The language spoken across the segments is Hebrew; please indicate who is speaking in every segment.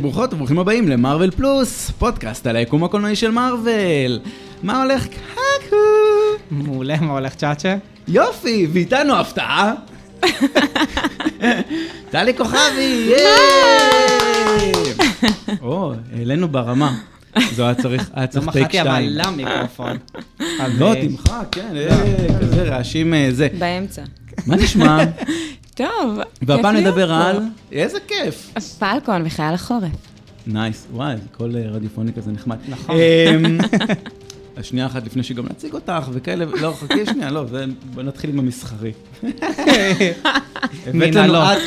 Speaker 1: ברוכות וברוכים הבאים למרוויל פלוס, פודקאסט על היקום הקולנועי של מארוול. מה הולך קקו?
Speaker 2: מעולה, מה הולך צ'אצ'ה? לא
Speaker 1: יופי, ואיתנו הפתעה. טלי כוכבי, ייי! או, העלינו ברמה. זו היה צריך, היה
Speaker 2: לא
Speaker 1: צריך טייק
Speaker 2: מחאתי אבל
Speaker 1: שתיים.
Speaker 2: למיקרופון. אז,
Speaker 1: לא,
Speaker 2: אה,
Speaker 1: תמחק, כן, אה, כזה רעשים אה, זה.
Speaker 3: באמצע.
Speaker 1: מה נשמע?
Speaker 3: טוב,
Speaker 1: והפעם
Speaker 3: כיף להיות
Speaker 1: נדבר
Speaker 3: פה.
Speaker 1: על... איזה כיף.
Speaker 3: פלקון וחייל החורף.
Speaker 1: נייס, וואי, כל אה, רדיופוני כזה נחמד.
Speaker 2: נכון.
Speaker 1: אמ, שנייה אחת לפני שגם נציג אותך וכאלה, לא, חכי שנייה, לא, זה- בוא נתחיל עם המסחרי. הבאת
Speaker 2: מן
Speaker 1: לנו,
Speaker 3: לא.
Speaker 2: הלא.
Speaker 1: את-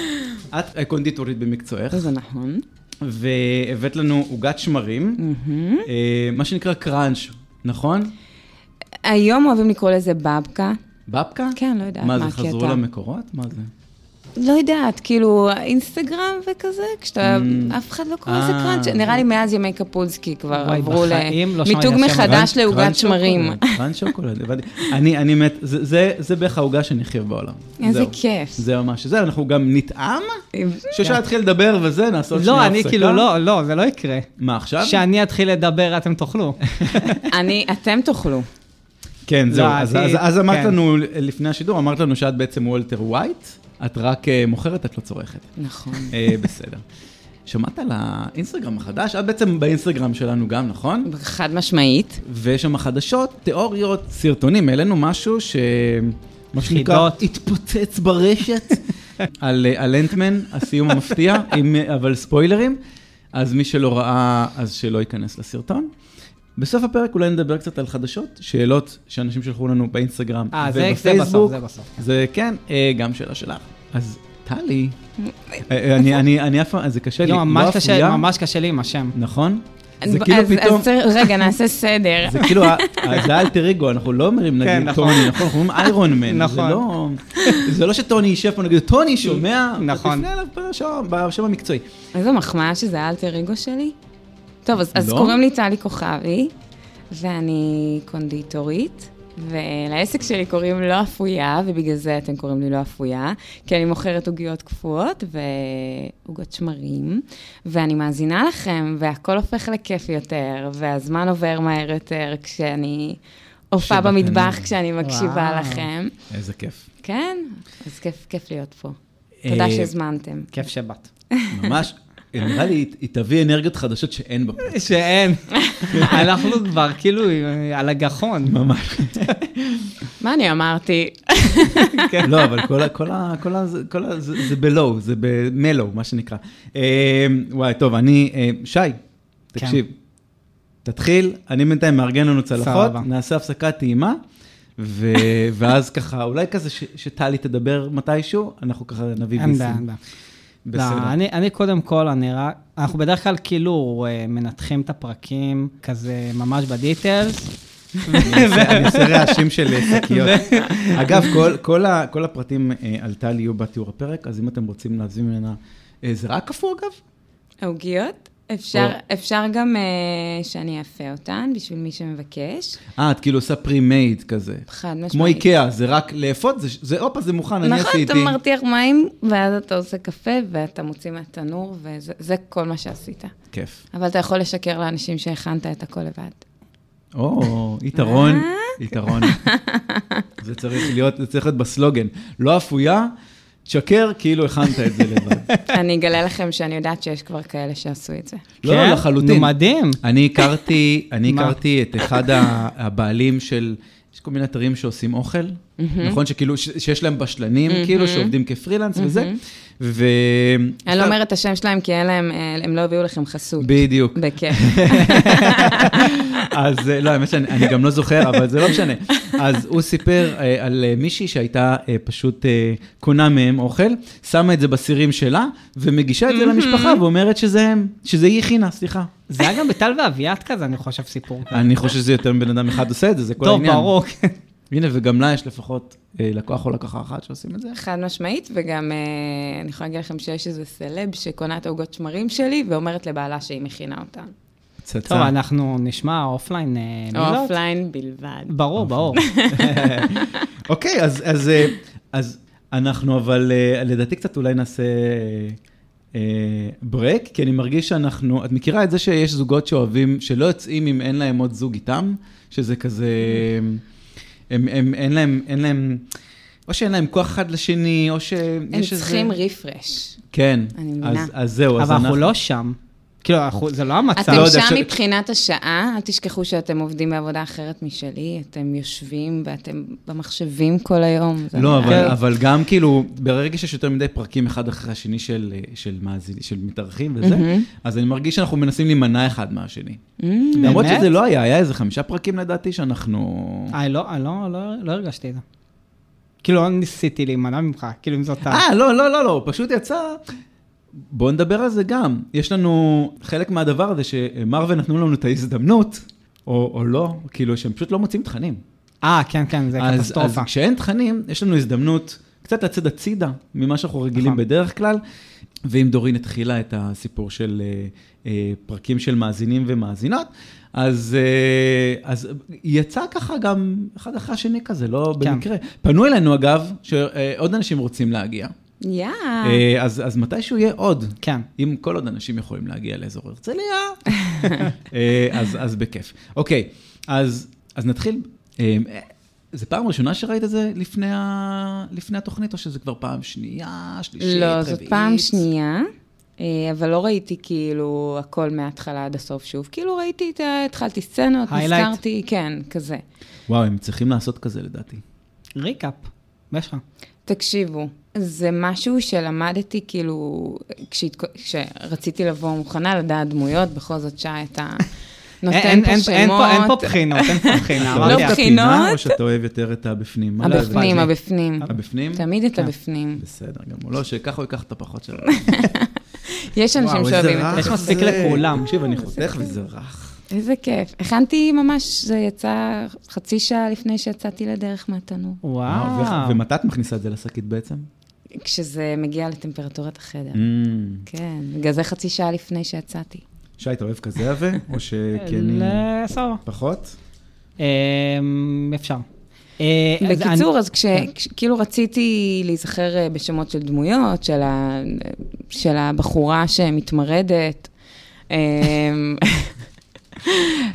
Speaker 1: את אה, קונדיטורית במקצועך,
Speaker 3: זה נכון.
Speaker 1: והבאת לנו עוגת שמרים, אה, מה שנקרא קראנץ', נכון?
Speaker 3: היום אוהבים לקרוא לזה בבקה.
Speaker 1: בבקה?
Speaker 3: כן, לא יודעת
Speaker 1: מה
Speaker 3: מה
Speaker 1: זה,
Speaker 3: הקטע.
Speaker 1: חזרו למקורות? מה זה?
Speaker 3: לא יודעת, כאילו, אינסטגרם וכזה, כשאתה,
Speaker 1: Mm.
Speaker 3: אף אחד לא קורא לזה
Speaker 1: אה.
Speaker 3: קראנץ'. נראה לי מאז ימי קפולסקי כבר
Speaker 2: וואי,
Speaker 3: עברו
Speaker 2: בחיים לא שמעתי
Speaker 3: למיתוג
Speaker 2: על השם הזה.
Speaker 3: מחדש לעוגת
Speaker 1: קראנץ' לא
Speaker 3: שמרים.
Speaker 1: שוקולד, קראנץ' שוקולד, הבנתי. אני, אני מת, זה- זה זה בערך העוגה שנחיה בעולם.
Speaker 3: איזה
Speaker 1: זהו.
Speaker 3: כיף.
Speaker 1: זה ממש, זה, אנחנו גם נטעם, שאפשר להתחיל לדבר וזה, נעשות
Speaker 2: כן. לא, אני כאילו, לא, לא, זה לא יקרה.
Speaker 1: מה עכשיו?
Speaker 2: כשאני אתחיל לדבר, אתם תאכלו.
Speaker 3: אני, אתם תאכלו.
Speaker 1: כן, זהו,
Speaker 2: לא,
Speaker 1: אז-
Speaker 2: אני-
Speaker 1: אז- אז אמרת
Speaker 2: כן.
Speaker 1: לנו לפני השידור, אמרת לנו שאת בעצם וולטר ווייט, את רק אה, מוכרת, את לא צורכת.
Speaker 3: נכון.
Speaker 1: אה, בסדר. שמעת על האינסטגרם החדש? את בעצם באינסטגרם שלנו גם, נכון?
Speaker 3: חד משמעית.
Speaker 1: ויש שם חדשות, תיאוריות, סרטונים. העלינו משהו ש... מה שנקרא,
Speaker 2: חידות.
Speaker 1: התפוצץ ברשת על אה, על אנטמן, הסיום המפתיע, עם, אה, אבל ספוילרים. אז מי שלא ראה, אז שלא ייכנס לסרטון. בסוף הפרק אולי נדבר קצת על חדשות, שאלות שאנשים שלחו לנו באינסטגרם
Speaker 2: אה, זה- זה
Speaker 1: ובפייסבוק.
Speaker 2: בסוף, זה בסוף.
Speaker 1: זה כן, אה, גם שאלה שלך. אז טלי, אה, אני- אני אני אף פעם, זה קשה לי,
Speaker 2: לא,
Speaker 1: לא
Speaker 2: ממש קשה,
Speaker 1: אפויה,
Speaker 2: ממש קשה לי עם השם.
Speaker 1: נכון? זה
Speaker 3: אז-
Speaker 1: כאילו
Speaker 3: אז- אז
Speaker 1: פתאום...
Speaker 3: צריך- רגע, נעשה סדר.
Speaker 1: זה כאילו, ה- זה האלטר אגו, אנחנו לא אומרים
Speaker 2: כן,
Speaker 1: נגיד
Speaker 2: נכון.
Speaker 1: טוני, נכון? אנחנו אומרים איירון מן. זה
Speaker 2: נכון.
Speaker 1: לא- זה לא שטוני יישב פה, נגיד, טוני שומע,
Speaker 2: נכון.
Speaker 1: תפנה אליו בשם- בשם המקצועי.
Speaker 3: איזו מחמאה שזה האלטר אגו שלי. טוב, אז, אז
Speaker 1: לא?
Speaker 3: קוראים לי טלי כוכבי, ואני קונדיטורית, ולעסק שלי קוראים לא אפויה, ובגלל זה אתם קוראים לי לא אפויה, כי אני מוכרת עוגיות קפואות ועוגות שמרים, ואני מאזינה לכם, והכל הופך לכיף יותר, והזמן עובר מהר יותר כשאני... הופעה
Speaker 1: שבקנה.
Speaker 3: במטבח כשאני מקשיבה
Speaker 2: וואו.
Speaker 3: לכם.
Speaker 1: איזה כיף.
Speaker 3: כן, אז כיף, כיף להיות פה.
Speaker 1: אה,
Speaker 3: תודה שהזמנתם.
Speaker 2: כיף שבאת.
Speaker 1: ממש, נראה לי, היא- היא תביא אנרגיות חדשות שאין בפרק.
Speaker 2: שאין. אנחנו כבר כאילו על הגחון.
Speaker 1: ממש.
Speaker 3: מה אני אמרתי?
Speaker 1: לא, אבל כל ה- כל ה... כל ה- זה- כל ה- זה זה בלואו, זה במלואו, מה שנקרא. אה, וואי, טוב, אני... אה, שי,
Speaker 2: כן.
Speaker 1: תקשיב. תתחיל, אני בינתיים מארגן לנו צלחות,
Speaker 2: סבבה.
Speaker 1: נעשה הפסקת טעימה, ו... ואז ככה, אולי כזה ש... שטלי תדבר מתישהו, אנחנו ככה נביא
Speaker 2: אין
Speaker 1: ביסים.
Speaker 2: בעיה, אין בעיה.
Speaker 1: בסדר.
Speaker 2: לא, אני, אני קודם כל, אני רק, אנחנו בדרך כלל כאילו אה, מנתחים את הפרקים כזה ממש בדיטלס.
Speaker 1: אני עושה רעשים של אה, שקיות. אגב, כל, כל, ה, כל הפרטים אה, על טלי יהיו בתיאור הפרק, אז אם אתם רוצים להזמין ממנה, אה, זה רק קפוא אגב?
Speaker 3: העוגיות? אפשר, אפשר גם אה, שאני אאפה אותן בשביל מי שמבקש,
Speaker 1: אה, את כאילו עושה פרי-מייד כזה.
Speaker 3: חד משמעית.
Speaker 1: כמו איקאה, זה רק לאפות, זה, זה הופה, זה מוכן, אני
Speaker 3: נכון,
Speaker 1: עשיתי.
Speaker 3: אתה מרתיח מים, ואז אתה עושה קפה, ואתה מוציא מהתנור, וזה זה כל מה שעשית.
Speaker 1: כיף.
Speaker 3: אבל אתה יכול לשקר לאנשים שהכנת את הכל לבד.
Speaker 1: או, יתרון,
Speaker 3: אה?
Speaker 1: יתרון. זה צריך להיות, זה צריך להיות בסלוגן. לא אפויה, תשקר כאילו הכנת את זה לבד.
Speaker 3: אני אגלה לכם שאני יודעת שיש כבר כאלה שעשו את זה.
Speaker 1: לא,
Speaker 2: כן?
Speaker 1: לא, לחלוטין.
Speaker 2: נו, מדהים.
Speaker 1: אני הכרתי, אני
Speaker 2: מה?
Speaker 1: הכרתי את אחד ה- הבעלים של, יש כל מיני אתרים שעושים אוכל, נכון? שכאילו, ש- שיש להם בשלנים, כאילו, שעובדים כפרילנס וזה. ו...
Speaker 3: אני לא אומרת את השם שלהם, כי אין להם, אה, הם לא הביאו לכם חסות.
Speaker 1: בדיוק.
Speaker 3: בכיף.
Speaker 1: אז אה, לא, האמת שאני אני גם לא זוכר, אבל זה לא משנה. אז הוא סיפר אה, על אה, מישהי שהייתה אה, פשוט אה, קונה מהם אוכל, שמה את זה בסירים שלה, ומגישה את זה למשפחה, ואומרת שזה הם, שזה היא הכינה, סליחה.
Speaker 2: זה היה גם בטל ואביעד כזה, אני חושב, סיפור.
Speaker 1: אני חושב שזה יותר מבן אדם אחד עושה את זה, זה כל
Speaker 2: טוב,
Speaker 1: העניין.
Speaker 2: ברור. כן.
Speaker 1: הנה, וגם לה יש לפחות אה, לקוח או לקחה אחת שעושים את זה.
Speaker 3: חד משמעית, וגם אה, אני יכולה להגיד לכם שיש איזה סלב שקונה את העוגות שמרים שלי, ואומרת לבעלה שהיא מכינה אותן.
Speaker 1: פצצה.
Speaker 2: טוב, אנחנו נשמע אופליין אה, מילות.
Speaker 3: אופליין בלבד.
Speaker 2: ברור, ברור.
Speaker 1: אוקיי, אז- אז אה, אז אנחנו אבל אה, לדעתי קצת אולי נעשה אה, אה, ברק, כי אני מרגיש שאנחנו, את מכירה את זה שיש זוגות שאוהבים, שלא יוצאים אם אין להם עוד זוג איתם, שזה כזה, הם, הם, אין להם, אין להם, או שאין להם כוח אחד לשני, או שיש
Speaker 3: הם
Speaker 1: איזה...
Speaker 3: צריכים רפרש.
Speaker 1: כן,
Speaker 3: אני
Speaker 1: אז,
Speaker 3: מבינה.
Speaker 1: אז זהו, אז
Speaker 2: אבל אנחנו לא שם. כאילו, אנחנו- זה לא המצב.
Speaker 1: אתה לא
Speaker 3: אתם
Speaker 1: יודע,
Speaker 3: שם
Speaker 1: ש-
Speaker 3: מבחינת השעה, אל תשכחו שאתם עובדים בעבודה אחרת משלי, אתם יושבים ואתם במחשבים כל היום. זה
Speaker 1: לא,
Speaker 2: כן.
Speaker 3: נראה
Speaker 1: אבל,
Speaker 3: לי-
Speaker 1: אבל גם כאילו, ברגע שיש יותר מדי פרקים אחד אחרי השני של, אה, של, מאזינים, של מתארחים וזה,
Speaker 3: מהמם.
Speaker 1: אז אני מרגיש שאנחנו מנסים להימנע אחד מהשני.
Speaker 3: Mm,
Speaker 1: למרות
Speaker 2: באמת?
Speaker 1: שזה לא היה, היה איזה חמישה פרקים לדעתי שאנחנו...
Speaker 2: אני לא, אני לא, לא, לא הרגשתי את זה. כאילו, לא ניסיתי להימנע ממך, כאילו, אם זאת ה...
Speaker 1: אה, לא, לא, לא, לא, פשוט יצא... בואו נדבר על זה גם. יש לנו חלק מהדבר הזה שמרווה נתנו לנו את ההזדמנות, או, או לא, כאילו שהם פשוט לא מוצאים תכנים.
Speaker 2: אה, כן, כן, זה
Speaker 1: אז, אז
Speaker 2: קטסטרופה.
Speaker 1: כשאין תכנים, יש לנו הזדמנות קצת לצאת הצידה ממה שאנחנו רגילים
Speaker 2: נכון.
Speaker 1: בדרך כלל. ואם דורין התחילה את הסיפור של אה, אה, פרקים של מאזינים ומאזינות, אז, אה, אז יצא ככה גם אחד אחרי השני כזה, לא
Speaker 2: כן.
Speaker 1: במקרה. פנו אלינו אגב, שעוד אנשים רוצים להגיע.
Speaker 3: יאה.
Speaker 1: אה, אז, אז מתישהו יהיה עוד.
Speaker 2: כן.
Speaker 1: אם כל עוד אנשים יכולים להגיע לאזור הרצליה, אה, אז, אז בכיף. אוקיי, אז, אז נתחיל. אה, זו פעם ראשונה שראית את זה לפני, ה... לפני התוכנית, או שזה כבר פעם שנייה, שלישית, רביעית?
Speaker 3: לא, זאת פעם שנייה, אה, אבל לא ראיתי כאילו הכל מההתחלה עד הסוף שוב. כאילו ראיתי את ה... התחלתי סצנות,
Speaker 2: Highlight.
Speaker 3: נזכרתי, כן, כזה.
Speaker 1: וואו, הם צריכים לעשות כזה לדעתי.
Speaker 2: ריקאפ, מה יש לך?
Speaker 3: תקשיבו, זה משהו שלמדתי כאילו, כשהתק- כשרציתי לבוא מוכנה לדעת דמויות, בכל זאת שי אתה נותן
Speaker 2: אין-
Speaker 3: פה
Speaker 2: אין-
Speaker 3: שמות.
Speaker 2: אין פה- אין פה בחינות, אין פה בחינה.
Speaker 1: אתה
Speaker 3: לא
Speaker 1: אוהב את
Speaker 2: אמרתי לך.
Speaker 3: בחינות.
Speaker 1: הפינה, או שאתה אוהב יותר את הבפנים? מה זה?
Speaker 3: הבפנים,
Speaker 2: אכפת לי.
Speaker 3: הבפנים.
Speaker 1: הבפנים?
Speaker 3: תמיד את
Speaker 2: כן.
Speaker 3: הבפנים.
Speaker 1: בסדר גמור. לא, שככה הוא ייקח את הפחות שלו.
Speaker 3: יש אנשים שאוהבים את
Speaker 2: רע.
Speaker 3: זה.
Speaker 2: יש מספיק לכולם.
Speaker 1: תקשיב, אני חותך וזה רך.
Speaker 3: איזה כיף. הכנתי ממש, זה יצא חצי שעה לפני שיצאתי לדרך מהתנור.
Speaker 1: וואו,
Speaker 2: וואו.
Speaker 1: אה, ומתי את מכניסה את זה לשקית בעצם?
Speaker 3: כשזה מגיע לטמפרטורת החדר.
Speaker 1: Mm.
Speaker 3: כן, בגלל זה חצי שעה לפני שיצאתי.
Speaker 1: שי, אתה אוהב כזה עבה? או שכי אני...
Speaker 2: ל- סבבה.
Speaker 1: פחות?
Speaker 2: אמ, אפשר. אה, אז אני- כן.
Speaker 3: בקיצור, אז כש... כש- כאילו רציתי להיזכר אה, בשמות של דמויות, של, ה... של הבחורה שמתמרדת. אמ,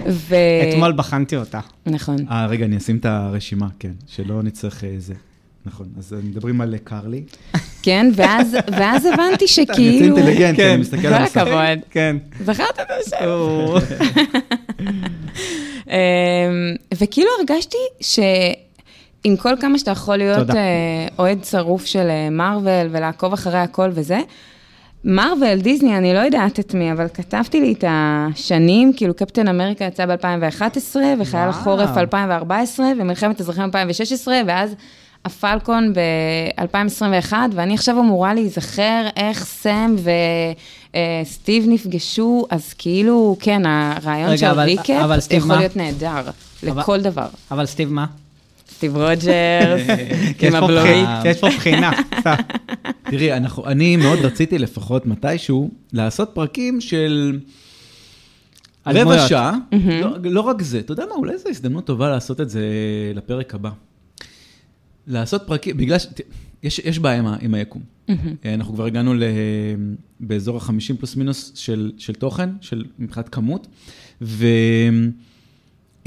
Speaker 3: ו...
Speaker 2: אתמול בחנתי אותה.
Speaker 3: נכון.
Speaker 1: אה, רגע, אני אשים את הרשימה, כן, שלא נצטרך אה, זה. נכון, אז מדברים על אה, קרלי.
Speaker 3: כן, ואז, ואז הבנתי
Speaker 1: אני יוצא
Speaker 3: שכאילו...
Speaker 1: אינטליגנט,
Speaker 2: כן.
Speaker 1: אני מסתכל על
Speaker 3: כל
Speaker 1: המסך.
Speaker 3: הכבוד. אבל-
Speaker 2: כן.
Speaker 3: זכרת את השם?
Speaker 2: או.
Speaker 3: אמ, וכאילו הרגשתי ש... עם כל כמה שאתה יכול להיות
Speaker 2: תודה.
Speaker 3: אה, אוהד שרוף של אה, מארוול ולעקוב אחרי הכל וזה, מארוול, דיסני, אני לא יודעת את מי, אבל כתבתי לי את השנים, כאילו קפטן אמריקה יצא ב-2011,
Speaker 2: וואו.
Speaker 3: וחייל החורף 2014, ומלחמת אזרחים 2016, ואז הפלקון ב-2021, ואני עכשיו אמורה להיזכר איך סם וסטיב נפגשו, אז כאילו, כן, הרעיון
Speaker 2: רגע,
Speaker 3: של
Speaker 2: אבל-
Speaker 3: ריקאפ
Speaker 2: אבל סטיב
Speaker 3: יכול
Speaker 2: מה?
Speaker 3: להיות נהדר, לכל דבר.
Speaker 2: אבל סטיב, מה?
Speaker 3: סטיב רוג'רס,
Speaker 2: כי יש
Speaker 3: עם
Speaker 2: פה
Speaker 3: הבלורית.
Speaker 2: בחינה- כי יש פה בחינה.
Speaker 1: תראי, אנחנו- אני מאוד רציתי לפחות מתישהו לעשות פרקים של רבע
Speaker 2: הדמויות.
Speaker 1: שעה. לא- לא רק זה, אתה יודע מה, אולי זו הזדמנות טובה לעשות את זה לפרק הבא. לעשות פרקים, בגלל ש... ת- יש, יש בעיה עם, ה- עם היקום. אה, אנחנו כבר הגענו ל... באזור ה-50 פלוס מינוס של, של תוכן, של מבחינת כמות, ואי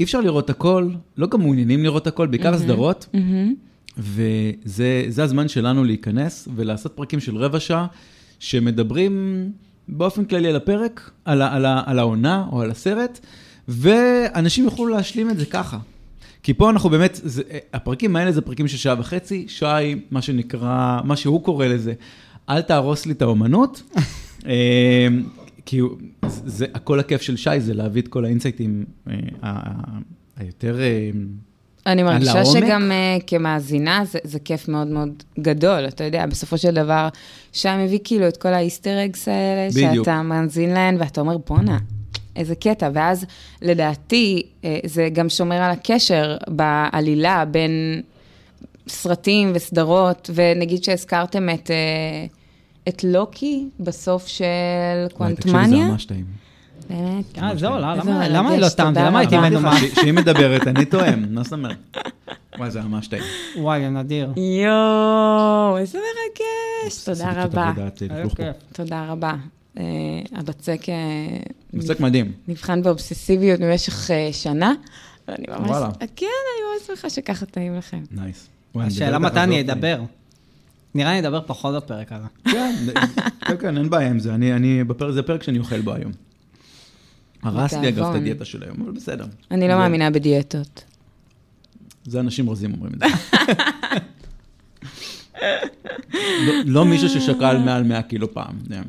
Speaker 1: אפשר לראות הכל, לא גם מעוניינים לראות הכל, בעיקר סדרות,
Speaker 3: מהמם.
Speaker 1: וזה זה הזמן שלנו להיכנס ולעשות פרקים של רבע שעה, שמדברים באופן כללי על הפרק, על, ה- על, ה- על העונה או על הסרט, ואנשים יוכלו להשלים את זה ככה. כי פה אנחנו באמת, זה, הפרקים האלה זה פרקים של שעה וחצי, שי, מה שנקרא, מה שהוא קורא לזה, אל תהרוס לי את האומנות, אה, כי הוא- זה, הכל הכיף של שי זה להביא את כל האינסייטים אה, ה- ה- היותר... אה,
Speaker 3: אני
Speaker 1: על
Speaker 3: מרגישה
Speaker 1: העומק?
Speaker 3: שגם uh, כמאזינה זה, זה כיף מאוד מאוד גדול, אתה יודע, בסופו של דבר, שי מביא כאילו את כל האיסטר אגס האלה,
Speaker 1: בדיוק.
Speaker 3: שאתה מאזין להן ואתה אומר, בואנה, איזה קטע, ואז לדעתי אה, זה גם שומר על הקשר בעלילה בין סרטים וסדרות, ונגיד שהזכרתם את, אה, את לוקי בסוף של
Speaker 1: וואי, תקשיבי,
Speaker 3: קוונטמניה,
Speaker 1: זה ממש טעים.
Speaker 3: באמת,
Speaker 2: אה, זו,
Speaker 3: איזה
Speaker 2: למה למה
Speaker 3: מרגש,
Speaker 2: לא טעמתי?
Speaker 3: תודה
Speaker 2: למה הייתי
Speaker 3: רבה.
Speaker 1: אמרתי
Speaker 2: מנומס?
Speaker 1: לך, שהיא מדברת, אני תואם, מה זאת אומרת? וואי, זה היה ממש טעים.
Speaker 2: וואי, זה נדיר.
Speaker 3: יואו, איזה מרגש.
Speaker 1: עשיתי
Speaker 3: תודה
Speaker 1: את
Speaker 3: רבה.
Speaker 1: עבודת
Speaker 2: היה
Speaker 1: לכלוך פה.
Speaker 2: כיף.
Speaker 3: תודה רבה. אה, הבצק אה,
Speaker 1: מצק מדהים.
Speaker 3: נבחן באובססיביות במשך אה, שנה. ואני ממש...
Speaker 1: וואלה.
Speaker 3: כן, אני מאוד שמחה שככה טעים לכם.
Speaker 1: נייס.
Speaker 2: השאלה מתי אני אדבר. נראה לי אדבר פחות בפרק הזה.
Speaker 1: כן, כן, כן, אין בעיה עם זה. אני, אני, בפרק, זה פרק שאני אוכל בו היום. הרסתי אגב את
Speaker 3: בתיאבון.
Speaker 1: הדיאטה של היום, אבל בסדר.
Speaker 3: אוקיי, אני לא
Speaker 1: זה-
Speaker 3: מאמינה בדיאטות.
Speaker 1: זה אנשים רזים אומרים את זה. לא, לא מישהו ששקל מעל 100 קילו פעם.
Speaker 3: כן.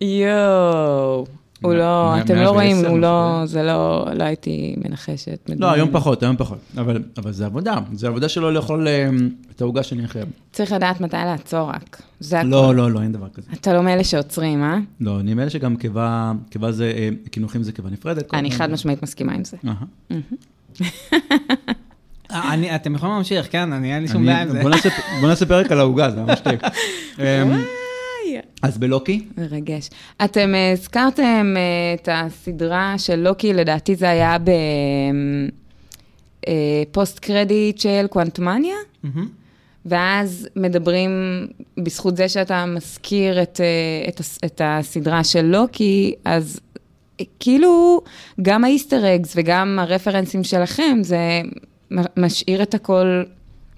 Speaker 1: זה-
Speaker 3: יואו. הוא
Speaker 1: מאה-
Speaker 3: לא,
Speaker 1: מאה-
Speaker 3: אתם
Speaker 1: מאה
Speaker 3: לא
Speaker 1: ועשר,
Speaker 3: רואים, הוא לא,
Speaker 1: נכון?
Speaker 3: זה לא, לא הייתי מנחשת.
Speaker 1: לא,
Speaker 3: מדמיינת.
Speaker 1: היום פחות, היום פחות. אבל, אבל זה עבודה, זה עבודה שלא לאכול אה, את העוגה שאני אחרי.
Speaker 3: צריך לדעת מתי לעצור רק. זה הכול.
Speaker 1: לא, לא, לא, אין דבר כזה.
Speaker 3: אתה לא מאלה שעוצרים, אה?
Speaker 1: לא, אני מאלה שגם קיבה, קיבה זה, אה, קינוחים זה קיבה נפרדת. כל
Speaker 3: אני
Speaker 1: הזמן.
Speaker 3: חד משמעית מסכימה עם זה.
Speaker 1: אהה.
Speaker 2: אה, אני- אתם יכולים להמשיך, כן? אני, אין לי שום
Speaker 1: אני-
Speaker 2: בעיה עם זה.
Speaker 1: בוא נעשה- בוא נעשה פרק על העוגה, זה ממש טעים. אמ, אז בלוקי,
Speaker 3: מרגש. אתם אה, הזכרתם אה, את הסדרה של לוקי, לדעתי זה היה בפוסט קרדיט של קוונטמניה,
Speaker 2: מהמם.
Speaker 3: ואז מדברים, בזכות זה שאתה מזכיר את, אה, את, הס- את הסדרה של לוקי, אז אה, כאילו גם האיסטר אגס וגם הרפרנסים שלכם, זה מ- משאיר את הכל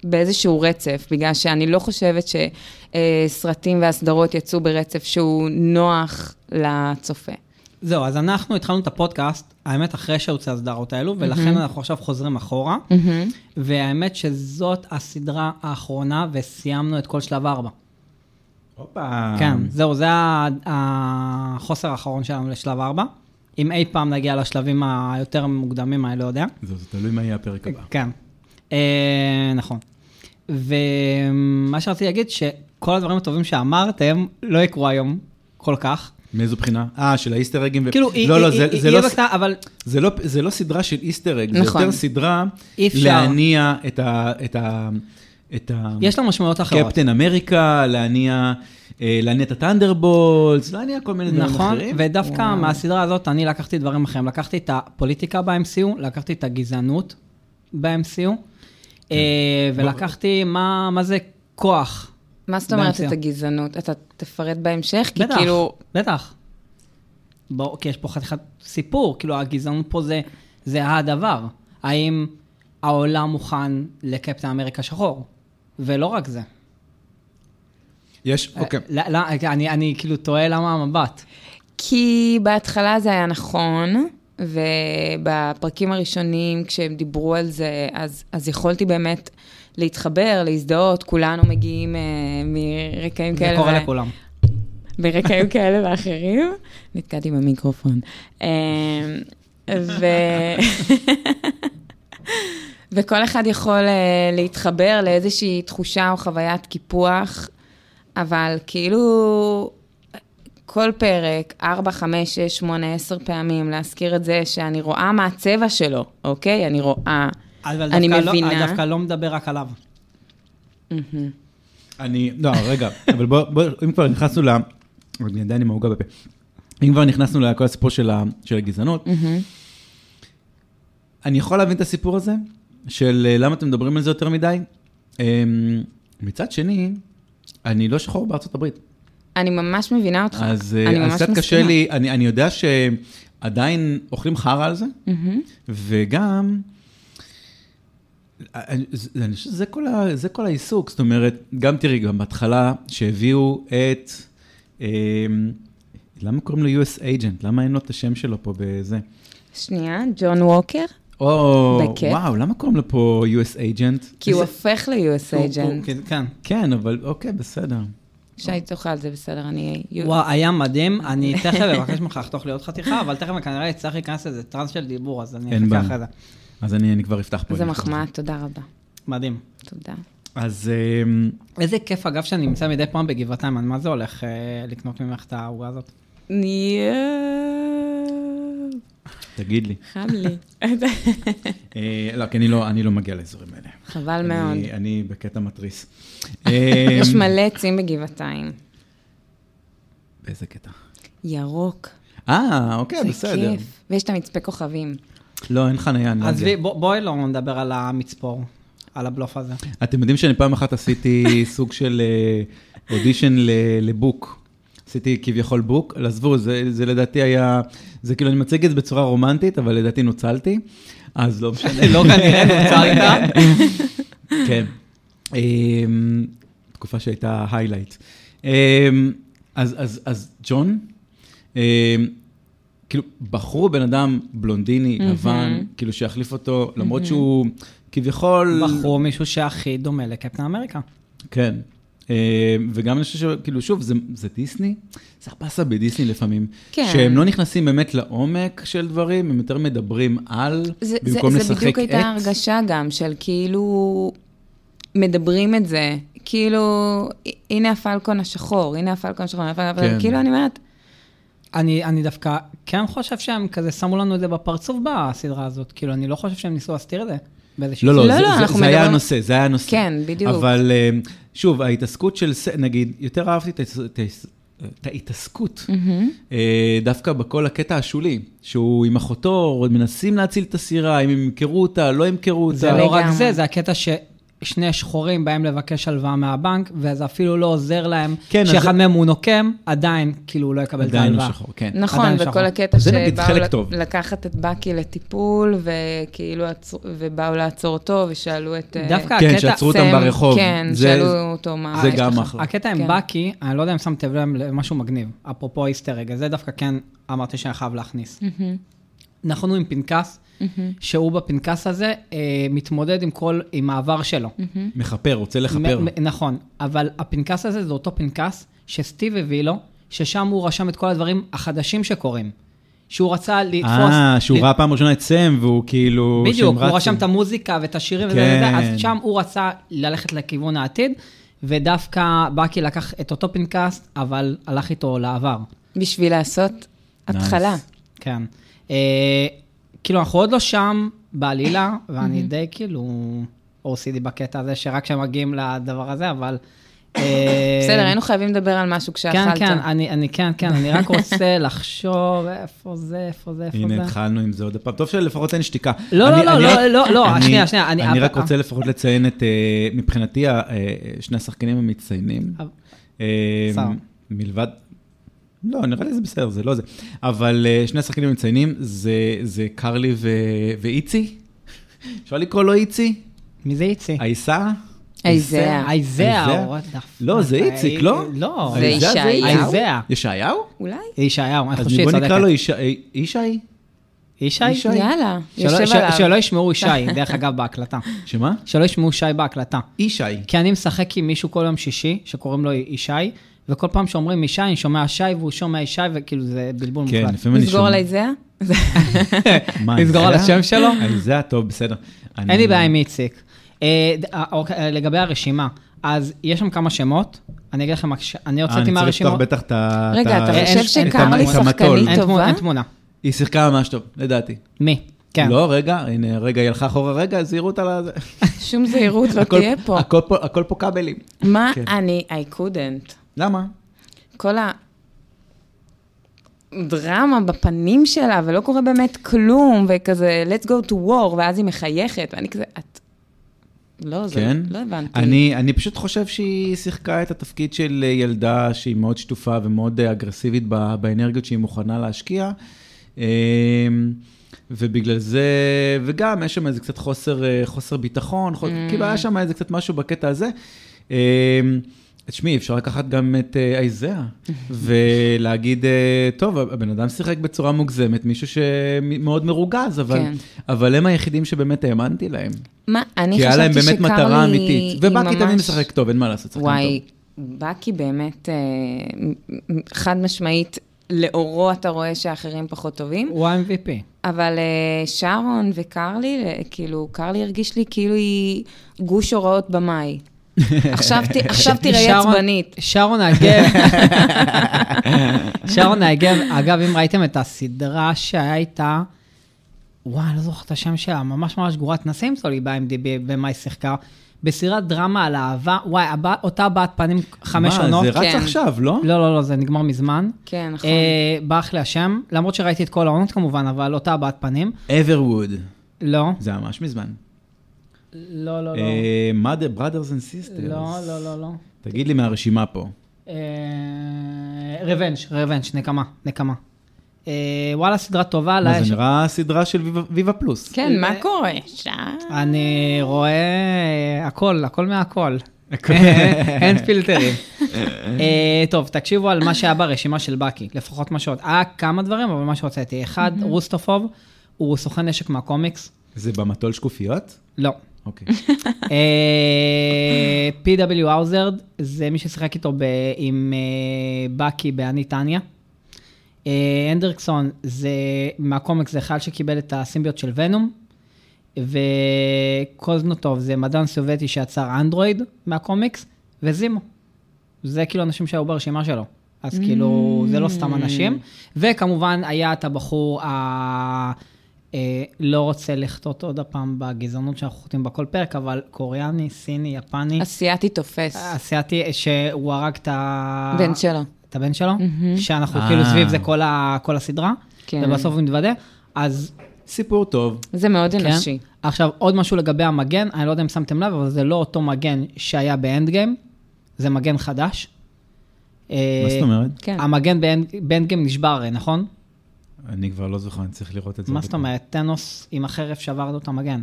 Speaker 3: באיזשהו רצף, בגלל שאני לא חושבת שסרטים והסדרות יצאו ברצף שהוא נוח לצופה.
Speaker 2: זהו, אז אנחנו התחלנו את הפודקאסט, האמת, אחרי שהוצא הסדרות האלו, ולכן אנחנו עכשיו חוזרים אחורה. והאמת שזאת הסדרה האחרונה, וסיימנו את כל שלב ארבע.
Speaker 1: הופה.
Speaker 2: כן, זהו, זה ה- החוסר האחרון שלנו לשלב ארבע. אם אי פעם נגיע לשלבים היותר מוקדמים, אני לא יודע.
Speaker 1: זהו, זה תלוי מה יהיה הפרק הבא.
Speaker 2: כן. אה, נכון. ומה שרציתי להגיד, שכל הדברים הטובים שאמרתם לא יקרו היום כל כך.
Speaker 1: מאיזו בחינה? אה, של האיסטר אגים. ו-
Speaker 2: כאילו, היא-
Speaker 1: לא, לא,
Speaker 2: היא-
Speaker 1: זה-
Speaker 2: היא-
Speaker 1: זה
Speaker 2: היא
Speaker 1: לא-
Speaker 2: בקטנה, אבל
Speaker 1: זה לא- זה לא סדרה של איסטר אג, זה
Speaker 3: נכון.
Speaker 1: יותר סדרה
Speaker 2: אי אפשר.
Speaker 1: להניע את ה... את ה- את ה...
Speaker 2: יש לה משמעויות אחרות.
Speaker 1: קפטן אמריקה, להניע אה, להניע את הטנדרבולטס, להניע כל מיני דברים
Speaker 2: נכון,
Speaker 1: אחרים.
Speaker 2: ודווקא
Speaker 3: וואו.
Speaker 2: מהסדרה הזאת אני לקחתי דברים אחרים. לקחתי את הפוליטיקה ב-MCU, לקחתי את הגזענות ב-MCU, אה,
Speaker 1: כן.
Speaker 2: ולקחתי מה מה זה כוח.
Speaker 3: מה זאת אומרת
Speaker 2: באמצע.
Speaker 3: את הגזענות? אתה תפרט בהמשך? כי
Speaker 2: בטח,
Speaker 3: כאילו,
Speaker 2: בטח. בוא, כי יש פה חתיכת סיפור, כאילו הגזענות פה זה, זה הדבר. האם העולם מוכן לקפטן אמריקה שחור? ולא רק זה.
Speaker 1: יש, אוקיי.
Speaker 2: לא, לא, אני, אני כאילו תוהה למה המבט.
Speaker 3: כי בהתחלה זה היה נכון, ובפרקים הראשונים, כשהם דיברו על זה, אז, אז יכולתי באמת להתחבר, להזדהות, כולנו מגיעים אה, מרקעים
Speaker 2: זה
Speaker 3: כאלה.
Speaker 2: קורה
Speaker 3: ו-
Speaker 2: לכולם.
Speaker 3: ברקעים כאלה ואחרים. נתקעתי במיקרופון. אמ, ו... וכל אחד יכול אה, להתחבר לאיזושהי תחושה או חוויית קיפוח, אבל כאילו כל פרק, 4, 5, 6, 8, 10 פעמים, להזכיר את זה שאני רואה מה הצבע שלו, אוקיי? אני רואה.
Speaker 2: אבל
Speaker 3: אני
Speaker 2: דווקא לא-
Speaker 3: מבינה.
Speaker 2: אני דווקא לא מדבר רק עליו.
Speaker 1: אני, לא, רגע, אבל בוא, בוא, אם כבר נכנסנו ל... אני עדיין עם העוגה בפה. אם כבר נכנסנו לכל הסיפור של, ה, של הגזענות, אני יכול להבין את הסיפור הזה, של אה, למה אתם מדברים על זה יותר מדי. אמ, מצד שני, אני לא שחור בארצות הברית.
Speaker 3: אני ממש מבינה אותך.
Speaker 1: אז, אה,
Speaker 3: אני ממש
Speaker 1: אז קצת קשה
Speaker 3: מסכימה.
Speaker 1: לי, אני, אני יודע שעדיין אוכלים חרא על זה,
Speaker 3: מהמם.
Speaker 1: וגם, אני זה- אני חושב שזה כל, ה, זה כל העיסוק, זאת אומרת, גם תראי, גם בהתחלה שהביאו את, אמ, למה קוראים לו US agent? למה אין לו את השם שלו פה בזה?
Speaker 3: שנייה, ג'ון ווקר?
Speaker 1: או,
Speaker 3: בכיף.
Speaker 1: וואו, למה קוראים לו פה US agent?
Speaker 3: כי הוא
Speaker 1: איזה-
Speaker 3: הופך ל-US
Speaker 2: הוא-
Speaker 3: agent.
Speaker 2: הוא- כן.
Speaker 1: לא, כן, אבל אוקיי, בסדר.
Speaker 3: שי תאכל, זה בסדר, אני...
Speaker 2: וואו, היה מדהים, אני תכף אבקש ממך לחתוך לי עוד חתיכה, אבל תכף כנראה אצטרך להיכנס לזה טראנס של דיבור, אז אני
Speaker 1: אין
Speaker 2: אחכה
Speaker 1: בעיה.
Speaker 2: אחרי זה.
Speaker 1: אז אני, אני כבר אפתח פה.
Speaker 3: זה
Speaker 1: אני אפתח.
Speaker 3: מחמאה, תודה רבה.
Speaker 2: מדהים.
Speaker 3: תודה.
Speaker 1: אז אמ,
Speaker 2: איזה כיף, אגב, שאני נמצא מדי פעם בגבעתיים, אני מה זה הולך אה, לקנות ממך את העוגה הזאת?
Speaker 3: יואו,
Speaker 1: תגיד לי.
Speaker 3: חם לי.
Speaker 1: אה, לא, כי אני לא, אני לא מגיע לאזורים האלה.
Speaker 3: חבל
Speaker 1: אני-
Speaker 3: מאוד.
Speaker 1: אני בקטע מתריס.
Speaker 3: יש
Speaker 1: אמ,
Speaker 3: מלא עצים בגבעתיים.
Speaker 1: באיזה קטע?
Speaker 3: ירוק.
Speaker 1: אה, אוקיי,
Speaker 3: זה
Speaker 1: בסדר.
Speaker 3: כיף. ויש את המצפה כוכבים.
Speaker 1: לא, אין חניה, אני לא
Speaker 2: עזבי,
Speaker 1: מגיע.
Speaker 2: בוא- בואי לא נדבר על המצפור. על הבלוף הזה.
Speaker 1: אתם יודעים שאני פעם אחת עשיתי סוג של אה, אודישן ל- לבוק. עשיתי כביכול בוק, אז עזבו, זה, זה לדעתי היה, זה כאילו, אני מציג את זה בצורה רומנטית, אבל לדעתי נוצלתי, אז לא משנה.
Speaker 2: לא כנראה נוצרת.
Speaker 1: כן. אמ, תקופה שהייתה היילייט. אמ, אז, אז, אז ג'ון, אמ, כאילו, בחרו בן אדם בלונדיני,
Speaker 3: מהמם.
Speaker 1: לבן, כאילו שיחליף אותו, למרות שהוא כביכול...
Speaker 2: בחרו מישהו שהכי דומה לקפטן אמריקה.
Speaker 1: כן. אמ, וגם אני חושב שכאילו, שוב, זה, זה דיסני, זה הבאסה בדיסני לפעמים.
Speaker 3: כן.
Speaker 1: שהם לא נכנסים באמת לעומק של דברים, הם יותר מדברים על,
Speaker 3: זה, זה,
Speaker 1: במקום
Speaker 3: זה
Speaker 1: לשחק
Speaker 3: בדיוק
Speaker 1: את.
Speaker 3: הייתה הרגשה גם של כאילו מדברים את זה, כאילו, ה- הנה הפלקון השחור, הנה הפלקון השחור, הנה הפלקון השחור,
Speaker 1: כן.
Speaker 3: כאילו אני אומרת,
Speaker 2: אני, אני דווקא כן חושב שהם כזה שמו לנו את זה בפרצוף בסדרה הזאת. כאילו, אני לא חושב שהם ניסו להסתיר את זה. באיזושהי
Speaker 1: לא, לא,
Speaker 2: סיבה.
Speaker 1: זה,
Speaker 3: לא,
Speaker 1: זה,
Speaker 3: אנחנו
Speaker 1: זה היה
Speaker 3: מדברים-
Speaker 1: הנושא, זה היה הנושא.
Speaker 3: כן, בדיוק.
Speaker 1: אבל אמ, שוב, ההתעסקות של, ס- נגיד, יותר אהבתי את ההתעס- את ההתעס- את ההתעסקות, אה, דווקא בכל הקטע השולי, שהוא עם אחותו, עוד מנסים להציל את הסירה, אם הם ימכרו אותה, לא ימכרו אותה.
Speaker 2: זה לא רק
Speaker 3: לגמרי.
Speaker 2: זה, זה הקטע ששני שחורים באים לבקש הלוואה מהבנק, וזה אפילו לא עוזר להם.
Speaker 1: כן, אז זה-
Speaker 2: שאחד מהם הוא נוקם, עדיין, כאילו, הוא לא יקבל את
Speaker 1: עדיין הוא
Speaker 2: ההלוואה.
Speaker 1: שחור, כן.
Speaker 3: נכון,
Speaker 2: עדיין שחור.
Speaker 3: וכל הקטע
Speaker 1: זה נגיד
Speaker 3: שבאו
Speaker 1: חלק
Speaker 3: לק-
Speaker 1: טוב.
Speaker 3: לקחת את בקי לטיפול, וכאילו, עצרו- ובאו לעצור אותו, ושאלו את... אה,
Speaker 2: דווקא
Speaker 1: כן,
Speaker 2: הקטע-
Speaker 1: שעצרו אותם
Speaker 3: סם,
Speaker 1: ברחוב.
Speaker 3: כן,
Speaker 1: זה-
Speaker 3: שאלו אותו מה...
Speaker 1: זה
Speaker 3: יש
Speaker 1: גם
Speaker 3: לך?"
Speaker 1: אחלה.
Speaker 2: הקטע עם
Speaker 3: כן.
Speaker 2: בקי, אני לא יודע אם שמתם לב למשהו מגניב, אפרופו איסטרג, אז זה דווקא כן אמרתי שאני חייב להכניס. אנחנו עם פנקס, שהוא בפנקס הזה אה, מתמודד עם כל, עם העבר שלו.
Speaker 3: נכון.
Speaker 1: מכפר, רוצה לכפר.
Speaker 2: מ- מ- נכון, אבל הפנקס הזה זה אותו פנקס שסטיב הביא לו, ששם הוא רשם את כל הדברים החדשים שקורים. שהוא רצה לתפוס...
Speaker 1: אה, שהוא
Speaker 2: ל-
Speaker 1: ראה פעם ראשונה את סם, והוא כאילו...
Speaker 2: בדיוק,
Speaker 1: שהם
Speaker 2: הוא
Speaker 1: רצו.
Speaker 2: רשם את המוזיקה ואת השירים, וזה
Speaker 1: כן.
Speaker 2: וזה, אז שם הוא רצה ללכת לכיוון העתיד, ודווקא בקי לקח את אותו פנקס, אבל הלך איתו לעבר.
Speaker 3: בשביל לעשות התחלה.
Speaker 2: כן. אה, כאילו, אנחנו עוד לא שם בעלילה, ואני די כאילו OCD בקטע הזה, שרק כשמגיעים לדבר הזה, אבל... אה,
Speaker 3: בסדר, היינו חייבים לדבר על משהו
Speaker 2: כן,
Speaker 3: כשאכלת.
Speaker 2: כן, אני, אני, כן, כן, אני רק רוצה לחשוב איפה זה, איפה זה, איפה
Speaker 1: הנה,
Speaker 2: זה.
Speaker 1: התחלנו עם זה עוד פעם. טוב שלפחות אין שתיקה.
Speaker 2: לא,
Speaker 1: אני-
Speaker 2: לא, לא,
Speaker 1: אני
Speaker 2: לא,
Speaker 1: רק-
Speaker 2: לא, לא,
Speaker 1: אני-
Speaker 2: שנייה, שנייה, אני-
Speaker 1: אני רק
Speaker 2: אה,
Speaker 1: רוצה לפחות לציין את, אה, מבחינתי, ה- אה, שני השחקנים המצטיינים.
Speaker 2: אבל-
Speaker 1: אה,
Speaker 2: שר.
Speaker 1: מלבד... לא, נראה לי זה בסדר, זה לא זה. אבל אה, שני השחקנים המצטיינים זה- זה קרלי ו- ואיצי. אפשר לקרוא לו איצי?
Speaker 2: מי זה איציק?
Speaker 1: עיסה?
Speaker 3: איזאה.
Speaker 2: אייזאה,
Speaker 1: אייזאה?
Speaker 2: what the fuck.
Speaker 1: לא, זה איציק, לא?
Speaker 2: לא.
Speaker 3: זה
Speaker 1: עיסה
Speaker 3: ישעיהו?
Speaker 1: איציק?
Speaker 2: עיסה.
Speaker 1: ישעיהו?
Speaker 3: אולי?
Speaker 2: ישעיהו, אני
Speaker 1: אז
Speaker 2: חושב שהיא
Speaker 1: בוא נקרא לו אה,
Speaker 2: צודקת.
Speaker 1: ישעי- ישי?
Speaker 2: ישי?
Speaker 1: ישי.
Speaker 3: יאללה,
Speaker 2: שלא-
Speaker 3: יושב
Speaker 2: ש-
Speaker 3: עליו.
Speaker 2: שלא ישמעו ישי, דרך אגב, בהקלטה.
Speaker 1: שמה?
Speaker 2: שלא ישמעו שי בהקלטה.
Speaker 1: ישי.
Speaker 2: כי אני משחק עם מישהו כל יום שישי, שקוראים לו ישי, וכל פעם שאומרים ישי, אני שומע שי והוא שומע ישי, וכאילו זה בלבול
Speaker 1: כן,
Speaker 2: מוחלט.
Speaker 1: לפעמים אני
Speaker 3: נסגור
Speaker 1: שומע.
Speaker 3: על איזאה?
Speaker 1: מה,
Speaker 2: נסגור על
Speaker 1: איזאה?
Speaker 2: השם שלו?
Speaker 1: איזאה, טוב, בסדר.
Speaker 2: אין
Speaker 1: אני-
Speaker 2: לי בעיה עם איציק. אה, ד- אה, אוקיי, אה, לגבי הרשימה, אז יש שם כמה שמות, אני אגיד לכם, מה ש- אני
Speaker 1: אה,
Speaker 2: לא הוצאתי
Speaker 1: אני צריך
Speaker 2: מהרשימות.
Speaker 1: לפתוח בטח את ה...
Speaker 3: רגע,
Speaker 1: את ה-
Speaker 3: אתה
Speaker 2: אה, אין-
Speaker 3: חושב
Speaker 2: אין-
Speaker 3: שקרלי
Speaker 2: אין- אין-
Speaker 1: אין-
Speaker 3: שחקנית
Speaker 2: אין תמונה,
Speaker 3: טובה?
Speaker 2: אין תמונה.
Speaker 1: היא שיחקה ממש טוב, לדעתי.
Speaker 2: מי? כן.
Speaker 1: לא, רגע, הנה, רגע, היא הלכה אחורה רגע, זהירו אותה לזה.
Speaker 3: שום זהירות לא
Speaker 1: הכל-
Speaker 3: תהיה פה.
Speaker 1: הכל פה. הכל פה כבלים.
Speaker 3: מה
Speaker 1: כן.
Speaker 3: אני, I couldn't.
Speaker 1: למה?
Speaker 3: כל ה... דרמה בפנים שלה, ולא קורה באמת כלום, וכזה, let's go to war, ואז היא מחייכת, ואני כזה, את... לא, זה...
Speaker 1: כן?
Speaker 3: לא הבנתי.
Speaker 1: אני, אני פשוט חושב שהיא שיחקה את התפקיד של אה, ילדה שהיא מאוד שטופה ומאוד אה, אגרסיבית ב, באנרגיות שהיא מוכנה להשקיע. אה, ובגלל זה, וגם יש שם איזה קצת חוסר, אה, חוסר ביטחון, חוס... mm. כאילו היה שם איזה קצת משהו בקטע הזה. אה, תשמעי, אפשר לקחת גם את אה, אייזאה ולהגיד, אה, טוב, הבן אדם שיחק בצורה מוגזמת, מישהו שמאוד מרוגז, אבל,
Speaker 3: כן.
Speaker 1: אבל הם היחידים שבאמת האמנתי להם.
Speaker 3: מה, אני
Speaker 1: כי היה להם
Speaker 3: חשבתי
Speaker 1: באמת
Speaker 3: שקרלי...
Speaker 1: מטרה אמיתית.
Speaker 3: היא
Speaker 1: ובאקי תמיד
Speaker 3: ממש-
Speaker 1: משחק טוב, אין מה לעשות, שחקן
Speaker 3: וואי,
Speaker 1: טוב.
Speaker 3: בקי באמת, אה, מ- מ- חד משמעית, לאורו אתה רואה שאחרים פחות טובים.
Speaker 2: הוא ה-MVP.
Speaker 3: אבל אה, שרון וקרלי, אה, כאילו, קרלי הרגיש לי כאילו היא גוש הוראות במאי. עכשיו ת- עכשיו תיראי
Speaker 2: שרון-
Speaker 3: עצבנית.
Speaker 2: שרון האגב, שרון האגב, אגב, אם ראיתם את הסדרה שהיה איתה, וואי, אני לא זוכר את השם שלה, ממש ממש גרועת נסים זו לי ב-IMDb, במה היא שיחקה, בסדרת דרמה על אהבה, וואי, הבת- אותה בת פנים חמש
Speaker 1: מה,
Speaker 2: עונות.
Speaker 1: זה רץ
Speaker 3: כן.
Speaker 1: עכשיו, לא?
Speaker 2: לא, לא, לא, זה נגמר מזמן.
Speaker 3: כן, נכון.
Speaker 2: אה, ברח לי השם, למרות שראיתי את כל העונות כמובן, אבל אותה בת פנים.
Speaker 1: אברווד.
Speaker 2: לא,
Speaker 1: זה ממש מזמן.
Speaker 2: לא, לא, לא.
Speaker 1: אה, mother, brothers and sisters.
Speaker 2: לא, לא, לא, לא.
Speaker 1: תגיד לי מהרשימה פה.
Speaker 2: רבנג', רבנג', אה, נקמה, נקמה. אה, וואלה, סדרה טובה. לה
Speaker 1: מה
Speaker 2: לא, יש-
Speaker 1: זה נראה סדרה של ויבה- ויבה פלוס.
Speaker 3: כן, מה קורה שם?
Speaker 2: אני רואה אה, הכל, הכל מהכל.
Speaker 1: הכל. אוקיי.
Speaker 2: אין פילטרים. אה, טוב, תקשיבו על מה שהיה ברשימה של בקי, לפחות מה שעוד. היה כמה דברים, אבל מה שהוצאתי. אחד, רוסטופוב, הוא סוכן נשק מהקומיקס.
Speaker 1: זה במטול שקופיות?
Speaker 2: לא.
Speaker 1: אוקיי.
Speaker 2: אה, P.W. האוזרד, זה מי ששיחק איתו ב- עם אה, בקי באני טניה. אה, הנדרקסון, זה מהקומיקס, זה חייל שקיבל את הסימביות של ונום. וקוזנוטוב זה מדען סובייטי שיצר אנדרואיד מהקומיקס, וזימו. זה כאילו אנשים שהיו ברשימה שלו. אז כאילו, זה לא סתם אנשים. וכמובן, היה את הבחור ה... אה, לא רוצה לחטות עוד הפעם בגזענות שאנחנו חוטאים בה כל פרק, אבל קוריאני, סיני, יפני,
Speaker 3: אסיאתי תופס.
Speaker 2: אה, אסיאתי, שהוא הרג את ה...
Speaker 3: בן שלו.
Speaker 2: את הבן שלו, שאנחנו
Speaker 1: אה.
Speaker 2: כאילו סביב זה כל ה- כל הסדרה,
Speaker 3: כן.
Speaker 2: ובסוף הוא מתוודה. אז
Speaker 1: סיפור טוב.
Speaker 3: זה מאוד אנושי.
Speaker 2: כן. עכשיו, עוד משהו לגבי המגן, אני לא יודע אם שמתם לב, אבל זה לא אותו מגן שהיה באנד גיים, זה מגן חדש. אה,
Speaker 1: מה זאת אומרת?
Speaker 3: כן.
Speaker 2: המגן באנד- באנד גיים נשבר הרי, נכון?
Speaker 1: אני כבר לא זוכר, אני צריך לראות את זה.
Speaker 2: מה זאת אומרת? טנוס עם החרב שבר לו את המגן.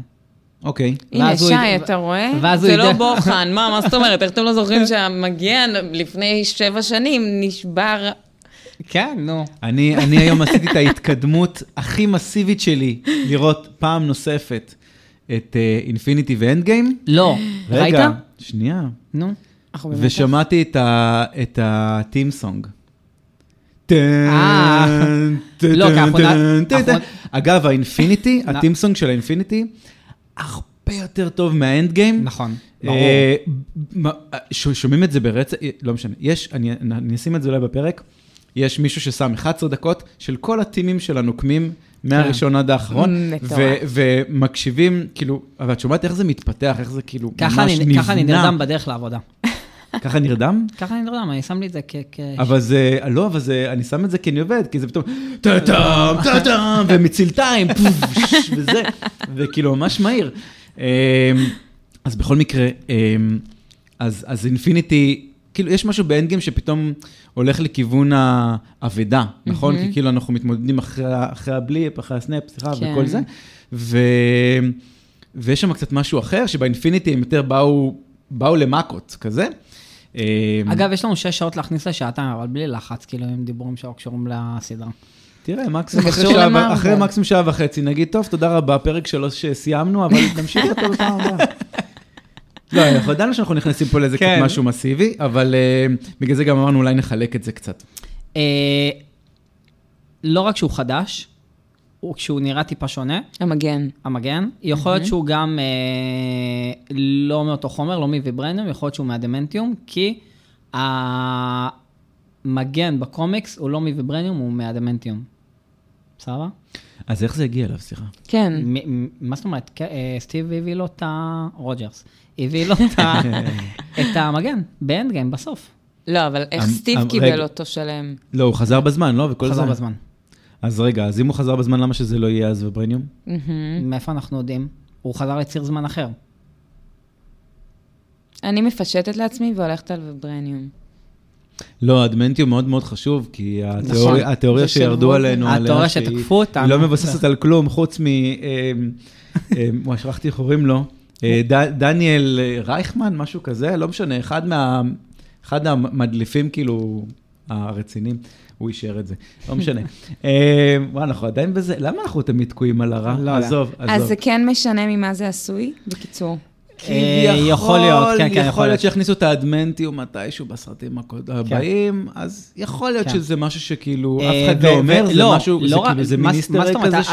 Speaker 1: אוקיי.
Speaker 3: הנה,
Speaker 2: ואז הוא
Speaker 3: שי,
Speaker 2: יד-
Speaker 3: אתה רואה?
Speaker 2: ואז הוא
Speaker 3: זה לא
Speaker 2: יד-
Speaker 3: בוחן, מה, מה זאת אומרת? איך אתם לא זוכרים שהמגן לפני שבע שנים נשבר...
Speaker 2: כן, נו.
Speaker 1: אני, אני היום עשיתי את ההתקדמות הכי מסיבית שלי לראות פעם נוספת את אה, אינפיניטי ואנד גיים.
Speaker 2: לא. ראית?
Speaker 1: רגע, שנייה.
Speaker 2: נו.
Speaker 1: ושמעתי את ה- את ה-team song.
Speaker 2: אה.
Speaker 1: טן, טן,
Speaker 2: לא, כי
Speaker 1: טן,
Speaker 2: אנחנו נע-
Speaker 1: טן, טן.
Speaker 2: אנחנו-
Speaker 1: אגב, האינפיניטי,
Speaker 2: נע-
Speaker 1: הטים סונג של האינפיניטי, הרבה יותר טוב מהאנד גיים.
Speaker 2: נכון, ברור.
Speaker 1: אה, מה- ש- שומעים את זה ברצף, לא משנה, יש, אני אני אשים את זה אולי בפרק, יש מישהו ששם 11 דקות של כל הטימים של הנוקמים,
Speaker 2: כן.
Speaker 1: מהראשון עד האחרון,
Speaker 3: Mm, מטורף.
Speaker 1: ו- ומקשיבים, כאילו, אבל את שומעת איך זה מתפתח, איך זה כאילו ממש
Speaker 2: ככה אני-
Speaker 1: נבנה.
Speaker 2: ככה אני נרדם בדרך לעבודה.
Speaker 1: ככה נרדם?
Speaker 2: ככה אני נרדם, אני שם לי את זה כ... כ-
Speaker 1: אבל זה, לא, אבל זה, אני שם את זה כי אני עובד, כי זה פתאום, טה-טם, טה-טם, ומצילתיים, פוש, וזה, וכאילו ממש מהיר. אמ, אז בכל מקרה, אמ, אז אז אינפיניטי, כאילו, יש משהו באנדגים שפתאום הולך לכיוון האבדה, נכון? כי כאילו אנחנו מתמודדים אחרי ה- אחרי הבליפ, אחרי הסנאפ, סליחה,
Speaker 3: כן.
Speaker 1: וכל זה. ו... ויש שם קצת משהו אחר, שבאינפיניטי הם יותר באו, באו למכות, כזה. אמ,
Speaker 2: אגב, יש לנו שש שעות להכניס לשעתיים, אבל בלי לחץ, כאילו, עם דיבורים שלא קשורים לסדרה.
Speaker 1: תראה, מקסימום אחרי,
Speaker 3: קשור
Speaker 1: שעה,
Speaker 3: למרוויל.
Speaker 1: אחרי מקסימום שעה וחצי, נגיד, טוב, תודה רבה, פרק שלוש סיימנו, אבל נמשיך אותו בפעם הבאה. לא, אנחנו ידענו שאנחנו נכנסים פה לאיזה
Speaker 2: כן.
Speaker 1: כן. משהו מסיבי, אבל uh, בגלל זה גם אמרנו, אולי נחלק את זה קצת.
Speaker 2: אה, לא רק שהוא חדש, הוא כשהוא נראה טיפה שונה,
Speaker 3: המגן.
Speaker 2: המגן, יכול להיות שהוא גם אה, לא מאותו חומר, לא מוויברניום, יכול להיות שהוא מהדמנטיום, כי המגן בקומיקס הוא לא מוויברניום, הוא מהדמנטיום. בסדר?
Speaker 1: אז איך זה הגיע אליו, סליחה?
Speaker 3: כן.
Speaker 2: מ- מ- מה זאת אומרת? כ- אה, סטיב הביא לו את ה... רוג'רס. הביא לו את ה- את המגן, באנד גיים, בסוף.
Speaker 3: לא, אבל איך
Speaker 1: אמ-
Speaker 3: סטיב
Speaker 1: אמ-
Speaker 3: קיבל
Speaker 1: רגע.
Speaker 3: אותו שלם?
Speaker 1: לא, הוא חזר בזמן, לא? וכל
Speaker 2: חזר
Speaker 1: זה.
Speaker 2: בזמן.
Speaker 1: אז רגע, אז אם הוא חזר בזמן, למה שזה לא יהיה אז וברניום?
Speaker 2: מאיפה אנחנו יודעים? הוא חזר לציר זמן אחר.
Speaker 3: אני מפשטת לעצמי והולכת על וברניום.
Speaker 1: לא, הדמנטיום מאוד מאוד חשוב, כי
Speaker 2: נכון.
Speaker 1: התיאוריה, התיאוריה
Speaker 3: זה של
Speaker 1: שירדו
Speaker 3: רוזן.
Speaker 1: עלינו, עליה,
Speaker 2: התיאוריה
Speaker 1: שהיא-
Speaker 2: שתקפו אותנו.
Speaker 1: היא לא מבוססת על כלום, חוץ מ... אמ, אמ, וואי, שכחתי איך קוראים לו. אה, ד- דניאל אה, רייכמן, משהו כזה, לא משנה, אחד מה... אחד המדליפים כאילו הרציניים, הוא אישר את זה, לא משנה. אה, וואי, אנחנו עדיין בזה, למה אנחנו תמיד תקועים על הרע?
Speaker 2: לא יודע.
Speaker 1: עזוב,
Speaker 3: אז
Speaker 1: עזוב.
Speaker 3: זה כן משנה ממה זה עשוי? בקיצור.
Speaker 2: אה, יכול להיות, כן, כן, יכול
Speaker 1: יכול
Speaker 2: להיות.
Speaker 1: להיות שיכניסו את האדמנטיום מתישהו בסרטים הקוד- הבאים, אז יכול להיות
Speaker 2: כן.
Speaker 1: שזה משהו שכאילו
Speaker 2: אה,
Speaker 1: אף אחד
Speaker 2: ו-
Speaker 1: לא אומר,
Speaker 2: ו-
Speaker 1: זה
Speaker 2: לא,
Speaker 1: משהו, זה
Speaker 2: לא רק-
Speaker 1: כאילו זה
Speaker 2: מה- מה
Speaker 1: מיניסטרי
Speaker 2: זאת אומרת,
Speaker 1: כזה
Speaker 2: אל-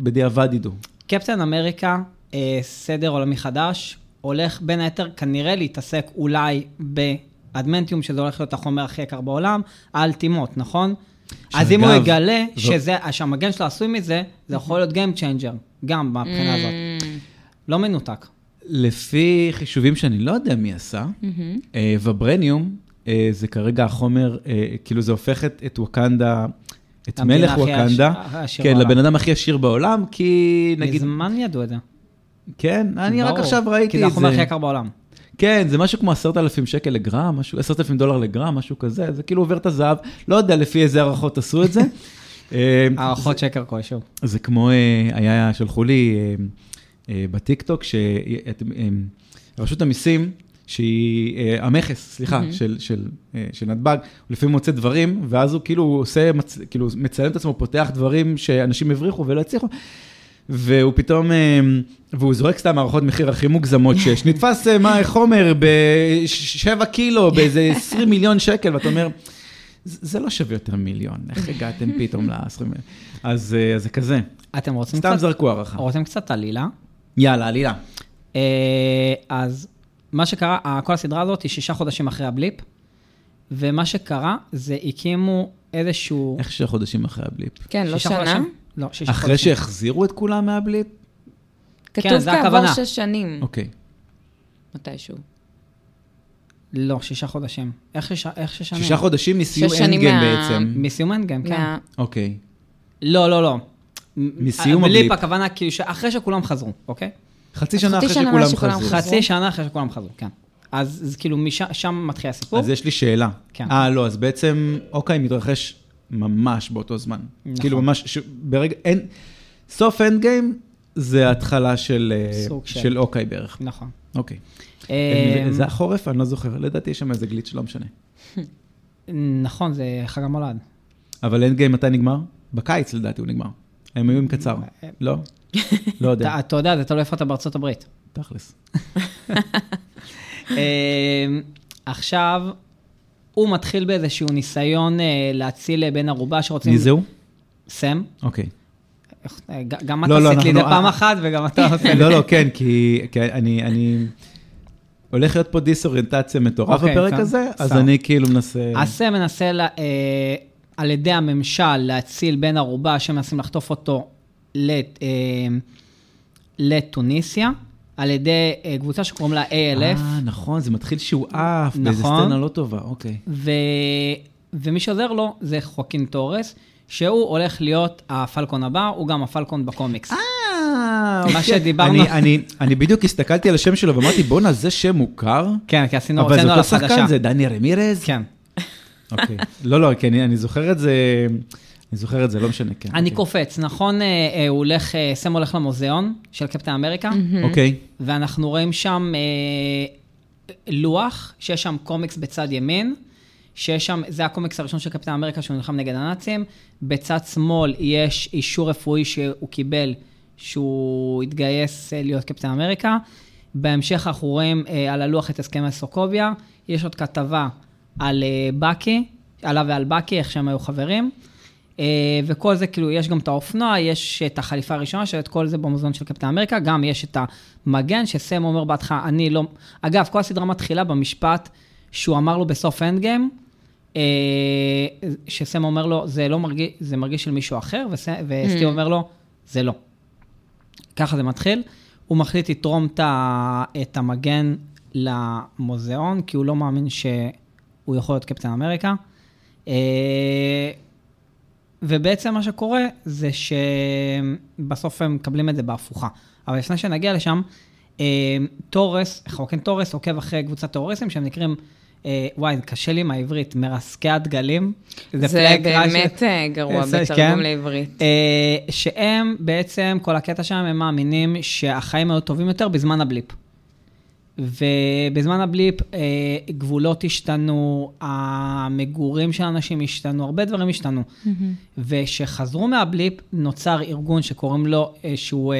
Speaker 1: שבדיעבד ידעו.
Speaker 2: קפטן אמריקה, אה, סדר עולמי חדש, הולך בין היתר כנראה להתעסק אולי באדמנטיום, שזה הולך להיות החומר הכי יקר בעולם, על טימות, נכון? אז אם הוא
Speaker 1: שאגב,
Speaker 2: יגלה
Speaker 1: זו-
Speaker 2: שזה, שהמגן שלו עשוי מזה, זה יכול להיות Game Changer, גם מהבחינה
Speaker 3: Mm.
Speaker 2: הזאת. לא מנותק.
Speaker 1: לפי חישובים שאני לא יודע מי עשה, אה, וברניום אה, זה כרגע החומר, אה, כאילו זה הופך את את ווקנדה, את
Speaker 2: למדינה
Speaker 1: מלך
Speaker 2: הכי
Speaker 1: ווקנדה,
Speaker 2: עש- הכי עשירה
Speaker 1: כן,
Speaker 2: בעולם.
Speaker 1: לבן אדם הכי עשיר בעולם, כי נגיד
Speaker 2: מזמן ידעו את זה.
Speaker 1: כן, אני רק
Speaker 2: ברור.
Speaker 1: עכשיו ראיתי
Speaker 2: כי
Speaker 1: את
Speaker 2: זה
Speaker 1: זה.
Speaker 2: החומר הכי יקר בעולם.
Speaker 1: כן, זה משהו כמו עשרת אלפים שקל לגרם, משהו, עשרת אלפים דולר לגרם, משהו כזה, זה כאילו עובר את הזהב, לא יודע לפי איזה הערכות עשו את זה. אה,
Speaker 2: הערכות שקר כלשהו.
Speaker 1: זה כמו, אה, היה, שלחו לי אה, אה, בטיקטוק, אה, שרשות המיסים, שהיא, אה, המכס, סליחה, של, של, אה, של נתב"ג, הוא לפעמים מוצא דברים, ואז הוא כאילו עושה, מצ- כאילו מצלם את עצמו, פותח דברים שאנשים הבריחו ולא הצליחו. והוא פתאום, אה, והוא זורק סתם הערכות מחיר הכי מוגזמות שיש. נתפס אה, מה, חומר בשבע קילו, באיזה 20 מיליון שקל, ואתה אומר, "זה- זה לא שווה יותר מיליון, איך הגעתם פתאום ל-20 מיליון? אז אה, אז זה כזה,
Speaker 2: אתם רוצים
Speaker 1: סתם
Speaker 2: קצת...
Speaker 1: זרקו הערכה.
Speaker 2: רוצים קצת עלילה?
Speaker 1: יאללה, עלילה.
Speaker 2: אה, אז מה שקרה, ה- כל הסדרה הזאת היא שישה חודשים אחרי הבליפ, ומה שקרה זה הקימו איזשהו...
Speaker 1: איך שישה חודשים אחרי הבליפ?
Speaker 3: כן, לא
Speaker 2: שישה
Speaker 3: שנה.
Speaker 2: חודשים? לא, שישה חודשים.
Speaker 1: אחרי שהחזירו את כולם מהבליפ?
Speaker 3: כתוב
Speaker 2: כן, זה
Speaker 3: כעבור
Speaker 2: הכוונה.
Speaker 3: Mm. שש שנים,
Speaker 1: אוקיי.
Speaker 3: מתישהו.
Speaker 2: לא, שישה חודשים. איך שישה, איך שישה
Speaker 1: שישה
Speaker 2: חודשים?
Speaker 1: חודשים מסיום
Speaker 3: שש שנים
Speaker 1: אנדגן
Speaker 3: מה-
Speaker 1: בעצם.
Speaker 2: מסיום אנדגם, כן.
Speaker 3: מה-
Speaker 1: אוקיי.
Speaker 2: לא, לא, לא.
Speaker 1: מסיום הבליפ.
Speaker 2: הבליפ הכוונה כאילו שאחרי שכולם חזרו, אוקיי?
Speaker 1: חצי שנה
Speaker 3: חצי
Speaker 1: אחרי
Speaker 3: שנה
Speaker 1: שכולם
Speaker 3: מאז שכולם
Speaker 1: חזרו.
Speaker 3: חזרו.
Speaker 2: חצי שנה אחרי שכולם חזרו, כן. אז אז כאילו משם שם מתחיל הסיפור.
Speaker 1: אז יש לי שאלה.
Speaker 2: כן.
Speaker 1: אה, לא, אז בעצם, אוקיי, מתרחש ממש באותו זמן.
Speaker 2: נכון.
Speaker 1: כאילו ממש, ש... ברגע, אין... סוף אנד גיים זה ההתחלה של, אה,
Speaker 2: סוג של.
Speaker 1: של אוקיי בערך.
Speaker 2: נכון.
Speaker 1: אוקיי.
Speaker 2: אה,
Speaker 1: זה החורף? אני לא זוכר. לדעתי יש שם איזה גליץ' שלא משנה.
Speaker 2: נכון, זה חג
Speaker 1: לא
Speaker 2: המולד.
Speaker 1: אבל אנד גיים מתי נגמר? בקיץ לדעתי הוא נגמר. הם היו עם קצר. לא? לא יודע.
Speaker 2: אתה- אתה יודע, זה תלוי איפה אתה בארצות הברית.
Speaker 1: תכלס.
Speaker 2: אמ, עכשיו, הוא מתחיל באיזשהו ניסיון אה, להציל בן ערובה שרוצים...
Speaker 1: מי זה הוא?
Speaker 2: סם.
Speaker 1: אוקיי.
Speaker 2: איך- אה, ג- גם
Speaker 1: לא,
Speaker 2: אתה
Speaker 1: לא,
Speaker 2: עשית לי את זה
Speaker 1: אנחנו-
Speaker 2: פעם אחת, וגם אתה עושה לי.
Speaker 1: לא, לא, כן, כי כי אני... אני- הולך להיות פה דיסאוריינטציה מטורף
Speaker 2: אוקיי,
Speaker 1: בפרק
Speaker 2: כן.
Speaker 1: הזה, אז
Speaker 2: סתם.
Speaker 1: אני כאילו מנסה...
Speaker 2: הסם מנסה לה- אה, על ידי הממשל להציל בן ערובה שמנסים לחטוף אותו לת- אה, לטוניסיה, על ידי אה, קבוצה שקוראים לה ALF.
Speaker 1: אה, נכון, זה מתחיל שהוא עף, באיזה
Speaker 2: נכון.
Speaker 1: סצנה לא טובה, אוקיי.
Speaker 2: ו... ומי שעוזר לו זה חוקין תורס, שהוא הולך להיות הפלקון הבא, הוא גם הפלקון בקומיקס.
Speaker 1: אה,
Speaker 2: מה שדיברנו.
Speaker 1: אני- אני- אני בדיוק הסתכלתי על השם שלו ואמרתי, בואנה, זה שם מוכר?
Speaker 2: כן, כי עשינו,
Speaker 1: אבל זה
Speaker 2: הוצאנו עליו
Speaker 1: אותו
Speaker 2: חדשה.
Speaker 1: שחקן, זה דני רמירז?
Speaker 2: כן.
Speaker 1: אוקיי. לא, לא, כי אני אני זוכר את זה, אני זוכר את זה, לא משנה, כן.
Speaker 2: אני
Speaker 1: אוקיי.
Speaker 2: קופץ, נכון, אה, אה, הוא הולך, אה, סם הולך למוזיאון של קפטן אמריקה,
Speaker 1: אוקיי,
Speaker 2: ואנחנו רואים שם אה, לוח, שיש שם קומיקס בצד ימין, שיש שם, זה הקומיקס הראשון של קפטן אמריקה שהוא נלחם נגד הנאצים, בצד שמאל יש אישור רפואי שהוא קיבל, שהוא התגייס אה, להיות קפטן אמריקה. בהמשך אנחנו רואים אה, על הלוח את הסכם הסוקוביה, יש עוד כתבה על אה, בקי, עליו ועל בקי, איך שהם היו חברים. אה, וכל זה, כאילו, יש גם את האופנוע, יש את החליפה הראשונה, שאת כל זה במוזיאון של קפטן אמריקה, גם יש את המגן, שסם אומר בהתחלה, אני לא... אגב, כל הסדרה מתחילה במשפט שהוא אמר לו בסוף אנד גיים, אה, שסם אומר לו, זה לא מרגיש, זה מרגיש של מישהו אחר, וס- וסטיב אומר לו, זה לא. ככה זה מתחיל. הוא מחליט לתרום את ה- את המגן למוזיאון, כי הוא לא מאמין שהוא יכול להיות קפטן אמריקה. אה, ובעצם מה שקורה זה שבסוף הם מקבלים את זה בהפוכה. אבל לפני שנגיע לשם, אה, תורס, חוקן תורס עוקב אחרי קבוצת טרוריסטים שהם נקראים, אה, וואי, קשה לי עם העברית, מרסקי הדגלים.
Speaker 3: זה
Speaker 2: פלאג ראשי.
Speaker 3: באמת אה, גרוע
Speaker 2: זה-
Speaker 3: בתרגום
Speaker 2: כן.
Speaker 3: לעברית.
Speaker 2: אה, שהם בעצם, כל הקטע שם, הם מאמינים שהחיים היו טובים יותר בזמן הבליפ. ובזמן הבליפ אה, גבולות השתנו, המגורים של אנשים השתנו, הרבה דברים השתנו. וכשחזרו מהבליפ, נוצר ארגון שקוראים לו, אה, שהוא אה,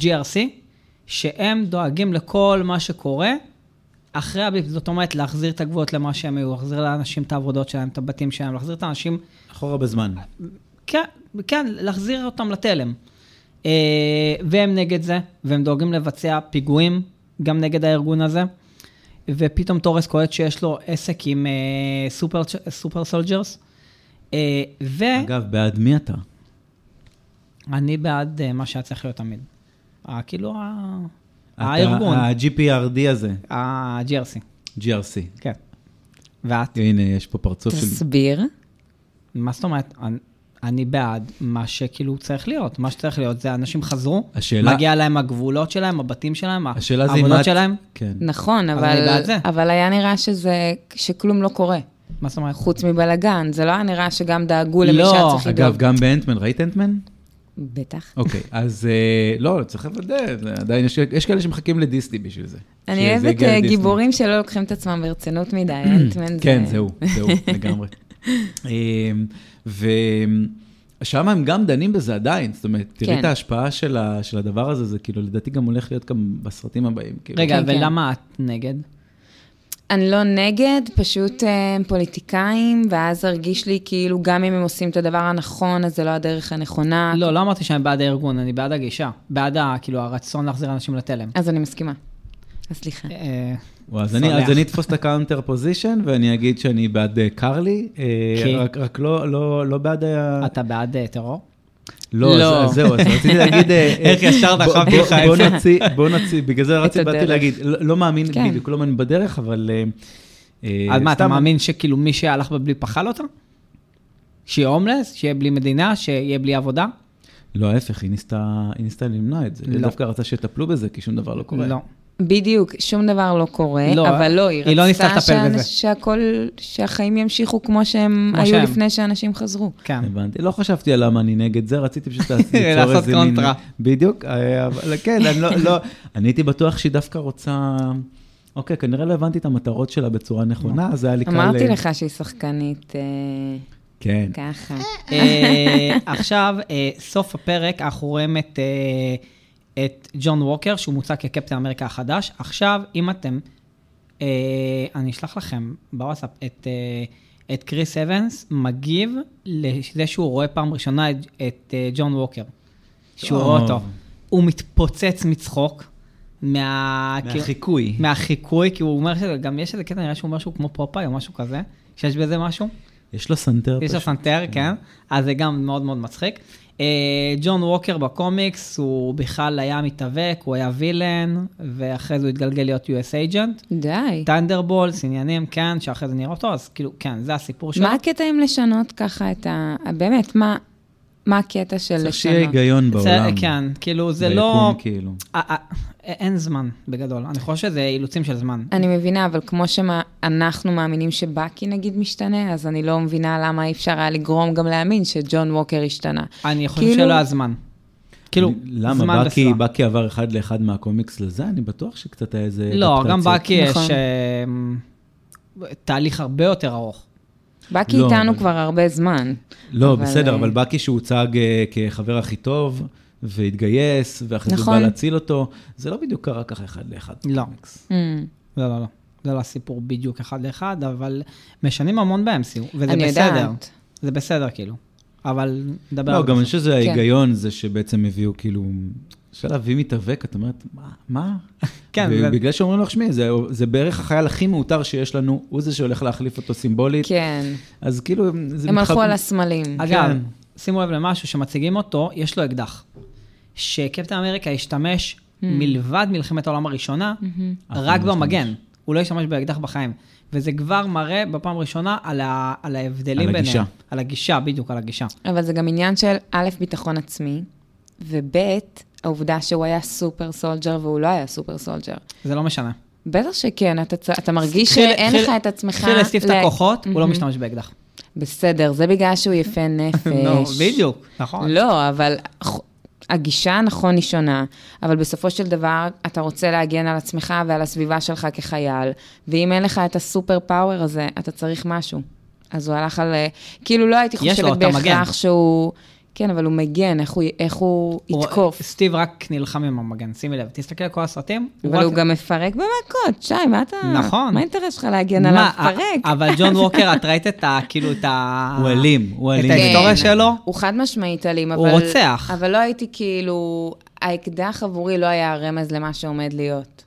Speaker 2: GRC, שהם דואגים לכל מה שקורה אחרי הבליפ. זאת אומרת, להחזיר את הגבולות למה שהם היו, להחזיר לאנשים את העבודות שלהם, את הבתים שלהם, להחזיר את האנשים
Speaker 1: אחורה בזמן.
Speaker 2: כן, כן, להחזיר אותם לתלם. אה, והם נגד זה, והם דואגים לבצע פיגועים גם נגד הארגון הזה. ופתאום תורס קולט שיש לו עסק עם אה, סופר, סופר סולג'רס. אה, ואגב,
Speaker 1: אגב, בעד מי אתה?
Speaker 2: אני בעד אה, מה שהיה צריך להיות תמיד. אה, כאילו, ה...
Speaker 1: אתה
Speaker 2: הארגון,
Speaker 1: ה-GPRD הזה,
Speaker 2: ה-GRC,
Speaker 1: GRC.
Speaker 2: כן. ואת?
Speaker 1: הנה, יש פה פרצוף של...
Speaker 3: תסביר.
Speaker 2: מה זאת אומרת? אני- אני בעד מה שכאילו צריך להיות. מה שצריך להיות זה אנשים חזרו,
Speaker 1: השאלה-
Speaker 2: מגיע להם הגבולות שלהם, הבתים שלהם,
Speaker 1: השאלה זה אם
Speaker 2: העבודות
Speaker 1: את-
Speaker 2: שלהם.
Speaker 1: כן.
Speaker 3: נכון,
Speaker 2: אבל אני
Speaker 3: אבל,
Speaker 2: בעד זה.
Speaker 3: אבל היה נראה שזה, שכלום לא קורה,
Speaker 2: מה זאת אומרת?
Speaker 3: חוץ מבלאגן. זה לא היה נראה שגם דאגו למי
Speaker 2: לא.
Speaker 3: שהיה צריך לדאוג.
Speaker 1: אגב, גם באנטמן, ראית אנטמן?
Speaker 3: בטח.
Speaker 1: אוקיי, אז אה, לא, צריך לוודא, זה עדיין יש- יש כאלה שמחכים לדיסני בשביל זה.
Speaker 3: אני
Speaker 1: שזה
Speaker 3: אוהבת
Speaker 1: יגיע
Speaker 3: אה,
Speaker 1: לדיסני.
Speaker 3: גיבורים שלא לוקחים את עצמם ברצינות מדי, אנטמן זה...
Speaker 1: כן, זהו, זהו, לגמרי. ושם הם גם דנים בזה עדיין, זאת אומרת, תראי
Speaker 3: כן.
Speaker 1: את ההשפעה של ה- של הדבר הזה, זה כאילו, לדעתי גם הולך להיות גם בסרטים הבאים. כאילו.
Speaker 2: רגע,
Speaker 3: כן, כן.
Speaker 2: ולמה את נגד?
Speaker 3: אני לא נגד, פשוט אה, הם פוליטיקאים, ואז הרגיש לי כאילו גם אם הם עושים את הדבר הנכון, אז זה לא הדרך הנכונה.
Speaker 2: לא, לא אמרתי שאני בעד הארגון, אני בעד הגישה. בעד ה- כאילו הרצון להחזיר אנשים לתלם.
Speaker 3: אז אני מסכימה. אז סליחה.
Speaker 2: אה,
Speaker 1: וואו, אז אני,
Speaker 2: שמח.
Speaker 1: אז אני אתפוס את הקאונטר פוזיישן, ואני אגיד שאני בעד אה, קרלי, אה,
Speaker 2: כי?
Speaker 1: רק, רק לא, לא, לא בעד ה...
Speaker 2: אתה בעד אה, טרור?
Speaker 1: לא,
Speaker 2: לא.
Speaker 1: אז, אז זהו, אז רציתי להגיד... אה, אה,
Speaker 2: איך ישר
Speaker 1: בוא-
Speaker 2: דחפתי
Speaker 1: בוא-
Speaker 2: לך את
Speaker 1: בוא
Speaker 2: זה.
Speaker 1: נוציא, בוא נוציא, בגלל זה רציתי, באתי
Speaker 3: הדרך.
Speaker 1: להגיד, לא, לא מאמין,
Speaker 3: כן.
Speaker 1: בדיוק, לא מאמין בדרך, אבל... אה, אה,
Speaker 2: אז מה, אתה
Speaker 1: סתם,
Speaker 2: מאמין שכאילו מי שהלך בבלי פחל אותה? שיהיה הומלס? שיהיה בלי מדינה? שיהיה בלי עבודה?
Speaker 1: לא, ההפך, היא ניסתה, היא ניסתה למנוע את זה. היא
Speaker 2: לא.
Speaker 1: דווקא רצה שיטפלו בזה, כי שום דבר לא קורה.
Speaker 2: לא.
Speaker 3: בדיוק, שום דבר לא קורה,
Speaker 2: לא,
Speaker 3: אבל לא, היא,
Speaker 2: היא לא ניסתה
Speaker 3: רצתה
Speaker 2: לטפל
Speaker 3: שהאנ-
Speaker 2: בזה.
Speaker 3: שהכל, שהחיים ימשיכו כמו שהם
Speaker 2: כמו
Speaker 3: היו
Speaker 2: שהם.
Speaker 3: לפני שאנשים חזרו.
Speaker 2: כן.
Speaker 1: הבנתי, לא חשבתי על למה אני נגד זה, רציתי פשוט ליצור
Speaker 2: לעשות
Speaker 1: איזה מין...
Speaker 2: קונטרה.
Speaker 1: בדיוק, אה, אבל כן, אני לא, לא, אני הייתי בטוח שהיא דווקא רוצה... אוקיי, כנראה לא הבנתי את המטרות שלה בצורה
Speaker 2: לא.
Speaker 1: נכונה, אז היה לי קל...
Speaker 3: אמרתי
Speaker 1: אה,
Speaker 3: לך שהיא שחקנית אה,
Speaker 1: כן.
Speaker 3: ככה.
Speaker 2: אה, עכשיו, אה, סוף הפרק, אנחנו רואים את, אה, את ג'ון ווקר, שהוא מוצע כקפטן אמריקה החדש. עכשיו, אם אתם, אה, אני אשלח לכם בוואטסאפ את, אה, את קריס אבנס מגיב לזה שהוא רואה פעם ראשונה את, את אה, ג'ון ווקר. שהוא רואה
Speaker 1: טוב.
Speaker 2: אותו. הוא מתפוצץ מצחוק. מה...
Speaker 1: מהחיקוי.
Speaker 2: מהחיקוי, כי הוא אומר שגם יש איזה קטע, נראה שהוא אומר שהוא כמו פופאי או משהו כזה, שיש בזה משהו.
Speaker 1: יש לו סנטר
Speaker 2: יש לו
Speaker 1: לא פשוט.
Speaker 2: פסנתר, כן. אז זה גם מאוד מאוד מצחיק. אה, ג'ון ווקר בקומיקס, הוא בכלל היה מתאבק, הוא היה וילן, ואחרי זה הוא התגלגל להיות US agent.
Speaker 3: די.
Speaker 2: טנדרבולס, עניינים, כן, שאחרי זה נראה אותו, אז כאילו, כן, זה הסיפור שלו.
Speaker 3: מה הקטע עם לשנות ככה את ה... באמת, מה, מה הקטע של לשנות?
Speaker 1: צריך שיהיה היגיון
Speaker 2: זה-
Speaker 1: בעולם.
Speaker 2: כן, כאילו, זה לא...
Speaker 1: ביקום, כאילו.
Speaker 2: אה, אה, אין זמן, בגדול. אני חושב שזה אילוצים של זמן.
Speaker 3: אני מבינה, אבל כמו שאנחנו מאמינים שבאקי נגיד משתנה, אז אני לא מבינה למה אי אפשר היה לגרום גם להאמין שג'ון ווקר השתנה.
Speaker 2: אני חושב
Speaker 3: כאילו-
Speaker 2: שלא הזמן. כאילו,
Speaker 1: אני- למה?
Speaker 2: זמן
Speaker 1: בקי,
Speaker 2: וסרק.
Speaker 1: בקי עבר אחד לאחד מהקומיקס לזה? אני בטוח שקצת היה איזה...
Speaker 2: לא, גם
Speaker 1: אדפטציה.
Speaker 2: בקי יש
Speaker 3: נכון.
Speaker 2: אה, תהליך הרבה יותר ארוך.
Speaker 3: באקי
Speaker 1: לא,
Speaker 3: איתנו
Speaker 1: אבל-
Speaker 3: כבר הרבה זמן.
Speaker 1: לא,
Speaker 3: אבל,
Speaker 1: בסדר,
Speaker 3: אה,
Speaker 1: אבל בקי שהוצג אה, כחבר הכי טוב, והתגייס, ואחרי זה הוא
Speaker 3: נכון.
Speaker 1: בא להציל אותו, זה לא בדיוק קרה ככה אחד לאחד.
Speaker 2: לא.
Speaker 1: בקומיקס.
Speaker 3: אמ.
Speaker 2: לא, לא, לא. זה לא הסיפור בדיוק אחד לאחד, אבל משנים המון ב-MCU, וזה
Speaker 3: אני
Speaker 2: בסדר.
Speaker 3: יודעת.
Speaker 2: זה בסדר, כאילו. אבל נדבר
Speaker 1: לא,
Speaker 2: על זה.
Speaker 1: גם אני חושב שזה
Speaker 3: כן.
Speaker 1: ההיגיון, זה שבעצם הביאו כאילו... אפשר להביא מתאבק, את אומרת, מה? מה?
Speaker 2: כן, זה-
Speaker 1: ובגלל שאומרים לך, שמי, זה, זה בערך החייל הכי מעוטר שיש לנו, הוא זה שהולך להחליף אותו סימבולית.
Speaker 3: כן.
Speaker 1: אז כאילו, זה
Speaker 3: הם הלכו
Speaker 1: מתחב-
Speaker 3: על הסמלים.
Speaker 2: אגב,
Speaker 1: כן.
Speaker 2: שימו לב למשהו שמציגים אותו, יש לו אקדח. שקפטן אמריקה השתמש
Speaker 3: Hmm.
Speaker 2: מלבד מלחמת העולם הראשונה,
Speaker 3: Mm-hmm.
Speaker 2: רק
Speaker 1: אף פעם לא
Speaker 2: במגן. הוא לא השתמש באקדח בחיים. וזה כבר מראה בפעם הראשונה על, ה... על ההבדלים
Speaker 1: על
Speaker 2: ביניהם.
Speaker 1: הגישה.
Speaker 2: על הגישה, בדיוק, על הגישה.
Speaker 3: אבל זה גם עניין של א', ביטחון עצמי, וב', העובדה שהוא היה סופר סולג'ר והוא לא היה סופר סולג'ר.
Speaker 2: זה לא משנה.
Speaker 3: בטח שכן, אתה, צ- אתה מרגיש
Speaker 2: התחיל-
Speaker 3: שאין
Speaker 2: התחיל-
Speaker 3: לך את עצמך...
Speaker 2: התחיל להוסיף את
Speaker 3: ל-
Speaker 2: הכוחות, הוא לא משתמש באקדח.
Speaker 3: בסדר, זה בגלל שהוא יפה נפש.
Speaker 2: נו, בדיוק, נכון.
Speaker 3: לא, אבל ח- הגישה, נכון, היא שונה, אבל בסופו של דבר, אתה רוצה להגן על עצמך ועל הסביבה שלך כחייל, ואם אין לך את הסופר פאוור הזה, אתה צריך משהו. אז הוא הלך על... אה, כאילו, לא הייתי
Speaker 2: יש לו,
Speaker 3: חושבת
Speaker 2: אתה מגן.
Speaker 3: בהכרח שהוא... כן, אבל הוא מגן, איך הוא, איך הוא
Speaker 2: הוא-
Speaker 3: יתקוף.
Speaker 2: סטיב רק נלחם עם המגן, שימי לב, תסתכל על כל הסרטים.
Speaker 3: אבל
Speaker 2: רק-
Speaker 3: הוא גם מפרק במכות, שי, מה אתה...
Speaker 2: נכון.
Speaker 3: מה האינטרס שלך להגן
Speaker 2: מה, אה, א-
Speaker 3: עליו? פרק.
Speaker 2: אבל ג'ון ווקר, את ראית את ה... כאילו, את ה...
Speaker 1: הוא אלים, הוא
Speaker 2: את
Speaker 1: אלים. כן.
Speaker 2: ההיסטוריה
Speaker 3: כן.
Speaker 2: שלו?
Speaker 3: הוא חד משמעית אלים, אבל...
Speaker 2: הוא רוצח.
Speaker 3: אבל לא הייתי כאילו... האקדח עבורי לא היה הרמז למה שעומד להיות.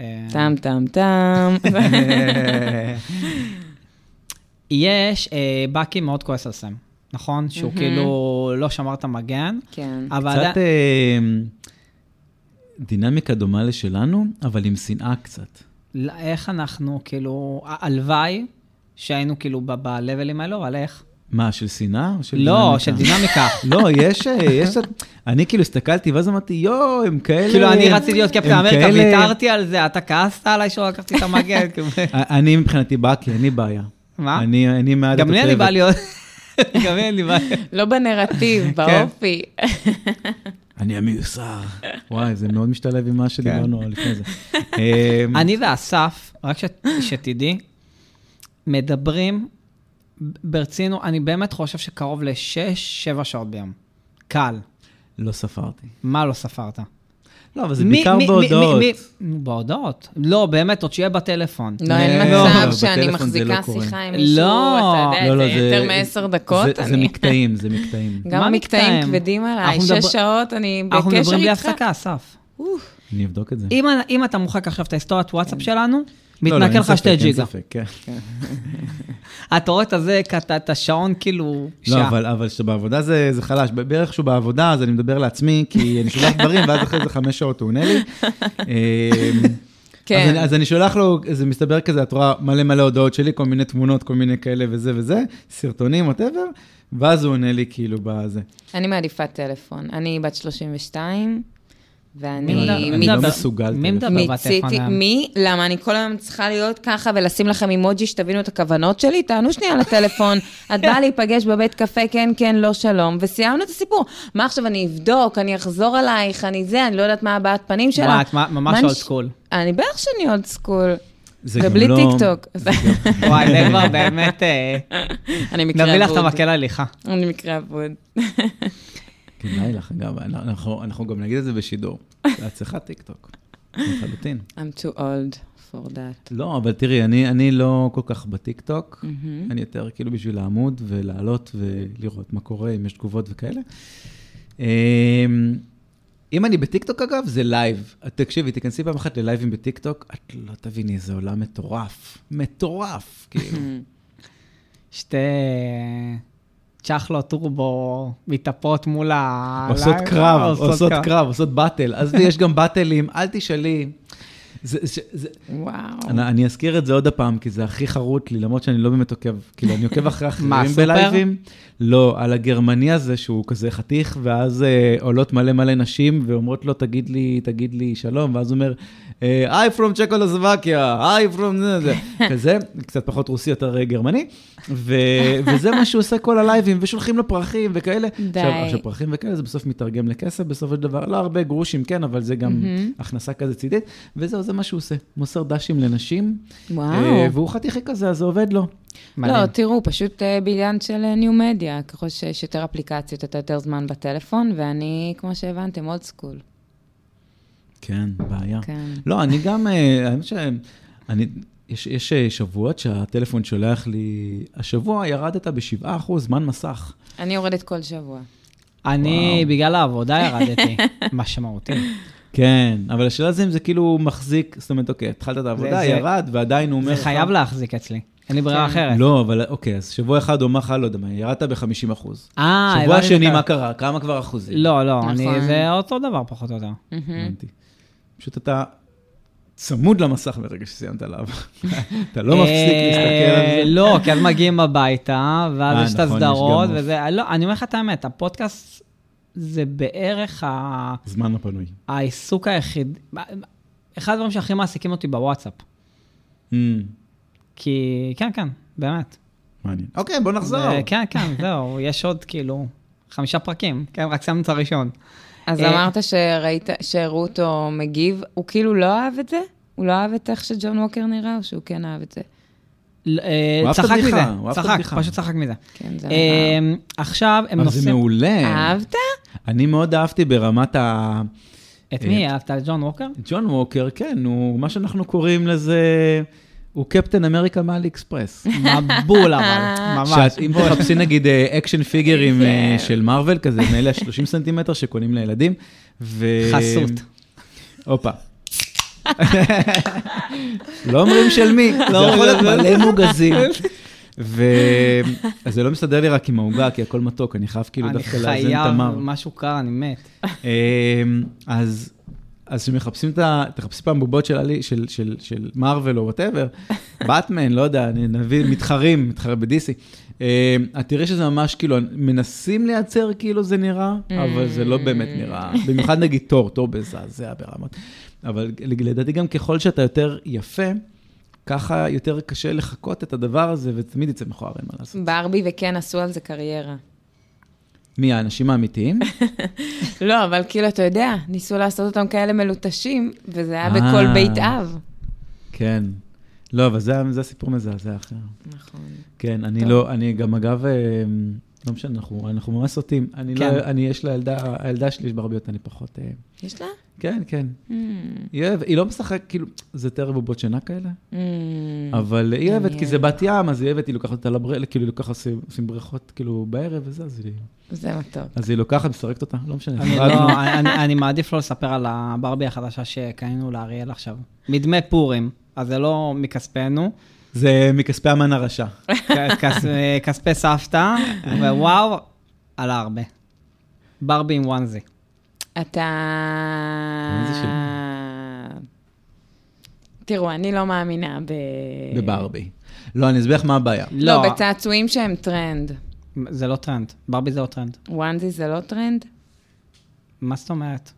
Speaker 2: אה,
Speaker 3: טם טם טם.
Speaker 1: כן.
Speaker 2: יש, אה, בקי מאוד כועס על סם, נכון? שהוא כאילו לא שמר את המגן.
Speaker 3: כן.
Speaker 2: אבל...
Speaker 1: קצת אה, דינמיקה דומה לשלנו, אבל עם שנאה קצת.
Speaker 2: לא, איך אנחנו, כאילו, ה- הלוואי שהיינו כאילו ב- ב-levelים האלו, אבל איך?
Speaker 1: מה, של שנאה? או של
Speaker 2: לא,
Speaker 1: דינמיקה?
Speaker 2: של דינמיקה.
Speaker 1: לא, יש, אה, יש, אני כאילו הסתכלתי, ואז אמרתי, יואו, הם כאלה...
Speaker 2: כאילו, אני רציתי להיות קפטן
Speaker 1: הם
Speaker 2: אמריקה,
Speaker 1: כאלה-
Speaker 2: ויתרתי על זה, אתה כעסת עליי שלא לקחתי את המגן. כאילו.
Speaker 1: אני מבחינתי באקי, אין לי בעיה.
Speaker 2: מה?
Speaker 1: אני, אני מעד
Speaker 2: גם לי אין לי
Speaker 1: התותבת.
Speaker 2: בא להיות... גם לי אין לי בא...
Speaker 3: לא
Speaker 1: כן.
Speaker 3: בנרטיב, באופי.
Speaker 1: אני המיוסר. וואי, זה מאוד משתלב עם מה שדיברנו לפני זה. אמ,
Speaker 2: כן. אני ואסף, רק שת- שתדעי, מדברים ברצינות, אני באמת חושב שקרוב לשש, שבע שעות ביום. קל.
Speaker 1: לא ספרתי.
Speaker 2: מה לא ספרת?
Speaker 1: לא, אבל זה
Speaker 2: מי-
Speaker 1: בעיקר
Speaker 2: מי- מי-
Speaker 1: בהודעות.
Speaker 2: מי- מי- בהודעות? לא, באמת, עוד שיהיה בטלפון.
Speaker 3: לא, אין
Speaker 1: לא,
Speaker 3: מצב
Speaker 1: אבל
Speaker 3: שאני
Speaker 1: בטלפון זה לא
Speaker 3: מחזיקה
Speaker 1: קורה. לא,
Speaker 3: שיחה עם מישהו, אתה
Speaker 2: לא,
Speaker 3: יודע, אה, זה יותר מעשר דקות.
Speaker 1: זה, זה
Speaker 3: אני-
Speaker 1: מקטעים, זה מקטעים.
Speaker 3: גם
Speaker 2: מה
Speaker 3: המקטעים
Speaker 2: מקטעים?
Speaker 3: כבדים עליי,
Speaker 2: אנחנו
Speaker 3: שש
Speaker 2: מדבר-
Speaker 3: שעות, אני בקשר איתך.
Speaker 2: אנחנו מדברים בלי הפסקה, אסף.
Speaker 3: אוף,
Speaker 1: אני אבדוק את זה.
Speaker 2: אם, אם אתה מוחק עכשיו את ההיסטוריית וואטסאפ שלנו,
Speaker 1: לא, לא, אין
Speaker 2: מתנקה לך
Speaker 1: ספק,
Speaker 2: שתי
Speaker 1: אין
Speaker 2: ג'יגה.
Speaker 1: ספק, כן.
Speaker 2: אתה רואה את הזה, כ- את- את השעון כאילו
Speaker 1: לא,
Speaker 2: שעה.
Speaker 1: אבל, אבל שבעבודה זה, זה חלש. ב- בערך שהוא בעבודה, אז אני מדבר לעצמי, כי אני שולח דברים, ואז אחרי זה חמש שעות הוא עונה לי. אמ,
Speaker 3: כן.
Speaker 1: אז אני, אז אני שולח לו, זה מסתבר כזה, את רואה מלא מלא הודעות שלי, כל מיני תמונות, כל מיני כאלה וזה וזה, סרטונים, וואטאבר, ואז הוא עונה לי כאילו בזה.
Speaker 3: אני מעדיפה טלפון. אני בת 32, ואני...
Speaker 1: אני לא- אני
Speaker 3: מת-
Speaker 1: לא מסוגל
Speaker 2: מי מדבר
Speaker 1: טלפון.
Speaker 2: בטלפון
Speaker 3: מיציתי,
Speaker 2: היום?
Speaker 3: מי? למה? אני כל היום צריכה להיות ככה ולשים לכם אימוג'י שתבינו את הכוונות שלי? תענו שנייה לטלפון. את באה להיפגש בבית קפה, כן, כן, לא שלום, וסיימנו את הסיפור. מה עכשיו, אני אבדוק, אני אחזור אלייך, אני זה, אני לא יודעת מה הבעת פנים שלה.
Speaker 2: וואי, את מה- ממש
Speaker 3: מה אני
Speaker 2: old
Speaker 3: ש-
Speaker 2: school.
Speaker 3: אני בערך שאני אולד סקול.
Speaker 1: זה גם
Speaker 3: ובלי
Speaker 1: לא-
Speaker 3: טיקטוק.
Speaker 2: וואי, זה כבר באמת... אה,
Speaker 3: אני מקרה אבוד.
Speaker 2: נביא לך את המקל הליכה.
Speaker 3: אני מקרה אבוד.
Speaker 1: כדאי לך, אגב, אנחנו, אנחנו גם נגיד את זה בשידור. את צריכה טיקטוק, לחלוטין.
Speaker 3: I'm too old for that.
Speaker 1: לא, אבל תראי, אני, אני לא כל כך בטיקטוק, mm-hmm. אני יותר כאילו בשביל לעמוד ולעלות ולראות מה קורה, אם יש תגובות וכאלה. אמ, אם אני בטיקטוק, אגב, זה לייב. את תקשיבי, תיכנסי פעם אחת ללייבים בטיקטוק, את לא תביני, זה עולם מטורף. מטורף, כאילו.
Speaker 2: שתי צ'חלות טורבו מתאפות מול ה...
Speaker 1: עושות קרב,
Speaker 2: אה, עושות
Speaker 1: עושות קרב, עושות באטל. אז יש גם באטלים, אל תשאלי. זה, זה, זה,
Speaker 3: וואו.
Speaker 1: אני, אני אזכיר את זה עוד הפעם, כי זה הכי חרוט לי, למרות שאני לא באמת עוקב, כאילו, אני עוקב אחרי
Speaker 2: מה,
Speaker 1: אחרים
Speaker 2: סופר?
Speaker 1: בלייבים. לא, על הגרמני הזה, שהוא כזה חתיך, ואז אה, עולות מלא מלא נשים, ואומרות לו, תגיד לי, תגיד לי שלום, ואז הוא אומר, אה, I from צ'קולוסבקיה, I from זה, זה, כזה, קצת פחות רוסי, יותר אה, גרמני, ו, וזה מה שהוא עושה כל הלייבים, ושולחים לו פרחים וכאלה.
Speaker 3: די.
Speaker 1: עכשיו, עכשיו, פרחים וכאלה, זה בסוף מתרגם לכסף, בסופו של דבר, לא הרבה גרושים, כן, אבל זה גם
Speaker 3: Mm-hmm.
Speaker 1: הכנסה כזה צידית, וזהו, זה מה שהוא עושה, מוסר דשים לנשים,
Speaker 3: וואו.
Speaker 1: אה, והוא חתיכי כזה, אז זה עובד לו.
Speaker 2: מדהים.
Speaker 3: לא, תראו, פשוט אה, בעניין של ניו מדיה, ככל שיש יותר אפליקציות, אתה יותר זמן בטלפון, ואני, כמו שהבנתם, אולד סקול.
Speaker 1: כן, בעיה.
Speaker 3: כן.
Speaker 1: לא, אני גם, אה, האמת ש... אני, יש, יש אה, שבועות שהטלפון שולח לי, השבוע ירדת ב-7% זמן מסך.
Speaker 3: אני יורדת כל שבוע.
Speaker 2: אני בגלל העבודה ירדתי, משמעותי.
Speaker 1: כן, אבל השאלה זה אם זה כאילו מחזיק, זאת אומרת, אוקיי, התחלת את העבודה,
Speaker 2: זה-
Speaker 1: ירד, ועדיין הוא אומר
Speaker 2: זה
Speaker 1: לך...
Speaker 2: חייב להחזיק אצלי, אין לי ברירה
Speaker 3: כן.
Speaker 2: אחרת.
Speaker 1: לא, אבל אוקיי, אז שבוע אחד הוא אמר לך, לא יודע מה, ירדת ב-50 אחוז.
Speaker 2: אה, הבנתי
Speaker 1: שבוע
Speaker 2: את
Speaker 1: שני,
Speaker 2: הקו.
Speaker 1: מה קרה? כמה כבר אחוזים?
Speaker 2: לא, לא, אני-
Speaker 3: נכון.
Speaker 2: זה אותו דבר פחות או יותר.
Speaker 1: הבנתי. פשוט אתה צמוד למסך ברגע שסיימת עליו. אתה לא מפסיק
Speaker 2: אה,
Speaker 1: להסתכל על זה.
Speaker 2: לא, כי אז מגיעים הביתה,
Speaker 1: אה,
Speaker 2: ואז יש את
Speaker 1: נכון, יש גם
Speaker 2: הסדרות,
Speaker 1: אוף.
Speaker 2: וזה... לא, אני אומר לך את האמת, הפודקאסט זה בערך ה-
Speaker 1: זמן הפנוי.
Speaker 2: העיסוק היחיד... אחד הדברים שהכי מעסיקים אותי בוואטסאפ.
Speaker 1: אמ,
Speaker 2: כי... כן, כן, באמת.
Speaker 1: מעניין. אוקיי, בוא נחזור.
Speaker 2: זה- כן, כן, זהו, יש עוד כאילו חמישה פרקים. כן, רק סיימנו את הראשון.
Speaker 3: אז
Speaker 2: אה,
Speaker 3: אמרת שראית, שהראו אותו מגיב, הוא כאילו לא אהב את זה? הוא לא אהב את איך שג'ון ווקר נראה, או שהוא כן אהב את זה?
Speaker 2: ל- אה,
Speaker 1: הוא אהב את
Speaker 2: צחק
Speaker 1: הבדיחה,
Speaker 2: מזה,
Speaker 1: הוא אהב את
Speaker 2: צחק,
Speaker 1: הבדיחה.
Speaker 2: פשוט צחק מזה.
Speaker 3: כן, זה...
Speaker 2: אה, עכשיו הם
Speaker 1: אבל זה
Speaker 2: נוסעים...
Speaker 3: כן.
Speaker 1: מעולה.
Speaker 3: אהבת?
Speaker 1: אני מאוד אהבתי ברמת ה...
Speaker 2: את
Speaker 1: אה,
Speaker 2: מי אהבת? את ג'ון ווקר?
Speaker 1: ג'ון ווקר, כן, הוא מה שאנחנו קוראים לזה, הוא קפטן אמריקה מאלי אקספרס.
Speaker 2: מבול אבל, ממש.
Speaker 1: שאת, אם תחפשי נגיד אקשן פיגרים אה, של מארוול, כזה מאלה ה-30 סנטימטר שקונים לילדים, ו...
Speaker 2: חסות.
Speaker 1: הופה. לא אומרים של מי, זה יכול להיות מלא מוגזים. ו... אז זה לא מסתדר לי רק עם העוגה, כי הכל מתוק, אני חייב כאילו
Speaker 2: אני
Speaker 1: דווקא לאזן את
Speaker 2: חייב
Speaker 1: המר.
Speaker 2: משהו קר, אני מת.
Speaker 1: אמ, אז... אז כשמחפשים את ה... תחפשי פעם בובות של, עלי- של, של, של מארוול או וואטאבר, באטמן, לא יודע, אני- נביא מתחרים, מתחרה בדיסי. אה, את תראי שזה ממש כאילו, מנסים לייצר כאילו זה נראה, אבל זה לא באמת נראה. במיוחד נגיד תור, תור מזעזע ברמות. אבל לדעתי גם ככל שאתה יותר יפה, ככה יותר קשה לחקות את הדבר הזה, ותמיד יצא מכוער, אין מה לעשות.
Speaker 3: ברבי וכן עשו על זה קריירה.
Speaker 1: מי האנשים האמיתיים?
Speaker 3: לא, אבל כאילו, אתה יודע, ניסו לעשות אותם כאלה מלוטשים, וזה היה
Speaker 1: אה.
Speaker 3: בכל בית אב.
Speaker 1: כן. לא, אבל זה, זה הסיפור מזעזע אחר.
Speaker 3: נכון.
Speaker 1: כן, אני
Speaker 3: טוב.
Speaker 1: לא, אני גם אגב, אה, לא משנה, אנחנו, אנחנו ממש סוטים. אני
Speaker 2: כן.
Speaker 1: לא, אני, יש לילדה, הילדה שלי יש בה הרבה יותר, אני פחות... אה,
Speaker 3: יש לה?
Speaker 1: כן, כן.
Speaker 3: Mm.
Speaker 1: היא אוהבת, היא לא משחק, כאילו, זה יותר בובות שינה כאלה,
Speaker 3: Mm.
Speaker 1: אבל היא אוהבת, כי
Speaker 3: מעניין.
Speaker 2: אה,
Speaker 3: זה
Speaker 1: זה בת ים, אז היא אוהבת, היא לוקחת אותה לברילה, כאילו, היא לוקחת, עושים- עושים בריכות, כאילו, בערב וזה, אז היא-
Speaker 3: מתוק.
Speaker 1: אז היא לוקחת, משחקת אותה, לא משנה.
Speaker 2: אני
Speaker 1: הפרדנו.
Speaker 2: לא- אני- אני מעדיף לא לספר על הברבי החדשה שקנינו לאריאל עכשיו. מדמי פורים, אז זה לא מכספנו,
Speaker 1: זה מכספי המן הרשע.
Speaker 2: כ- כס- כספי סבתא, ווואו, עלה הרבה. ברבי עם וואנזי.
Speaker 3: אתה...
Speaker 1: מה זה שלי?
Speaker 3: תראו, אני לא מאמינה ב...
Speaker 2: אה.
Speaker 1: בברבי. לא, אני אסביר לך מה הבעיה.
Speaker 3: לא, בצעצועים שהם טרנד.
Speaker 2: זה לא טרנד, ברבי זה לא טרנד.
Speaker 3: וואנזי זה לא טרנד?
Speaker 2: מה זאת אומרת?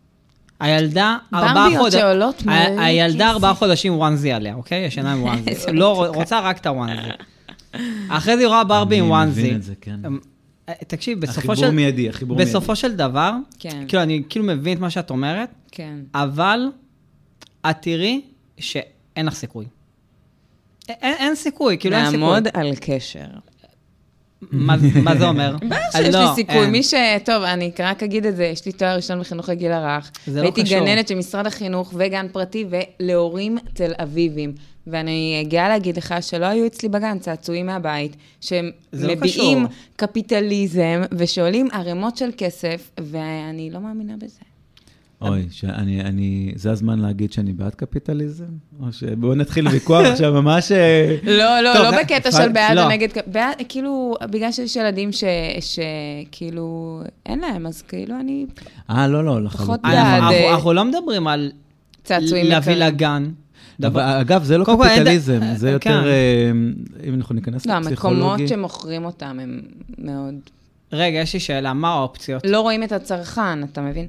Speaker 2: הילדה ארבעה
Speaker 3: ברביות
Speaker 2: חודשים,
Speaker 3: שעולות כן, מלא כסף.
Speaker 2: הילדה ארבעה חודשים וואנזי עליה, אוקיי? ישנה עם וואנזי.
Speaker 3: איזה
Speaker 2: לא, רוצה רק את הוואנזי. אחרי זה היא רואה ברבי עם
Speaker 1: אני
Speaker 2: וואנזי.
Speaker 1: מבין את זה, כן.
Speaker 2: אמ, אה, תקשיב, בסופו של...
Speaker 1: החיבור מיידי, החיבור מיידי.
Speaker 2: בסופו של דבר,
Speaker 3: כן.
Speaker 2: כאילו, אני כאילו מבין את מה שאת אומרת,
Speaker 3: כן.
Speaker 2: אבל את תראי שאין לך סיכוי. א- אין, אין סיכוי, כאילו אין סיכוי.
Speaker 3: לעמוד על קשר.
Speaker 2: מה, מה זה אומר?
Speaker 3: בטח שיש
Speaker 2: לא,
Speaker 3: לי סיכוי,
Speaker 2: אין.
Speaker 3: מי ש... טוב, אני רק אגיד את זה, יש לי תואר ראשון בחינוך לגיל הרך.
Speaker 2: זה לא
Speaker 3: הייתי
Speaker 2: קשור.
Speaker 3: גננת של משרד החינוך וגן פרטי ולהורים תל אביבים. ואני גאה להגיד לך שלא היו אצלי בגן צעצועים מהבית, שהם
Speaker 2: זה לא
Speaker 3: מביעים
Speaker 2: קשור.
Speaker 3: קפיטליזם ושעולים ערימות של כסף, ואני לא מאמינה בזה.
Speaker 1: אוי, שאני, אני, זה הזמן להגיד שאני בעד קפיטליזם? או ש... בואו נתחיל ויכוח עכשיו, ממש... אה,
Speaker 3: לא,
Speaker 2: טוב,
Speaker 3: לא,
Speaker 2: זה-
Speaker 3: לא בקטע
Speaker 2: אבל-
Speaker 3: של בעד
Speaker 2: לא.
Speaker 3: או נגד, בעד, כאילו, בגלל שיש ילדים ש- שכאילו, אין להם, אז כאילו אני
Speaker 1: אה, לא, לא,
Speaker 3: פחות
Speaker 1: לחלוטין.
Speaker 2: אנחנו-
Speaker 3: בעד,
Speaker 2: אנחנו-
Speaker 3: אה,
Speaker 2: אנחנו לא מדברים על
Speaker 3: צעצועים
Speaker 2: להביא
Speaker 3: יקרים.
Speaker 2: לגן.
Speaker 1: אבל, אגב, זה לא
Speaker 2: קודם כל, אין ד-
Speaker 1: קפיטליזם, זה
Speaker 2: אה,
Speaker 1: יותר,
Speaker 2: כן.
Speaker 1: אה, אם אנחנו ניכנס
Speaker 3: לא, המקומות
Speaker 1: לפסיכולוגי. אה,
Speaker 3: שמוכרים אותם הם מאוד...
Speaker 2: רגע, יש לי שאלה, מה האופציות?
Speaker 3: לא רואים את הצרכן, אתה מבין?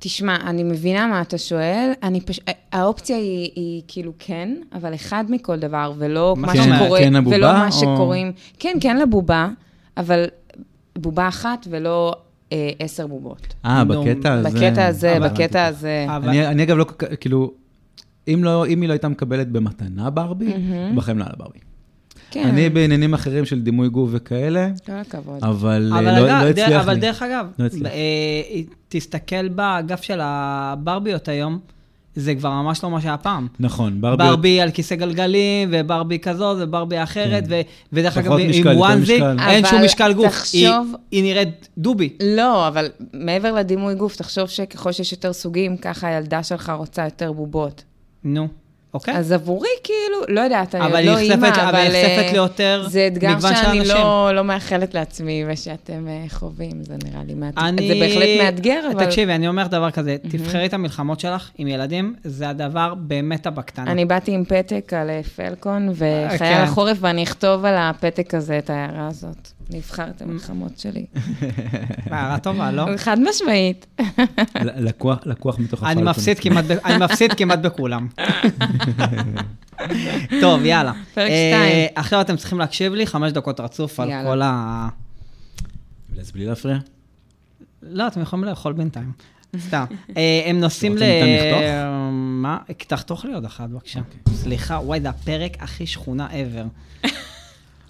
Speaker 3: תשמע, אני מבינה מה אתה שואל, אני פש... האופציה היא, היא כאילו כן, אבל אחד מכל דבר, ולא
Speaker 2: מה
Speaker 3: מה
Speaker 2: זאת אומרת?
Speaker 3: שקורה,
Speaker 1: כן לבובה,
Speaker 3: ולא
Speaker 1: או-
Speaker 3: מה שקוראים... כן, כן לבובה, אבל בובה אחת ולא אה, עשר בובות.
Speaker 1: אה,
Speaker 2: נו,
Speaker 1: בקטע הזה.
Speaker 3: בקטע הזה,
Speaker 1: אה,
Speaker 3: בקטע הזה.
Speaker 2: אבל-
Speaker 1: אני, אני אגב לא, כל כך- כאילו, אם, לא, אם היא לא הייתה מקבלת במתנה ברבי, בחיים לא על ברבי.
Speaker 3: כן,
Speaker 1: אני בעניינים אחרים של דימוי גוף וכאלה,
Speaker 3: כל הכבוד.
Speaker 1: אבל אה,
Speaker 2: אבל,
Speaker 1: לא
Speaker 2: אגב,
Speaker 1: לא
Speaker 2: דר-
Speaker 1: הצליח
Speaker 2: אבל
Speaker 1: לי.
Speaker 2: דרך אגב,
Speaker 1: לא הצליח.
Speaker 2: ב- אה, תסתכל באגף של הברביות היום, זה כבר ממש לא מה שהיה פעם.
Speaker 1: נכון, ברבי...
Speaker 2: ברבי על כיסא גלגלים, וברבי כזו, וברבי אחרת, ו- ודרך אגב,
Speaker 1: כן. פחות משקל,
Speaker 2: עם
Speaker 1: יותר
Speaker 2: וואנזי,
Speaker 1: משקל.
Speaker 2: אין שום
Speaker 3: אבל
Speaker 2: משקל גוף.
Speaker 3: תחשוב-
Speaker 2: היא- היא נראית דובי.
Speaker 3: לא, אבל מעבר לדימוי גוף, תחשוב שככל שיש יותר סוגים, ככה הילדה שלך רוצה יותר בובות.
Speaker 2: נו, אוקיי.
Speaker 3: אז עבורי, כאילו, לא יודעת, אני
Speaker 2: אבל
Speaker 3: עוד
Speaker 2: היא
Speaker 3: לא
Speaker 2: נחשפת-
Speaker 3: אימא,
Speaker 2: אבל היא נחשפת
Speaker 3: אה,
Speaker 2: ליותר
Speaker 3: זה אתגר
Speaker 2: מגוון של
Speaker 3: שאני
Speaker 2: אנשים.
Speaker 3: לא, לא מאחלת לעצמי ושאתם אה, חווים, זה נראה לי מאתגר.
Speaker 2: אני...
Speaker 3: זה בהחלט מאתגר, אבל
Speaker 2: תקשיבי, אני אומר דבר כזה, תבחרי את המלחמות שלך עם ילדים, זה הדבר באמת הבקטנה.
Speaker 3: אני באתי עם פתק על אה, פלקון
Speaker 2: כן.
Speaker 3: וחייל החורף, ואני אכתוב על הפתק הזה את ההערה הזאת. נבחר את המלחמות שלי.
Speaker 2: הערה טובה, לא?
Speaker 3: חד משמעית.
Speaker 1: ל- לקוח- לקוח מתוך
Speaker 2: אני
Speaker 1: הפלקון.
Speaker 2: מפסיד כמעט ב- אני מפסיד כמעט בכולם. טוב, יאללה.
Speaker 3: פרק
Speaker 2: אה,
Speaker 3: שתיים.
Speaker 2: עכשיו אתם צריכים להקשיב לי חמש דקות רצוף על
Speaker 3: יאללה.
Speaker 2: כל ה...
Speaker 1: אז בלי להפריע.
Speaker 2: לא, אתם יכולים לאכול בינתיים. סתם. אה, הם נוסעים ל...
Speaker 1: אתה רוצה ניתן לחתוך?
Speaker 2: מה? תחתוך לי עוד אחת, בבקשה.
Speaker 1: אוקיי.
Speaker 2: סליחה, וואי, זה הפרק הכי שכונה ever.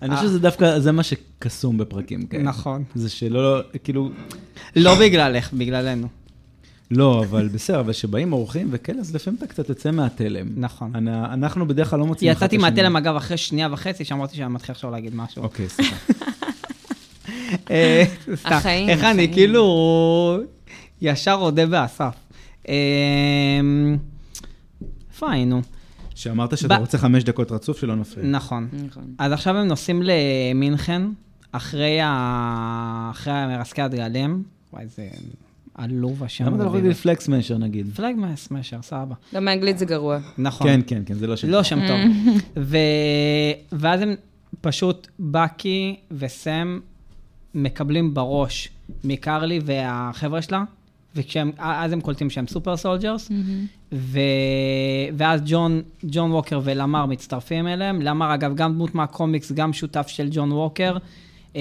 Speaker 1: אני חושב שזה דווקא, זה מה שקסום בפרקים
Speaker 3: כן.
Speaker 1: כאלה.
Speaker 2: אה. נכון.
Speaker 1: זה שלא, כאילו,
Speaker 2: לא בגללך, בגללנו.
Speaker 1: לא, אבל בסדר, אבל כשבאים אורחים וכאלה, אז לפעמים אתה קצת יוצא מהתלם.
Speaker 2: נכון.
Speaker 1: אנ- אנחנו בדרך כלל לא מוצאים... אחד את
Speaker 2: יצאתי
Speaker 1: השני.
Speaker 2: מהתלם, אגב, אחרי שנייה וחצי, שאמרתי שאני מתחיל עכשיו להגיד משהו.
Speaker 1: אוקיי, סליחה.
Speaker 2: אה, סתם.
Speaker 3: החיים,
Speaker 2: איך אני
Speaker 3: החיים.
Speaker 2: כאילו ישר אודה באסף. אה, איפה היינו?
Speaker 1: כן. שאמרת שאתה
Speaker 2: ב-
Speaker 1: רוצה חמש דקות רצוף שלא נפריע.
Speaker 2: נכון.
Speaker 3: נכון.
Speaker 2: אז עכשיו הם נוסעים למינכן, אחרי ה- אחרי מרסקי הדגלים. וואי, זה עלוב השם.
Speaker 1: למה אתה לא יכול להגיד פלקס מאשר נגיד?
Speaker 2: פלאג מסמשר, סבבה.
Speaker 3: גם באנגלית זה גרוע.
Speaker 2: נכון.
Speaker 1: כן, כן, כן, זה לא שם.
Speaker 2: לא שם טוב. ו- ואז הם פשוט בקי וסם מקבלים בראש מקרלי והחבר'ה שלה, ואז הם קולטים שהם סופר סולג'רס, ו... ואז ג'ון, ג'ון ווקר ולמר מצטרפים אליהם. למר, אגב, גם דמות מהקומיקס, גם שותף של ג'ון ווקר. אמ,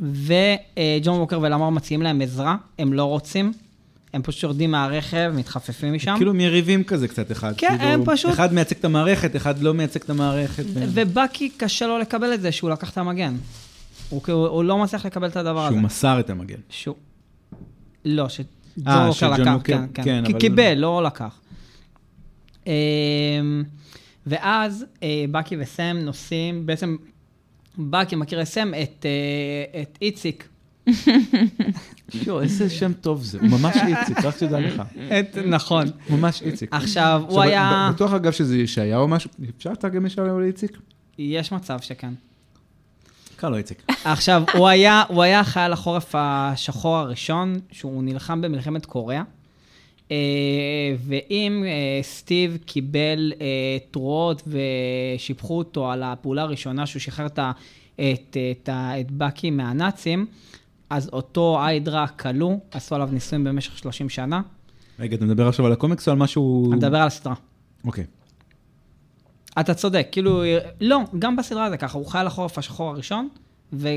Speaker 2: וג'ון ווקר ולמר מציעים להם עזרה, הם לא רוצים. הם פשוט יורדים מהרכב, מתחפפים משם.
Speaker 1: כאילו מיריבים כזה קצת אחד.
Speaker 2: כן,
Speaker 1: כאילו,
Speaker 2: הם פשוט-
Speaker 1: אחד מייצג את המערכת, אחד לא מייצג את המערכת. ו...
Speaker 2: ובאקי קשה לו לקבל את זה שהוא לקח את המגן. הוא, כאילו- הוא לא מצליח לקבל את הדבר הזה.
Speaker 1: שהוא מסר את המגן.
Speaker 2: שהוא... לא, שג'ון
Speaker 1: אה,
Speaker 2: ווקר
Speaker 1: שג'ון
Speaker 2: לקח,
Speaker 1: ווקר,
Speaker 2: כן, כן.
Speaker 1: כן,
Speaker 2: כי
Speaker 1: אבל-
Speaker 2: קיבל, לא לקח. אמ, ואז אה, בקי וסם נוסעים, בעצם בקי מכיר את סם, את, אה, את איציק,
Speaker 1: יואו, איזה שם טוב זה. הוא ממש איציק, רק שתדע לך.
Speaker 2: את, נכון.
Speaker 1: ממש איציק.
Speaker 2: עכשיו,
Speaker 1: עכשיו,
Speaker 2: הוא היה...
Speaker 1: ב- בטוח אגב שזה ישעיהו או משהו. אפשר לתרגם ישעיהו לאיציק?
Speaker 2: יש מצב שכן.
Speaker 1: קרא לו איציק.
Speaker 2: עכשיו, הוא היה, הוא היה חייל החורף השחור הראשון, שהוא נלחם במלחמת קוריאה. אה, ואם אה, סטיב קיבל אה, תרועות ושיבחו אותו על הפעולה הראשונה שהוא שחרר את, ה- את, את, ה- את בקי מהנאצים, אז אותו היידרה כלוא, עשו עליו ניסויים במשך 30 שנה.
Speaker 1: רגע, אתה מדבר עכשיו על הקומיקס או על משהו...
Speaker 2: אני מדבר על הסדרה.
Speaker 1: אוקיי.
Speaker 2: אתה צודק, כאילו, לא, גם בסדרה זה ככה, הוא חייל החורף השחור הראשון, ו,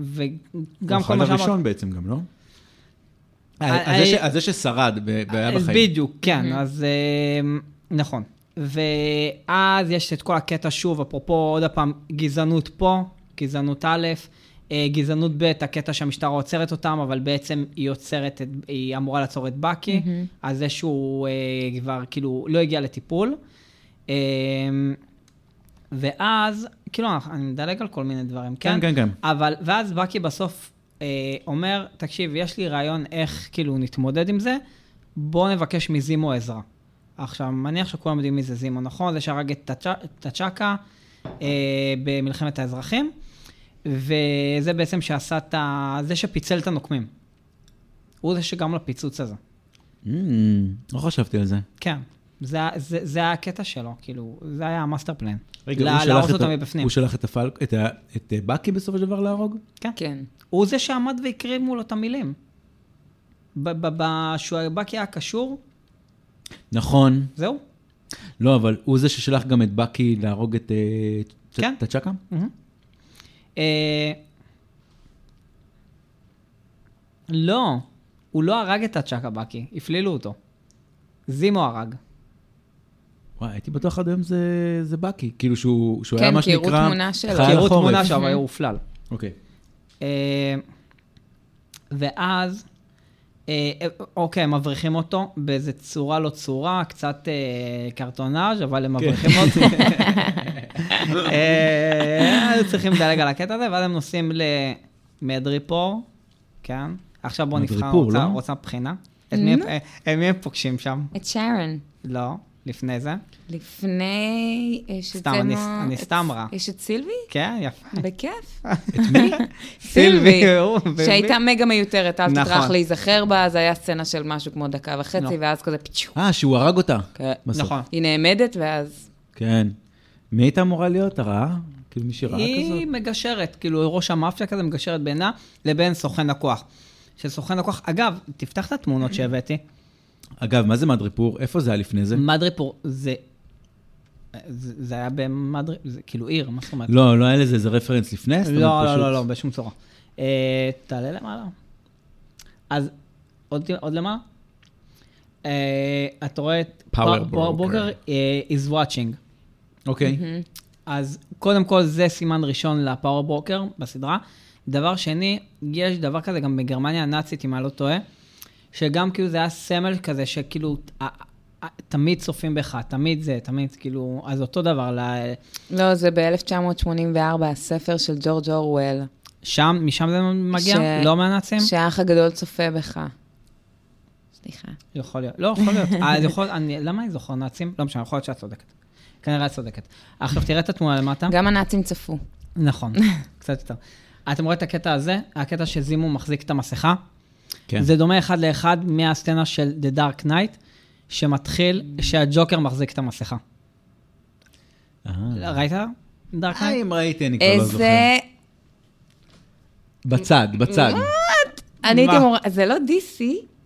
Speaker 2: וגם כל מה
Speaker 1: הוא החייל
Speaker 2: שאמרת.
Speaker 1: הראשון בעצם גם, לא?
Speaker 2: אה,
Speaker 1: אז זה ש-
Speaker 2: אה,
Speaker 1: אז זה ששרד ב- והיה
Speaker 2: אז
Speaker 1: בחיים.
Speaker 2: אה, בדיוק, כן, אז אה, נכון. ואז יש את כל הקטע שוב, אפרופו עוד הפעם, גזענות פה, גזענות א', אה, גזענות ב', הקטע שהמשטרה עוצרת אותם, אבל בעצם היא עוצרת, את, היא אמורה לעצור את בקי, אז זה שהוא אה, כבר כאילו לא הגיע לטיפול. אה, ואז, כאילו, אני מדלג על כל מיני דברים,
Speaker 1: כן, כן, כן.
Speaker 2: אבל, ואז בקי בסוף אה, אומר, תקשיב, יש לי רעיון איך כאילו נתמודד עם זה, בוא נבקש מזימו עזרה. עכשיו, מניח שכולם יודעים מי זה זימו, נכון? זה שהרג את טאצ'- טאצ'קה אה, במלחמת האזרחים, וזה בעצם שעשה את ה... זה שפיצל את הנוקמים. הוא זה שגרם לפיצוץ הזה.
Speaker 1: Mm, לא חשבתי על זה.
Speaker 2: כן. זה, זה, זה היה הקטע שלו, כאילו, זה היה המאסטר פלן.
Speaker 1: רגע,
Speaker 2: לה-
Speaker 1: הוא שלח
Speaker 2: להרוס
Speaker 1: את
Speaker 2: אותו
Speaker 1: ה-
Speaker 2: מבפנים.
Speaker 1: הוא שלח את הפלק, את ה- את אה, בקי בסופו של דבר להרוג?
Speaker 3: כן.
Speaker 2: הוא זה שעמד והקריא מולו את המילים. ב- ב- ב- שהוא היה- בקי היה קשור,
Speaker 1: נכון.
Speaker 2: זהו.
Speaker 1: לא, אבל הוא זה ששלח גם את בקי להרוג את... אה, צ-
Speaker 2: כן.
Speaker 1: את הצ'קה?
Speaker 2: אה, לא, הוא לא הרג את הצ'קה בקי, הפלילו אותו. זימו הרג.
Speaker 1: וואי, הייתי בטוח עד היום זה זה בקי. כאילו שהוא שהוא
Speaker 3: כן,
Speaker 1: היה מה
Speaker 3: כי
Speaker 1: שנקרא...
Speaker 3: הראו תמונה שלו.
Speaker 1: חייל
Speaker 2: כי הראו
Speaker 1: החורף.
Speaker 2: תמונה שם, אבל הוא הופלל.
Speaker 1: אוקיי.
Speaker 2: אה, ואז, אה, אוקיי, הם מבריחים אותו באיזה צורה לא צורה, קצת אה, קרטונאז', אבל
Speaker 1: כן.
Speaker 2: הם מבריחים אותו. אה, היו צריכים לדלג על הקטע הזה, ואז הם נוסעים למדריפור, כן? עכשיו בואו נבחר,
Speaker 1: מדריפור,
Speaker 2: רוצה-
Speaker 1: לא?
Speaker 2: רוצה בחינה? את מי הם- אה, מי הם פוגשים שם?
Speaker 3: את שרון.
Speaker 2: לא, לפני זה.
Speaker 3: לפני... יש את
Speaker 2: סתם,
Speaker 3: זה
Speaker 2: אני-
Speaker 3: מו-
Speaker 2: אני
Speaker 3: את-
Speaker 2: סתם רע.
Speaker 3: יש את סילבי?
Speaker 2: כן, יפה.
Speaker 3: בכיף.
Speaker 1: את מי?
Speaker 3: סילבי,
Speaker 2: הוא- ומי-
Speaker 3: שהייתה מגה מיותרת, אל תטרח
Speaker 2: נכון.
Speaker 3: להיזכר בה, זה היה סצנה של משהו כמו דקה
Speaker 2: נכון.
Speaker 3: וחצי, ואז כזה פצ'ו.
Speaker 1: אה, שהוא הרג אותה.
Speaker 3: כן.
Speaker 1: בסוף.
Speaker 2: נכון.
Speaker 3: היא נעמדת, ואז...
Speaker 1: כן. מי הייתה אמורה להיות? הרעה? כאילו מישהי רעה
Speaker 2: היא
Speaker 1: כזאת?
Speaker 2: מגשרת, כאילו ראש המאפיה כזה מגשרת בינה לבין סוכן לקוח. שסוכן לקוח, אגב, תפתח את התמונות שהבאתי.
Speaker 1: אגב, מה זה מדריפור? איפה זה היה לפני זה?
Speaker 2: מדריפור, זה... זה זה היה במדרי... זה כאילו עיר, מה זאת אומרת?
Speaker 1: לא, לא היה לזה איזה רפרנס לפני? זאת אומרת,
Speaker 2: לא, לא,
Speaker 1: פשוט-
Speaker 2: לא, לא, בשום צורה. אה, תעלה למעלה. אז עוד עוד למעלה? אה, אתה רואה את
Speaker 1: Power
Speaker 2: פאוור
Speaker 1: Broker.
Speaker 2: בוקר is watching.
Speaker 1: אוקיי.
Speaker 2: אז קודם כל, זה סימן ראשון לפאוור ברוקר בסדרה. דבר שני, יש דבר כזה גם בגרמניה הנאצית, אם אני לא טועה, שגם כאילו זה היה סמל כזה, שכאילו, ת- תמיד צופים בך, תמיד זה, תמיד, כאילו, אז אותו דבר, ל-
Speaker 3: לא, זה ב-1984, הספר של ג'ורג' אורוול.
Speaker 2: שם, משם זה מגיע?
Speaker 3: ש-
Speaker 2: לא מהנאצים?
Speaker 3: שהאח הגדול צופה בך. סליחה.
Speaker 2: יכול להיות, לא, יכול להיות. אה, אז יכול, אני, למה אני זוכר נאצים? לא משנה, יכול להיות שאת צודקת. כנראה את צודקת. עכשיו, תראה את התמונה למטה.
Speaker 3: גם הנאצים צפו.
Speaker 2: נכון, קצת יותר. אתם רואים את הקטע הזה? הקטע שזימו מחזיק את המסכה?
Speaker 1: כן.
Speaker 2: זה דומה אחד לאחד מהסצנה של The Dark Knight, שמתחיל שהג'וקר מחזיק את המסכה.
Speaker 1: אה.
Speaker 2: לא, ראית? דארק
Speaker 1: אה,
Speaker 2: נייט?
Speaker 1: אם ראיתי, אני כבר לא זוכר.
Speaker 3: איזה...
Speaker 1: בצד, בצד.
Speaker 3: אני הייתי
Speaker 2: מה?
Speaker 3: מורה... זה לא DC?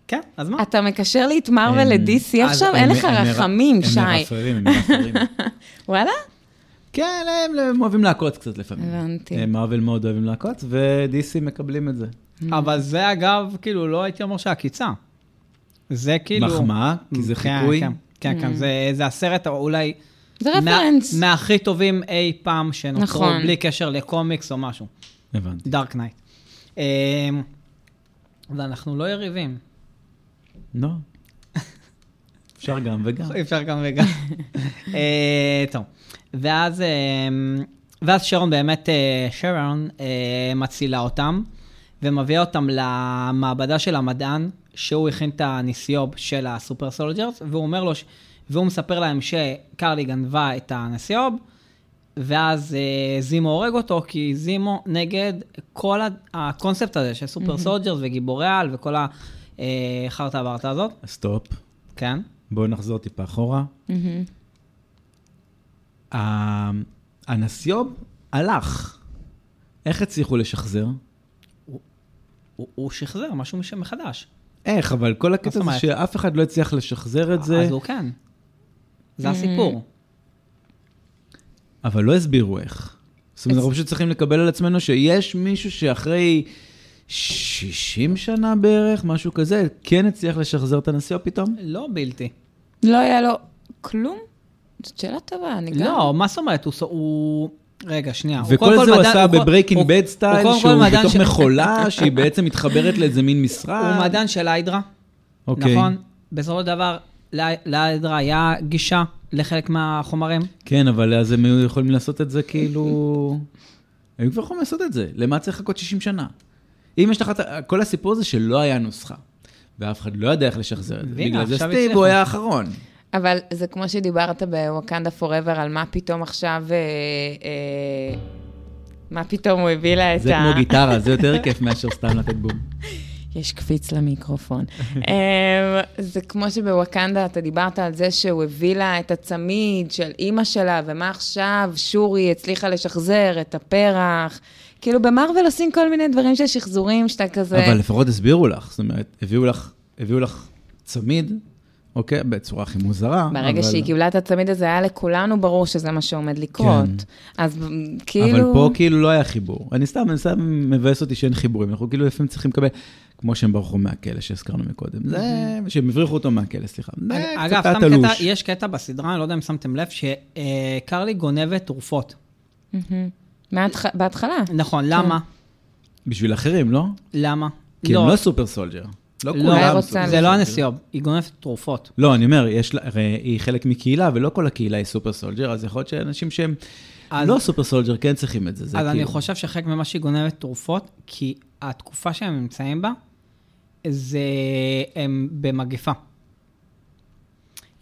Speaker 2: כן, אז מה?
Speaker 3: אתה מקשר לי את מרוויל
Speaker 1: הם-
Speaker 3: ל-DC
Speaker 2: אז
Speaker 3: עכשיו?
Speaker 2: הם-
Speaker 3: אין לך
Speaker 1: הם- הם-
Speaker 3: רחמים, שי.
Speaker 1: הם מרפררים, הם מרפררים.
Speaker 3: וואלה?
Speaker 1: כן, הם, הם אוהבים לעקוץ קצת לפעמים.
Speaker 3: הבנתי.
Speaker 1: אה, מארוול מאוד אוהבים לעקוץ, ו-DC מקבלים את זה.
Speaker 3: אה.
Speaker 2: אבל זה אגב, כאילו, לא הייתי אומר שעקיצה. זה כאילו...
Speaker 1: מחמאה, כי זה
Speaker 2: כן,
Speaker 1: חיקוי.
Speaker 2: כן, כן, כן, זה- זה הסרט אולי...
Speaker 3: Mm. זה
Speaker 2: מה-
Speaker 3: רפרנס.
Speaker 2: מהכי טובים אי פעם שנוצרו,
Speaker 3: נכון.
Speaker 2: בלי קשר לקומיקס או משהו.
Speaker 1: הבנתי.
Speaker 2: דארק נייט. ואנחנו לא יריבים.
Speaker 1: לא. אפשר גם וגם.
Speaker 2: אפשר גם וגם. אה, טוב. ואז, אה, ואז שרון באמת, אה, שרון אה, מצילה אותם, ומביאה אותם למעבדה של המדען, שהוא הכין את הנסיוב של הסופר סולג'רס, והוא אומר לו, ש- והוא מספר להם שקרלי גנבה את הנסיוב, ואז אה, זימו הורג אותו, כי זימו נגד כל ה- הקונספט הזה של סופר סולג'רס וגיבורי על וכל החרטא ברטא הזאת.
Speaker 1: סטופ.
Speaker 2: כן.
Speaker 1: בואו נחזור טיפה אחורה.
Speaker 3: מהמם.
Speaker 1: ה- הנסיוב הלך. איך הצליחו לשחזר?
Speaker 2: הוא, הוא שחזר משהו מש- מחדש.
Speaker 1: איך, אבל כל
Speaker 2: מה זאת
Speaker 1: הקטע זה
Speaker 2: אומרת?
Speaker 1: שאף אחד לא הצליח לשחזר את
Speaker 2: אז
Speaker 1: זה,
Speaker 2: הוא כן. זה הסיפור.
Speaker 1: אבל לא הסבירו איך. זאת אומרת, אנחנו פשוט צריכים לקבל על עצמנו שיש מישהו שאחרי 60 שנה בערך, משהו כזה, כן הצליח לשחזר את הנסיוב פתאום?
Speaker 2: לא בלתי.
Speaker 3: לא היה לו כלום? זאת שאלה טובה, אני גם...
Speaker 2: לא, מה זאת אומרת? הוא... ס- הוא... רגע, שנייה. הוא קודם
Speaker 1: וכל
Speaker 2: כל
Speaker 1: זה הוא
Speaker 2: מדען-
Speaker 1: עשה
Speaker 2: הוא קודם-
Speaker 1: בברייקינג
Speaker 2: הוא-
Speaker 1: בד
Speaker 2: הוא
Speaker 1: סטייל,
Speaker 2: קודם כל
Speaker 1: שהוא
Speaker 2: מדען
Speaker 1: בתוך
Speaker 2: ש-
Speaker 1: מכולה, שהיא בעצם מתחברת לאיזה מין משרד.
Speaker 2: הוא מדען של היידרה,
Speaker 1: אוקיי.
Speaker 2: נכון? בסופו של דבר, לה- להיידרה היה גישה לחלק מהחומרים.
Speaker 1: כן, אבל אז הם היו יכולים לעשות את זה כאילו... הם כבר יכולים לעשות את זה, למה צריך לחכות 60 שנה? אם יש לך את ה- כל הסיפור הזה שלא היה נוסחה, ואף אחד לא יודע איך לשחזר את זה.
Speaker 2: והנה,
Speaker 1: בגלל זה
Speaker 2: עכשיו
Speaker 1: סטיב
Speaker 2: הצליחו.
Speaker 1: הוא היה האחרון.
Speaker 3: אבל זה כמו שדיברת בווקנדה פוראבר, על מה פתאום עכשיו... אה, אה, מה פתאום הוא הביא לה את ה...
Speaker 1: זה כמו גיטרה, זה יותר כיף מאשר סתם לתת בום.
Speaker 3: יש קפיץ למיקרופון. אה, זה כמו שבווקנדה, אתה דיברת על זה שהוא הביא לה את הצמיד של אימא שלה, ומה עכשיו שורי הצליחה לשחזר את הפרח. כאילו, במרוויל עושים כל מיני דברים של שחזורים, שאתה כזה...
Speaker 1: אבל לפחות הסבירו לך, זאת אומרת, הביאו לך- הביאו לך צמיד, אוקיי? בצורה הכי מוזרה.
Speaker 3: ברגע
Speaker 1: אבל-
Speaker 3: שהיא קיבלה את הצמיד הזה, היה לכולנו ברור שזה מה שעומד לקרות. אז מ, כאילו...
Speaker 1: אבל פה כאילו לא היה חיבור. אני סתם, אני סתם מבאס אותי שאין חיבורים. אנחנו כאילו לפעמים צריכים לקבל, כמו שהם ברחו מהכלא שהזכרנו מקודם. זה, שהם הבריחו אותו מהכלא, סליחה. זה
Speaker 2: אגב,
Speaker 1: קצת היה
Speaker 2: סתם
Speaker 1: אה, תלוש.
Speaker 2: קטע, יש קטע בסדרה, אני לא יודע אם שמתם לב, שקרלי גונבת תרופות.
Speaker 3: מהמם. מההתח- בהתחלה.
Speaker 2: נכון, למה?
Speaker 1: בשביל אחרים, לא?
Speaker 2: למה?
Speaker 1: כי הם לא סופר סולג'ר. לא
Speaker 2: לא,
Speaker 1: כולם
Speaker 3: אולי רוצה
Speaker 1: סופר
Speaker 2: זה
Speaker 1: סולג'ר.
Speaker 2: לא הנסיוב, היא גונבת תרופות.
Speaker 1: לא, אני אומר, יש לה, הרי היא חלק מקהילה, ולא כל הקהילה היא סופר סולג'ר, אז יכול להיות שאנשים שהם
Speaker 2: אז-
Speaker 1: לא סופר סולג'ר כן צריכים את זה. זה
Speaker 2: אז אני
Speaker 1: כאילו-
Speaker 2: חושב שחלק ממה שהיא גונבת תרופות, כי התקופה שהם נמצאים בה, זה הם במגפה.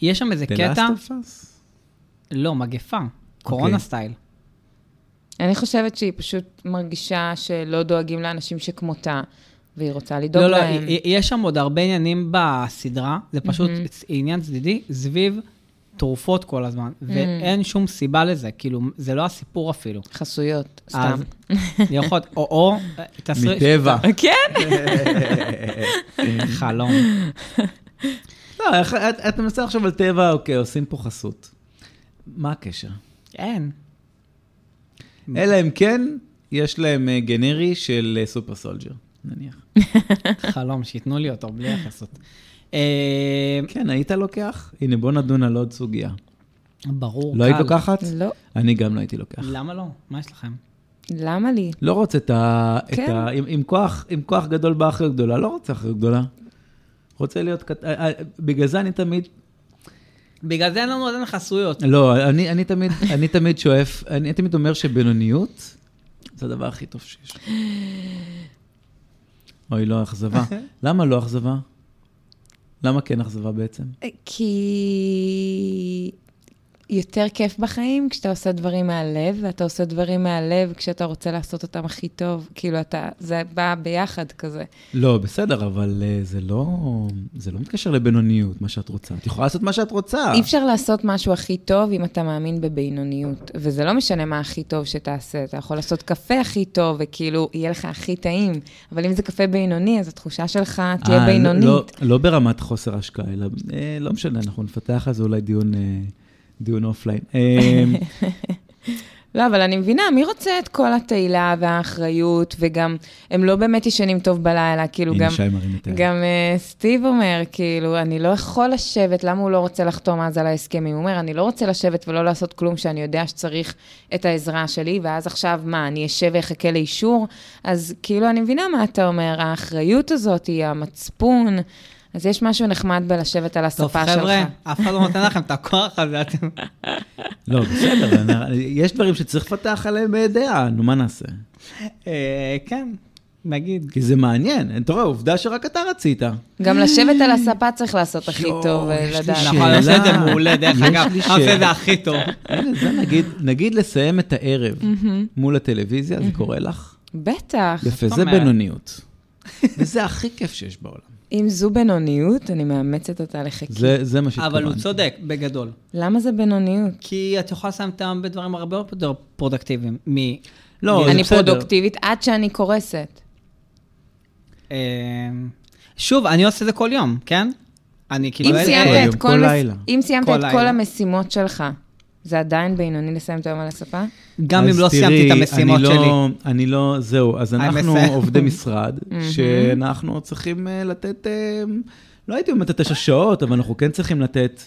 Speaker 2: יש שם איזה
Speaker 1: The
Speaker 2: קטע,
Speaker 1: Last of אוקיי. Us?
Speaker 2: לא, מגפה, קורונה סטייל.
Speaker 3: אני חושבת שהיא פשוט מרגישה שלא דואגים לאנשים שכמותה, והיא רוצה לדאוג
Speaker 2: לא, לא,
Speaker 3: להם. Mhm.
Speaker 2: י- יש שם עוד הרבה עניינים בסדרה, זה פשוט עניין צדדי, סביב תרופות כל הזמן,
Speaker 3: Mhm.
Speaker 2: ואין שום סיבה לזה, כאילו, זה לא הסיפור אפילו.
Speaker 3: חסויות, סתם.
Speaker 2: אז יכול להיות, או, או, תסריט-
Speaker 1: מטבע.
Speaker 3: כן?
Speaker 2: חלום.
Speaker 1: לא, איך- את- אתה מנסה לחשוב על טבע, אוקיי, עושים פה חסות. מה הקשר?
Speaker 2: אין.
Speaker 1: אלא אם כן, יש להם אה, גנרי של אה, סופר סולג'ר, נניח.
Speaker 2: חלום, שייתנו לי אותו בלי החסות. אה,
Speaker 1: כן, היית לוקח? הנה, בוא נדון על עוד סוגיה.
Speaker 2: ברור,
Speaker 1: לא היית
Speaker 2: קל.
Speaker 1: לוקחת?
Speaker 3: לא.
Speaker 1: אני גם לא הייתי לוקח.
Speaker 2: למה לא? מה יש לכם?
Speaker 3: למה לי?
Speaker 1: לא רוצה את ה... את
Speaker 3: כן.
Speaker 1: ה- עם- עם כוח- עם כוח גדול באה אחריות גדולה, לא רוצה אחריות גדולה. רוצה להיות קט... אה, אה, בגלל זה אני תמיד...
Speaker 2: בגלל זה אין לנו עדיין חסויות.
Speaker 1: לא, אני אני תמיד אני תמיד שואף, אני תמיד אומר שבינוניות זה הדבר הכי טוב שיש. אוי, לא אכזבה. למה לא אכזבה? למה כן אכזבה בעצם?
Speaker 3: כי... יותר כיף בחיים כשאתה עושה דברים מהלב, ואתה עושה דברים מהלב כשאתה רוצה לעשות אותם הכי טוב. כאילו, אתה, זה בא ביחד כזה.
Speaker 1: לא, בסדר, אבל אה, זה לא, זה לא מתקשר לבינוניות, מה שאת רוצה. את יכולה לעשות מה שאת רוצה.
Speaker 3: אי אפשר לעשות משהו הכי טוב אם אתה מאמין בבינוניות. וזה לא משנה מה הכי טוב שתעשה. אתה יכול לעשות קפה הכי טוב, וכאילו, יהיה לך הכי טעים. אבל אם זה קפה בינוני, אז התחושה שלך תהיה
Speaker 1: אה,
Speaker 3: בינונית.
Speaker 1: לא, לא ברמת חוסר השקעה, אלא אה, לא משנה, אנחנו נפתח על זה אולי דיון, אה, דיון אופליין. אה,
Speaker 3: לא, אבל אני מבינה, מי רוצה את כל התהילה והאחריות, וגם, הם לא באמת ישנים טוב בלילה, כאילו
Speaker 1: הנה
Speaker 3: גם...
Speaker 1: שי מרים את היד.
Speaker 3: גם אה, סטיב אומר, כאילו, אני לא יכול לשבת, למה הוא לא רוצה לחתום אז על ההסכמים? הוא אומר, אני לא רוצה לשבת ולא לעשות כלום שאני יודע שצריך את העזרה שלי, ואז עכשיו, מה, אני אשב ואחכה לאישור? אז כאילו, אני מבינה מה אתה אומר, האחריות הזאת היא המצפון, אז יש משהו נחמד בלשבת על
Speaker 2: טוב,
Speaker 3: הספה שלך.
Speaker 2: חבר'ה, אף אחד לא נותן לכם את הכוח הזה, אתם...
Speaker 1: לא, בסדר, אני- יש דברים שצריך לפתח עליהם אה, דעה, נו, מה נעשה?
Speaker 2: אה, כן, נגיד.
Speaker 1: כי זה מעניין, אתה רואה, עובדה שרק אתה רצית.
Speaker 3: גם לשבת על הספה צריך לעשות הכי
Speaker 1: יואו,
Speaker 3: טוב,
Speaker 1: יש לי
Speaker 3: לדעת.
Speaker 1: שאלה.
Speaker 2: נכון, אני עושה את זה מעולה, דרך
Speaker 1: יש
Speaker 2: אגב,
Speaker 1: לי
Speaker 2: אני עושה את
Speaker 1: שאלה.
Speaker 2: זה הכי טוב.
Speaker 1: הנה, זה נגיד, נגיד לסיים את הערב מול הטלוויזיה, זה קורה לך?
Speaker 3: בטח.
Speaker 1: יפה,
Speaker 2: זאת
Speaker 1: זה
Speaker 2: אומרת.
Speaker 1: בינוניות. וזה הכי כיף שיש בעולם.
Speaker 3: אם זו בינוניות, אני מאמצת אותה לחיקי.
Speaker 1: זה, זה מה שהתכוונתי.
Speaker 2: אבל הוא צודק, בגדול.
Speaker 3: למה זה בינוניות?
Speaker 2: כי את יכולה לסיים את היום בדברים הרבה יותר פרודקטיביים. מ...
Speaker 1: לא, זה
Speaker 3: אני
Speaker 1: בסדר.
Speaker 3: פרודוקטיבית עד שאני קורסת.
Speaker 2: אה, שוב, אני עושה את זה כל יום, כן? אני כאילו...
Speaker 3: אם
Speaker 2: אין-
Speaker 1: כל
Speaker 3: סיימת
Speaker 1: יום,
Speaker 3: את
Speaker 1: כל
Speaker 3: כל מס-
Speaker 1: לילה.
Speaker 3: אם סיימת
Speaker 2: כל
Speaker 3: את כל
Speaker 2: לילה.
Speaker 3: המשימות שלך, זה עדיין בינוני לסיים את היום על הספה?
Speaker 2: גם
Speaker 1: אז
Speaker 2: אם לא
Speaker 1: תראי,
Speaker 2: סיימתי את המשימות
Speaker 1: אני
Speaker 2: שלי.
Speaker 1: לא, אני לא, זהו, אז
Speaker 2: I'm Mm-hmm.
Speaker 1: אנחנו
Speaker 2: מסיים.
Speaker 1: עובדי משרד, שאנחנו צריכים אה, לתת, אה, לא הייתי אומר את התשע שעות, אבל אנחנו כן צריכים לתת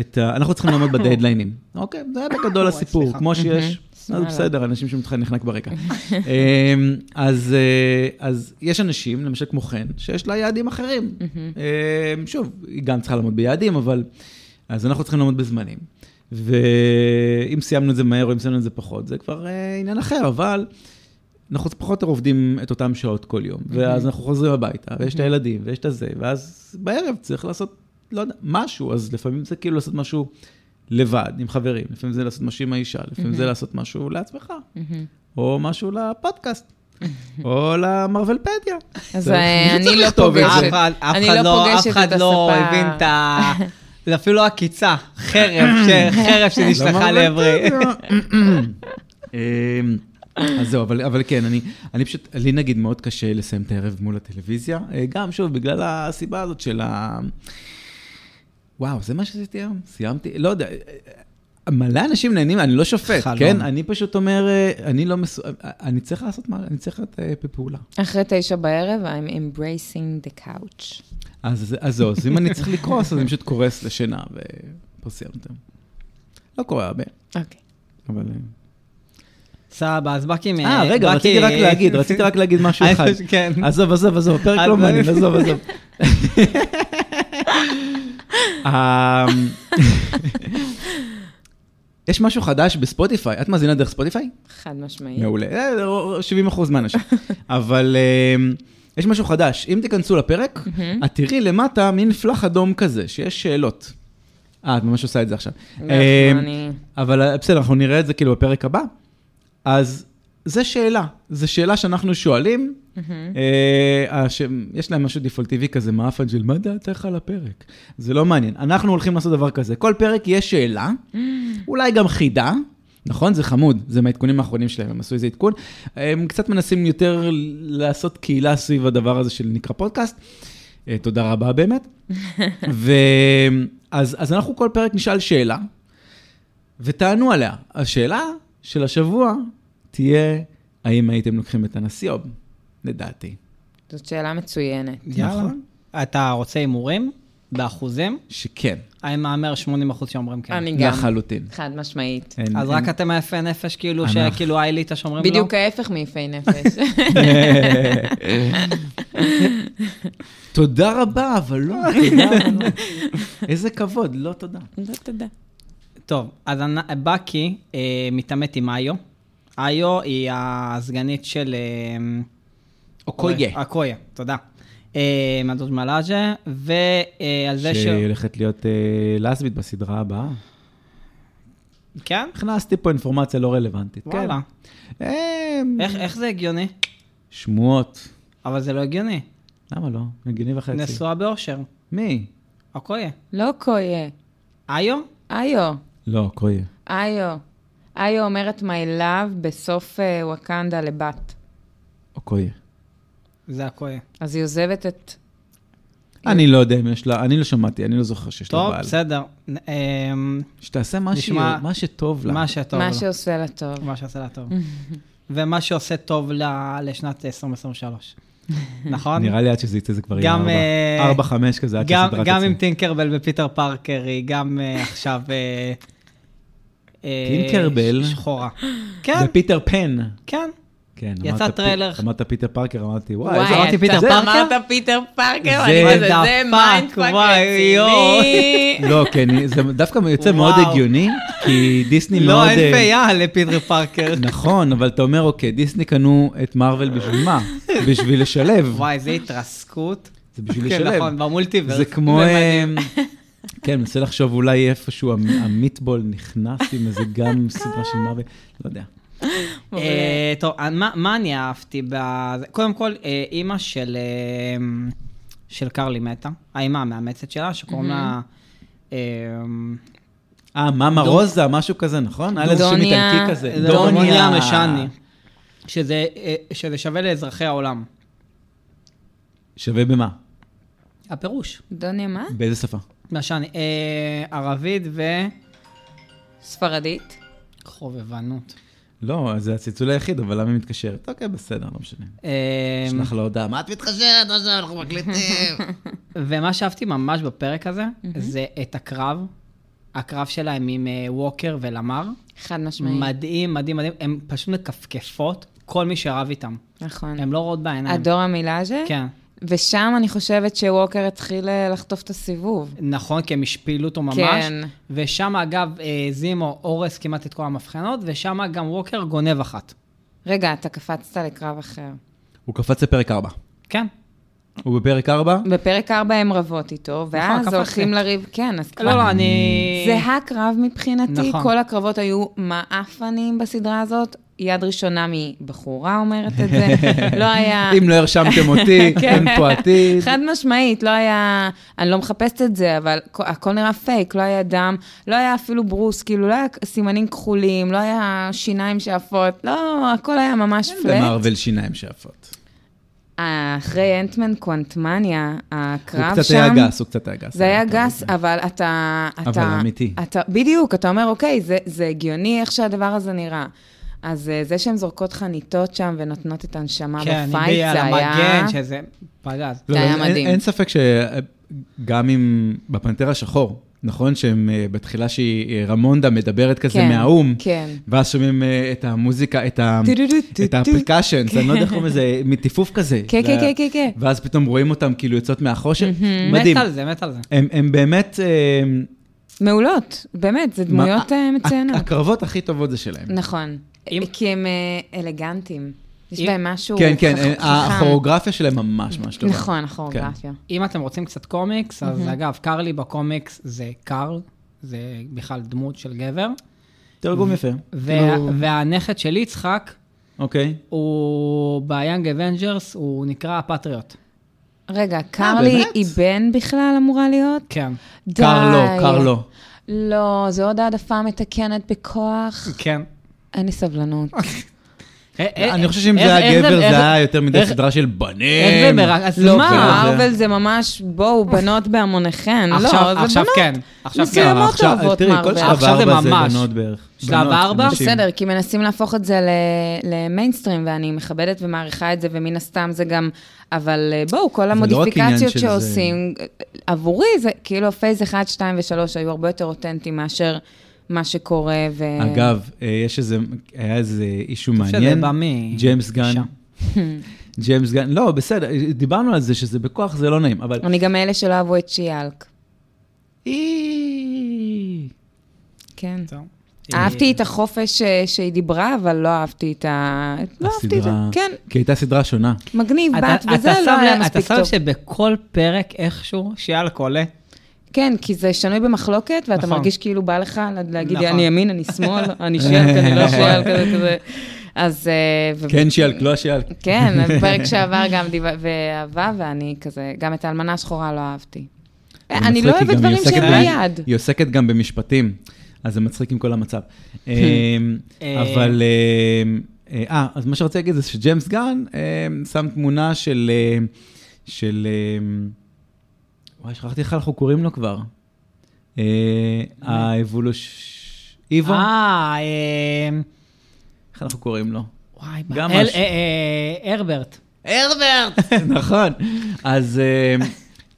Speaker 1: את ה... אנחנו צריכים לעמוד בדדליינים. אוקיי, זה בגדול
Speaker 2: וואי,
Speaker 1: הסיפור,
Speaker 2: סליחה.
Speaker 1: כמו שיש. אז
Speaker 3: שמאלה.
Speaker 1: בסדר, אנשים שמתחיל נחנק ברקע. אה, אז אה, אז יש אנשים, למשל כמו חן, שיש לה יעדים אחרים. אה, שוב, היא גם צריכה לעמוד ביעדים, אבל... אז אנחנו צריכים לעמוד בזמנים. ואם סיימנו את זה מהר או אם סיימנו את זה פחות, זה כבר אה, עניין אחר, אבל אנחנו פחות או יותר עובדים את אותם שעות כל
Speaker 3: Mhm.
Speaker 1: יום, ואז אנחנו חוזרים הביתה, ויש את הילדים, ויש את הזה, ואז בערב צריך לעשות, לא יודע, משהו, אז לפעמים זה כאילו לעשות משהו לבד, עם חברים, לפעמים זה לעשות משהו עם האישה, לפעמים
Speaker 3: Mhm.
Speaker 1: זה לעשות משהו לעצמך,
Speaker 2: Mm-hmm.
Speaker 1: או משהו לפודקאסט, או למרוולפדיה.
Speaker 3: אז
Speaker 1: צריך-
Speaker 3: אה,
Speaker 1: מישהו
Speaker 3: אני
Speaker 1: צריך
Speaker 3: לא
Speaker 1: לכתוב את זה.
Speaker 3: פוגשת.
Speaker 2: אף אחד- אף
Speaker 3: אני
Speaker 2: אחד
Speaker 3: לא
Speaker 2: לא-
Speaker 3: פוגשת
Speaker 2: אף אחד
Speaker 3: את
Speaker 2: לא
Speaker 3: הספה.
Speaker 2: הבין את ה... זה אפילו עקיצה, חרב, ש- חרב שנשלחה לעברי.
Speaker 1: אמ, אז זהו, אבל, אבל כן, אני, אני פשוט, לי נגיד מאוד קשה לסיים את הערב מול הטלוויזיה, אה, גם שוב, בגלל הסיבה הזאת של ה... וואו, זה מה שעשיתי היום, סיימתי, לא יודע, אה, מלא אנשים נהנים, אני לא שופט,
Speaker 2: חלום.
Speaker 1: כן? אני פשוט אומר, אה, אני לא מסו... אה, אני צריך לעשות מה, אני צריך להיות אה, בפעולה.
Speaker 3: אחרי תשע בערב, I'm embracing the couch.
Speaker 1: אז, אז זהו, אז אם אני צריך לקרוס, אז אני פשוט קורס לשינה, ופה סיימתם. לא קורה הרבה,
Speaker 3: אוקיי.
Speaker 1: אבל... אה,
Speaker 2: סבבה, אז בקי... מ-
Speaker 1: אה, רגע,
Speaker 2: בקי-
Speaker 1: רציתי רק להגיד, רציתי רק להגיד משהו
Speaker 2: אני
Speaker 1: אחד.
Speaker 2: חושב- כן.
Speaker 1: עזוב, עזוב, עזוב, הפרק
Speaker 2: אז-
Speaker 1: לא מעניין, עזוב, עזוב. אמ, יש משהו חדש בספוטיפיי, את מאזינה דרך ספוטיפיי?
Speaker 3: חד משמעית.
Speaker 1: מעולה, אה, 70% מהאנשים. אבל אמ, יש משהו חדש, אם תיכנסו לפרק, את תראי למטה מין פלח אדום כזה, שיש שאלות. אה, את ממש עושה את זה עכשיו.
Speaker 3: לא,
Speaker 1: אמ,
Speaker 3: אני-
Speaker 1: אבל אה, בסדר, אנחנו נראה את זה כאילו בפרק הבא. אז זה שאלה, זו שאלה שאנחנו שואלים. אה, הש- יש להם משהו דפולטיבי כזה מאפן של מה דעתך על הפרק? זה לא מעניין. אנחנו הולכים לעשות דבר כזה. כל פרק יש שאלה, אולי גם חידה. נכון? זה חמוד, זה מהעדכונים האחרונים שלהם, הם עשו איזה עדכון. הם קצת מנסים יותר לעשות קהילה סביב הדבר הזה של נקרא פודקאסט. אה, תודה רבה באמת. ואז אז אנחנו כל פרק נשאל שאלה, ותענו עליה. השאלה של השבוע תהיה, האם הייתם לוקחים את הנשיא אוב? לדעתי.
Speaker 3: זאת שאלה מצוינת.
Speaker 2: יאללה.
Speaker 1: נכון.
Speaker 2: אתה רוצה הימורים? באחוזים?
Speaker 1: שכן,
Speaker 2: אני מהמר 80% שאומרים כן.
Speaker 3: אני גם.
Speaker 1: לחלוטין.
Speaker 3: חד משמעית.
Speaker 1: אין-
Speaker 2: אז
Speaker 1: אין-
Speaker 2: רק אתם היפי נפש, כאילו,
Speaker 1: אנחנו.
Speaker 2: שכאילו האליטה שאומרים לא?
Speaker 3: בדיוק ההפך מיפי נפש.
Speaker 1: תודה רבה, אבל לא, תודה. לא. איזה כבוד, לא תודה.
Speaker 3: לא, תודה.
Speaker 2: טוב, אז אנ- בקי אה, מתעמת עם איו. איו היא הסגנית של... אה,
Speaker 1: אוקויה.
Speaker 2: אקויה, תודה. אה, מהדוד מלאז'ה, ועל זה ש...
Speaker 1: שהיא הולכת להיות אה, לסבית בסדרה הבאה.
Speaker 2: כן?
Speaker 1: הכנסתי פה אינפורמציה לא רלוונטית. כן.
Speaker 2: וואלה.
Speaker 1: אה,
Speaker 2: איך- איך זה הגיוני?
Speaker 1: שמועות.
Speaker 2: אבל זה לא הגיוני.
Speaker 1: למה לא? מגיני וחצי.
Speaker 2: נשואה באושר.
Speaker 1: מי?
Speaker 2: אקויה.
Speaker 3: לא קויה,
Speaker 2: איו?
Speaker 3: איו,
Speaker 1: לא, קויה.
Speaker 3: איו. איו אומרת my love בסוף אה, וואקנדה לבת.
Speaker 1: או קויה.
Speaker 2: זה אקויה.
Speaker 3: אז היא עוזבת את...
Speaker 1: אני לא יודע אם יש לה, אני לא שמעתי, אני לא זוכר שיש לה
Speaker 2: טוב,
Speaker 1: בעל.
Speaker 2: בסדר. נ- אמ,
Speaker 1: שתעשה מה שהיא-
Speaker 2: נשמע-
Speaker 1: מה שטוב לה.
Speaker 2: מה שטוב
Speaker 3: מה
Speaker 2: לו.
Speaker 3: שעושה לה טוב.
Speaker 2: מה שעושה לה טוב. ומה שעושה טוב ל- לשנת 2023. נכון?
Speaker 1: נראה לי עד שזה יצא זה כבר
Speaker 2: גם,
Speaker 1: יהיה
Speaker 2: אה,
Speaker 1: 4, 5 כזה, עד
Speaker 2: גם,
Speaker 1: שהסדרה
Speaker 2: גם עם
Speaker 1: תצא.
Speaker 2: טינקרבל ופיטר פארקר, היא גם אה, עכשיו... אה, אה,
Speaker 1: טינקרבל?
Speaker 2: ש- שחורה. כן,
Speaker 1: ופיטר פן.
Speaker 2: כן.
Speaker 1: כן,
Speaker 2: יצא
Speaker 1: אמרת פי-
Speaker 2: טריילר.
Speaker 1: אמרת פיטר פארקר, אמרתי, וואי,
Speaker 3: וואי,
Speaker 1: איזה-
Speaker 2: אמרתי
Speaker 3: אתה-
Speaker 2: פיטר
Speaker 3: זה-
Speaker 2: פארקר?
Speaker 3: אמרת פיטר פארקר,
Speaker 1: זה-
Speaker 3: ואני אומרת,
Speaker 2: What the
Speaker 3: זה
Speaker 2: fuck,
Speaker 3: מיינדפאק
Speaker 2: וואי,
Speaker 3: רציני.
Speaker 1: לא, כן, זה דווקא יוצא מאוד
Speaker 2: וואו.
Speaker 1: הגיוני, כי דיסני מאוד...
Speaker 2: לא, אין
Speaker 1: אה,
Speaker 2: פיה לפיטר פארקר.
Speaker 1: נכון, אבל אתה אומר, אוקיי, דיסני קנו את מארוול בשביל מה? בשביל לשלב.
Speaker 2: וואי, איזה התרסקות.
Speaker 1: זה בשביל
Speaker 2: כן,
Speaker 1: לשלב.
Speaker 2: נכון, במולטיברס.
Speaker 1: זה כמו...
Speaker 2: ומעניין.
Speaker 1: אמ, כן, מנסה לחשוב אולי איפשהו המ- המיטבול נכנס עם איזה גם סדרה של מארוול, לא יודע.
Speaker 3: מעולה.
Speaker 2: אה, טוב, אה, מה מה אני אהבתי בזה? קודם כל, אה, אימא של אמ, של קרלי מתה, האימא המאמצת שלה, שקוראים לה... אמ,
Speaker 1: אה, מאמה
Speaker 2: דו-
Speaker 1: רוזה, משהו כזה, נכון? היה לזה שם
Speaker 3: דוניה-
Speaker 1: איטלקי כזה.
Speaker 2: זה דוניה משני, שזה, אה, שזה שווה לאזרחי העולם.
Speaker 1: שווה במה?
Speaker 2: הפירוש.
Speaker 3: דוניה מה?
Speaker 1: באיזה שפה?
Speaker 2: משני, אה, ערבית
Speaker 3: ספרדית?
Speaker 2: וחובבנות.
Speaker 1: לא, זה הצלצול היחיד, אבל למה היא מתקשרת? אוקיי, בסדר, לא משנה.
Speaker 3: אמ-
Speaker 2: אה,
Speaker 1: שלח לה הודעה, מה את מתקשרת? לא יודע, אנחנו מקליטים.
Speaker 2: ומה שאהבתי ממש בפרק הזה, זה את הקרב, הקרב שלהם עם אה, ווקר ולמר.
Speaker 3: חד משמעית.
Speaker 2: מדהים, מדהים, מדהים. הן פשוט מקפקפות כל מי שרב איתם.
Speaker 3: נכון.
Speaker 2: הן לא רואות בעיניים.
Speaker 3: הדור המילאז'ה?
Speaker 2: כן.
Speaker 3: ושם אני חושבת שווקר התחיל אה, לחטוף את הסיבוב.
Speaker 2: נכון, כי הם השפילו אותו ממש.
Speaker 3: כן.
Speaker 2: ושם, אגב, אה, זימו הורס כמעט את כל המבחנות, ושם גם ווקר גונב אחת.
Speaker 3: רגע, אתה קפצת לקרב אחר.
Speaker 1: הוא קפץ לפרק 4.
Speaker 2: כן.
Speaker 1: הוא בפרק 4?
Speaker 3: בפרק 4 הם רבות איתו, ואז
Speaker 2: נכון, קפצתי.
Speaker 3: הולכים לריב. כן, אז
Speaker 2: לא,
Speaker 3: קרב.
Speaker 2: לא, אני...
Speaker 3: זה הקרב מבחינתי,
Speaker 2: נכון.
Speaker 3: כל הקרבות היו מעפנים בסדרה הזאת. יד ראשונה מבחורה אומרת את זה. לא היה... כן.
Speaker 1: אם לא הרשמתם אותי, אין פה עתיד.
Speaker 3: חד משמעית, לא היה, אני לא מחפשת את זה, אבל הכ- הכל נראה פייק, לא היה דם, לא היה אפילו ברוס, כאילו לא היה סימנים כחולים, לא היה שיניים שעפות, לא, הכל היה ממש
Speaker 1: כן,
Speaker 3: פלט.
Speaker 1: במארוול שיניים שאפות.
Speaker 3: אחרי אנטמן קוונטמניה,
Speaker 1: הוא
Speaker 3: הקרב
Speaker 1: קצת
Speaker 3: שם...
Speaker 1: היה גס, הוא קצת היה גס.
Speaker 3: זה היה
Speaker 1: אני מקווה.
Speaker 3: גס, אבל אתה...
Speaker 1: אבל
Speaker 3: אתה-
Speaker 1: אמיתי.
Speaker 3: אתה, בדיוק, אתה אומר, אוקיי, זה, זה הגיוני איך שהדבר הזה נראה. אז אה, זה שהן זורקות חניתות שם ונותנות את הנשמה
Speaker 2: כן,
Speaker 3: בפייט,
Speaker 2: הביאה
Speaker 3: זה היה...
Speaker 2: למגן, שזה... פגז.
Speaker 1: לא,
Speaker 3: זה היה
Speaker 1: אין-
Speaker 3: מדהים.
Speaker 1: אין ספק שגם אם בפנתר השחור, נכון שהם אה, בתחילה שהיא אה, רמונדה מדברת כזה
Speaker 3: כן,
Speaker 1: מהאו"ם,
Speaker 3: כן.
Speaker 1: ואז שומעים אה, את המוזיקה, את ה-
Speaker 3: טו-טו-טו-טו-טו.
Speaker 1: את האפליקשנס, אני לא יודע איך קוראים לזה, מטיפוף כזה.
Speaker 3: כן,
Speaker 1: זה-
Speaker 3: כן, כן, כן, כן.
Speaker 1: ואז פתאום רואים אותם כאילו יוצאות מהחושך, מדהים.
Speaker 2: מת על זה, מת על זה.
Speaker 1: הם הם באמת... אה,
Speaker 3: מעולות, באמת, זה דמויות
Speaker 1: מה- אה,
Speaker 3: אה, מצוינות.
Speaker 1: הקרבות הכי טובות זה שלהם.
Speaker 3: נכון.
Speaker 2: אם-
Speaker 3: כי הם אה, אלגנטים. יש
Speaker 2: אם-
Speaker 3: בהם משהו
Speaker 1: כן, כן,
Speaker 3: חכ- חכם.
Speaker 1: הכוריאוגרפיה שלהם ממש ממש טובה. כן.
Speaker 3: נכון, הכוריאוגרפיה.
Speaker 2: אם אתם רוצים קצת קומיקס, אז אגב, קרלי בקומיקס זה קרל, זה בכלל דמות של גבר.
Speaker 3: Mm-hmm.
Speaker 1: תרגום יפה.
Speaker 2: וה-
Speaker 1: כאילו,
Speaker 2: והנכד של יצחק,
Speaker 1: אוקיי.
Speaker 2: הוא ביאנג אבנג'רס, הוא נקרא הפטריוט.
Speaker 3: רגע, קרלי
Speaker 1: כן. אה, באמת?
Speaker 3: היא בן בכלל אמורה להיות?
Speaker 2: כן.
Speaker 3: די.
Speaker 1: קרלו, קרלו.
Speaker 3: לא, זה עוד העדפה מתקנת בכוח.
Speaker 2: כן. אה,
Speaker 3: אין לי סבלנות.
Speaker 1: אני חושב שאם זה היה גבר, זה היה יותר מדי
Speaker 2: איך-
Speaker 1: סדרה של בנים.
Speaker 2: איך זה מרק- אז
Speaker 1: לא,
Speaker 2: מה?
Speaker 1: זה לא זה.
Speaker 3: מארוול זה ממש, בואו, בנות בהמוניכן. לא, זה
Speaker 2: עכשיו,
Speaker 3: בנות.
Speaker 2: עכשיו כן. עכשיו
Speaker 3: זה
Speaker 2: כן.
Speaker 3: ממש-
Speaker 1: עכשיו-
Speaker 3: אוהבות
Speaker 1: תראי, כל
Speaker 3: מארוול.
Speaker 1: שלב
Speaker 2: עכשיו זה
Speaker 1: ארבע זה
Speaker 2: ממש.
Speaker 1: בנות בערך.
Speaker 2: שלב
Speaker 1: בנות,
Speaker 2: ארבע?
Speaker 1: נשים.
Speaker 3: לא, בסדר, כי מנסים להפוך את זה ל- למיינסטרים, ואני מכבדת ומעריכה את זה, ומן הסתם זה גם... אבל אה, בואו, כל
Speaker 1: לא רק עניין
Speaker 3: המודיפיקציות
Speaker 1: של
Speaker 3: שעושים, עבורי זה כאילו פייז 1, 2 ו-3 היו הרבה יותר אותנטיים מאשר מה שקורה, ו...
Speaker 1: אגב, אה, יש איזה, היה איזה אישו
Speaker 2: שזה
Speaker 1: מעניין.
Speaker 2: בא מ-
Speaker 1: ג'יימס גן.
Speaker 2: שם.
Speaker 1: ג'יימס גן, לא, בסדר, דיברנו על זה שזה בכוח, זה לא נעים, אבל...
Speaker 3: אני גם מאלה שלא אהבו את שיאלק.
Speaker 1: אי,
Speaker 3: כן.
Speaker 2: טוב.
Speaker 3: אהבתי את החופש אה, שהיא דיברה, אבל לא אהבתי את ה... לא אהבתי את זה.
Speaker 1: הסדרה-
Speaker 3: כן,
Speaker 1: כי הייתה סדרה שונה.
Speaker 3: מגניב,
Speaker 2: אה, אתה-
Speaker 3: בת,
Speaker 2: אתה
Speaker 3: וזה לא
Speaker 2: שם
Speaker 3: היה
Speaker 2: לב-
Speaker 3: מספיק
Speaker 2: אתה
Speaker 3: טוב.
Speaker 2: שם שבכל פרק איכשהו שיאלק עולה?
Speaker 3: כן, כי זה שנוי במחלוקת, ואתה
Speaker 2: נכון.
Speaker 3: מרגיש כאילו בא לך לה- להגיד,
Speaker 2: נכון.
Speaker 3: אני ימין, אני שמאל, אני שיאלק, אני לא שיאלק, כזה כזה. אז... אה, ו-
Speaker 1: כן שיאלק, לא שיאלק.
Speaker 3: כן, בפרק שעבר גם דיבר, ואהבה, ואני כזה, גם את האלמנה השחורה לא אהבתי.
Speaker 1: זה
Speaker 3: אני
Speaker 1: מצחיק,
Speaker 3: לא אוהבת
Speaker 1: היא גם- היא
Speaker 3: דברים שהם
Speaker 1: עוסקת ב-
Speaker 3: ביד.
Speaker 1: היא עוסקת גם במשפטים, אז זה מצחיק עם כל המצב. אמ,
Speaker 2: אה.
Speaker 1: אבל... אמ, אה, אה, אז מה שרציתי להגיד זה שג'יימס גן אמ, שם תמונה של... אמ, של... אמ, וואי, שכחתי איך אנחנו קוראים לו כבר. אה,
Speaker 3: אה.
Speaker 1: האבולוש... איבו?
Speaker 2: אה, אה,
Speaker 1: איך אנחנו קוראים לו?
Speaker 2: וואי,
Speaker 1: גם
Speaker 2: אל-
Speaker 1: משהו.
Speaker 2: אה, אה, הרברט.
Speaker 1: הרברט! נכון. אז אה,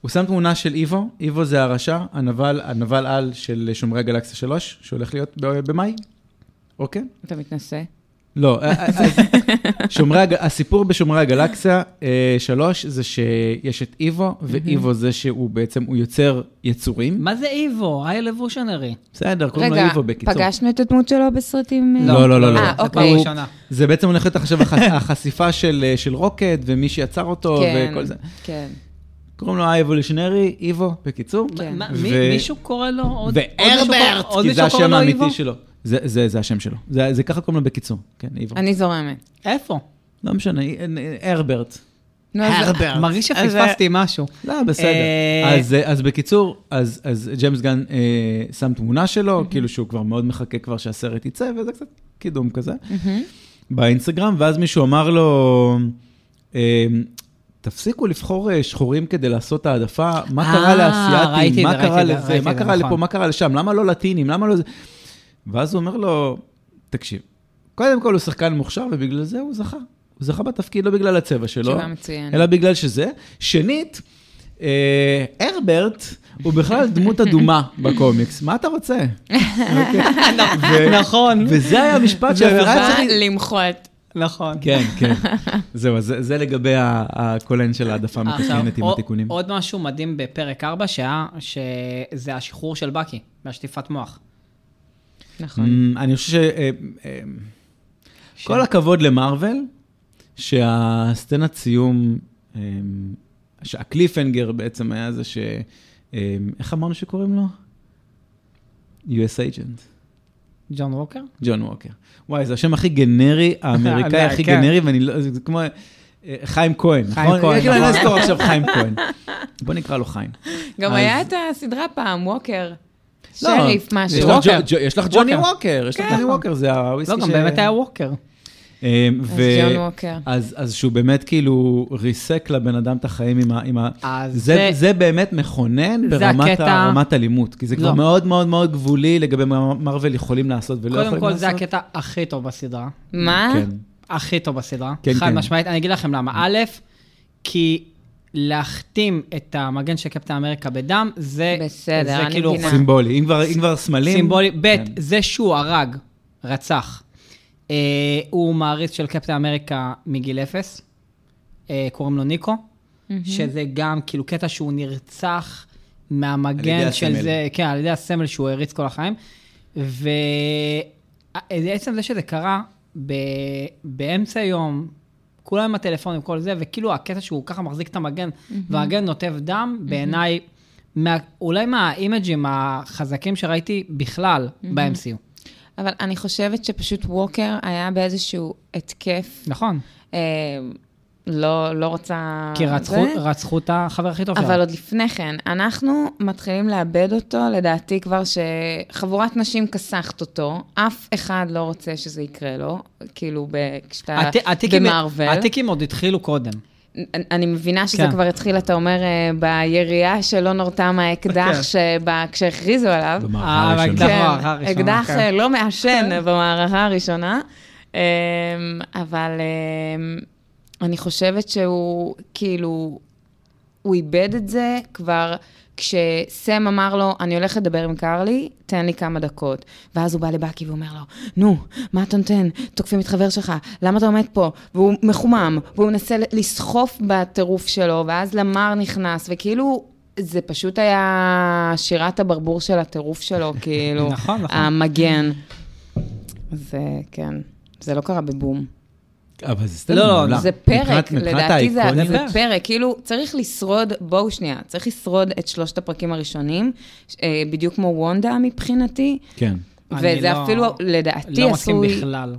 Speaker 1: הוא שם תמונה של איבו, איבו זה הרשע, הנבל, הנבל על של שומרי הגלקסיה 3, שהולך להיות ב- במאי, אוקיי?
Speaker 3: אתה מתנשא?
Speaker 1: לא, אה, אה, אז שומרי, הג- הסיפור בשומרי הגלקסיה 3 זה שיש את איבו, ואיבו זה שהוא בעצם, הוא יוצר יצורים.
Speaker 2: מה זה איבו? האלבושנרי.
Speaker 1: בסדר, קוראים לו
Speaker 3: רגע,
Speaker 1: איבו בקיצור.
Speaker 3: פגשנו את הדמות שלו בסרטים? אה?
Speaker 1: לא, לא, לא, לא.
Speaker 3: אה,
Speaker 2: זה פעם
Speaker 3: אוקיי.
Speaker 2: ראשונה.
Speaker 1: זה בעצם הולך להיות עכשיו הח- החשיפה של אה, של רוקד, ומי שיצר אותו,
Speaker 3: כן,
Speaker 1: לא, וכל זה.
Speaker 3: כן.
Speaker 1: קוראים לו האבולושיונרי, איבו, בקיצור.
Speaker 3: כן.
Speaker 2: מה,
Speaker 1: ו-
Speaker 2: מי- מישהו קורא לו עוד... עוד מישהו קורא-
Speaker 1: והרברט,
Speaker 2: עוד
Speaker 1: כי זה
Speaker 2: מישהו קורא
Speaker 1: השם
Speaker 2: לו
Speaker 1: האמיתי
Speaker 2: איבו?
Speaker 1: שלו. זה- זה זה השם שלו. זה זה ככה קוראים לו בקיצור. כן, איבו.
Speaker 3: אני זורמת.
Speaker 2: איפה?
Speaker 1: לא משנה, אי- אין- אין- הרברט.
Speaker 3: נו, אז-
Speaker 2: מרגיש
Speaker 3: אה,
Speaker 2: שפספסתי משהו.
Speaker 1: לא, בסדר.
Speaker 2: אה,
Speaker 1: אז, אה, אז בקיצור, אז, אז ג'יימס גן אה, שם תמונה שלו, כאילו שהוא כבר מאוד מחכה כבר שהסרט יצא, וזה קצת קידום כזה, באינסטגרם, ואז מישהו אמר לו, אה, תפסיקו לבחור אה, שחורים כדי לעשות העדפה, מה
Speaker 2: אה,
Speaker 1: קרה
Speaker 2: ראיתי את זה,
Speaker 1: לאסייתים, מה
Speaker 2: ראיתי
Speaker 1: קרה
Speaker 2: את זה, ראיתי
Speaker 1: לזה,
Speaker 2: את
Speaker 1: מה
Speaker 2: זה,
Speaker 1: קרה לפה,
Speaker 2: נכון.
Speaker 1: מה קרה לשם, למה לא לטינים, למה לא זה? ואז הוא אומר לו, תקשיב, קודם כל הוא שחקן מוכשר, ובגלל זה הוא זכה. הוא זכה בתפקיד לא בגלל הצבע שלו,
Speaker 3: תשובה מצוינת.
Speaker 1: אלא בגלל שזה. שנית, אה, הרברט הוא בכלל דמות אדומה בקומיקס, מה אתה רוצה? אוקיי. ו-
Speaker 2: נכון,
Speaker 1: וזה היה המשפט
Speaker 3: בא
Speaker 1: שהפרעה צריך...
Speaker 3: למחות.
Speaker 2: נכון.
Speaker 1: כן, כן. זהו, אז זה זה לגבי ה- הקולן של העדפה
Speaker 2: עכשיו,
Speaker 1: המתקנת עם
Speaker 2: עוד-
Speaker 1: התיקונים.
Speaker 2: עוד משהו מדהים בפרק 4, שהיה, שזה השחרור של בקי, מהשטיפת מוח.
Speaker 3: נכון.
Speaker 1: Mm, אני חושב ש... אה, אה, כל הכבוד למארוול, שהסצנת סיום, אה, שהקליפהנגר בעצם היה זה ש... אה, איך אמרנו שקוראים לו? U.S. agent,
Speaker 2: ג'ון ווקר?
Speaker 1: ג'ון ווקר. וואי, זה השם הכי גנרי, האמריקאי
Speaker 2: אה,
Speaker 1: הכי
Speaker 2: כן.
Speaker 1: גנרי, ואני לא... זה זה כמו... אה, חיים כהן,
Speaker 2: חיים
Speaker 1: נכון?
Speaker 2: כהן,
Speaker 1: כאילו, אני לא
Speaker 2: נכון.
Speaker 1: אזכור עכשיו חיים כהן. בוא נקרא לו חיים.
Speaker 3: גם
Speaker 1: Mm, אז-
Speaker 3: היה את הסדרה פעם, ווקר.
Speaker 1: לא,
Speaker 3: שריף,
Speaker 1: יש
Speaker 3: משהו.
Speaker 1: לך
Speaker 2: ווקר.
Speaker 1: ג'ו- ג'ו- יש לך ג'וני
Speaker 2: ווקר. כן.
Speaker 1: ווקר, יש לך ג'וני ווקר, זה הוויסקי
Speaker 2: לא, גם באמת היה ווקר.
Speaker 1: אמ,
Speaker 3: אז
Speaker 1: ו-
Speaker 3: ג'ון ווקר.
Speaker 1: אז, אז שהוא באמת כאילו ריסק לבן אדם את החיים עם ה... עם ה...
Speaker 2: אז
Speaker 1: זה,
Speaker 2: זה-
Speaker 1: זה באמת מכונן
Speaker 2: זה
Speaker 1: ברמת
Speaker 2: הקטע-
Speaker 1: ה- רמת אלימות, כי זה כבר
Speaker 2: לא.
Speaker 1: מאוד מאוד מאוד גבולי לגבי מה מרוויל יכולים לעשות ולא יכולים
Speaker 2: קודם
Speaker 1: לעשות.
Speaker 2: כל, זה הקטע הכי טוב בסדרה.
Speaker 3: מה?
Speaker 1: כן,
Speaker 2: הכי טוב בסדרה.
Speaker 1: כן,
Speaker 2: חד
Speaker 1: כן.
Speaker 2: משמעית. אני אגיד לכם למה. א', כי להחתים את המגן של קפטן אמריקה בדם, זה...
Speaker 3: בסדר,
Speaker 2: זה
Speaker 3: אני
Speaker 2: כאילו
Speaker 3: מבינה.
Speaker 1: סימבולי. אם כבר, אם כבר סמלים...
Speaker 2: סימבולי. ב',
Speaker 1: כן.
Speaker 2: זה שהוא הרג, רצח. אה, הוא מעריץ של קפטן אמריקה מגיל אפס. אה, קוראים לו ניקו. שזה גם כאילו קטע שהוא נרצח
Speaker 1: על ידי
Speaker 2: מהמגן של
Speaker 1: הסמל.
Speaker 2: זה, כן, על ידי הסמל שהוא הריץ כל החיים. ועצם זה שזה קרה ב... באמצע היום, כולם עם הטלפונים, כל זה, וכאילו הקטע שהוא ככה מחזיק את המגן, והמגן נוטף דם, בעיניי, מה... אולי מהאימג'ים החזקים שראיתי בכלל ב-MCU.
Speaker 3: אבל אני חושבת שפשוט ווקר היה באיזשהו התקף.
Speaker 2: נכון,
Speaker 3: אה, לא, לא רוצה...
Speaker 2: כי רצחו,
Speaker 3: זה.
Speaker 2: רצחו את החבר הכי טוב
Speaker 3: אבל
Speaker 2: שלנו.
Speaker 3: עוד לפני כן, אנחנו מתחילים לאבד אותו, לדעתי כבר שחבורת נשים כסחת אותו, אף אחד לא רוצה שזה יקרה לו, כאילו ב- כשאתה
Speaker 2: הת- התיקים-
Speaker 3: במארוול.
Speaker 2: התיקים עוד התחילו קודם.
Speaker 3: אני- אני מבינה שזה
Speaker 2: כן.
Speaker 3: כבר התחיל, אתה אומר, אה, בירייה שלא נורתה מהאקדח
Speaker 2: כן.
Speaker 3: שבה- כשהכריזו עליו.
Speaker 1: במערכה
Speaker 2: אה,
Speaker 1: הראשונה.
Speaker 2: אבל-
Speaker 3: כן,
Speaker 2: במערכה הראשונה,
Speaker 3: אקדח
Speaker 2: כן.
Speaker 3: אה, לא מעשן במערכה הראשונה, אמ, אבל אמ, אני חושבת שהוא, כאילו, הוא איבד את זה כבר כשסם אמר לו, אני הולך לדבר עם קרלי, תן לי כמה דקות. ואז הוא בא לבאקי ואומר לו, נו, מה אתה נותן? תוקפים את חבר שלך, למה אתה עומד פה? והוא מחומם, והוא מנסה לסחוף בטירוף שלו, ואז למר נכנס, וכאילו... זה פשוט היה שירת הברבור של הטירוף שלו, כאילו,
Speaker 2: נכון, נכון.
Speaker 3: המגן. זה, כן, זה לא קרה בבום.
Speaker 1: אבל זה סטנדאפ
Speaker 2: לא, לא,
Speaker 1: מעולה.
Speaker 3: זה
Speaker 1: מבחינת-
Speaker 3: פרק,
Speaker 1: מבחינת
Speaker 3: לדעתי זה,
Speaker 1: האיקוניה-
Speaker 2: האיקוניות?
Speaker 3: זה פרק, כאילו צריך לשרוד, בואו שנייה, צריך לשרוד את שלושת הפרקים הראשונים, אה, בדיוק כמו וונדה מבחינתי,
Speaker 1: כן.
Speaker 2: אני
Speaker 3: וזה
Speaker 2: לא-
Speaker 3: אפילו לדעתי
Speaker 2: לא מסכים
Speaker 3: עשוי...
Speaker 2: בכלל.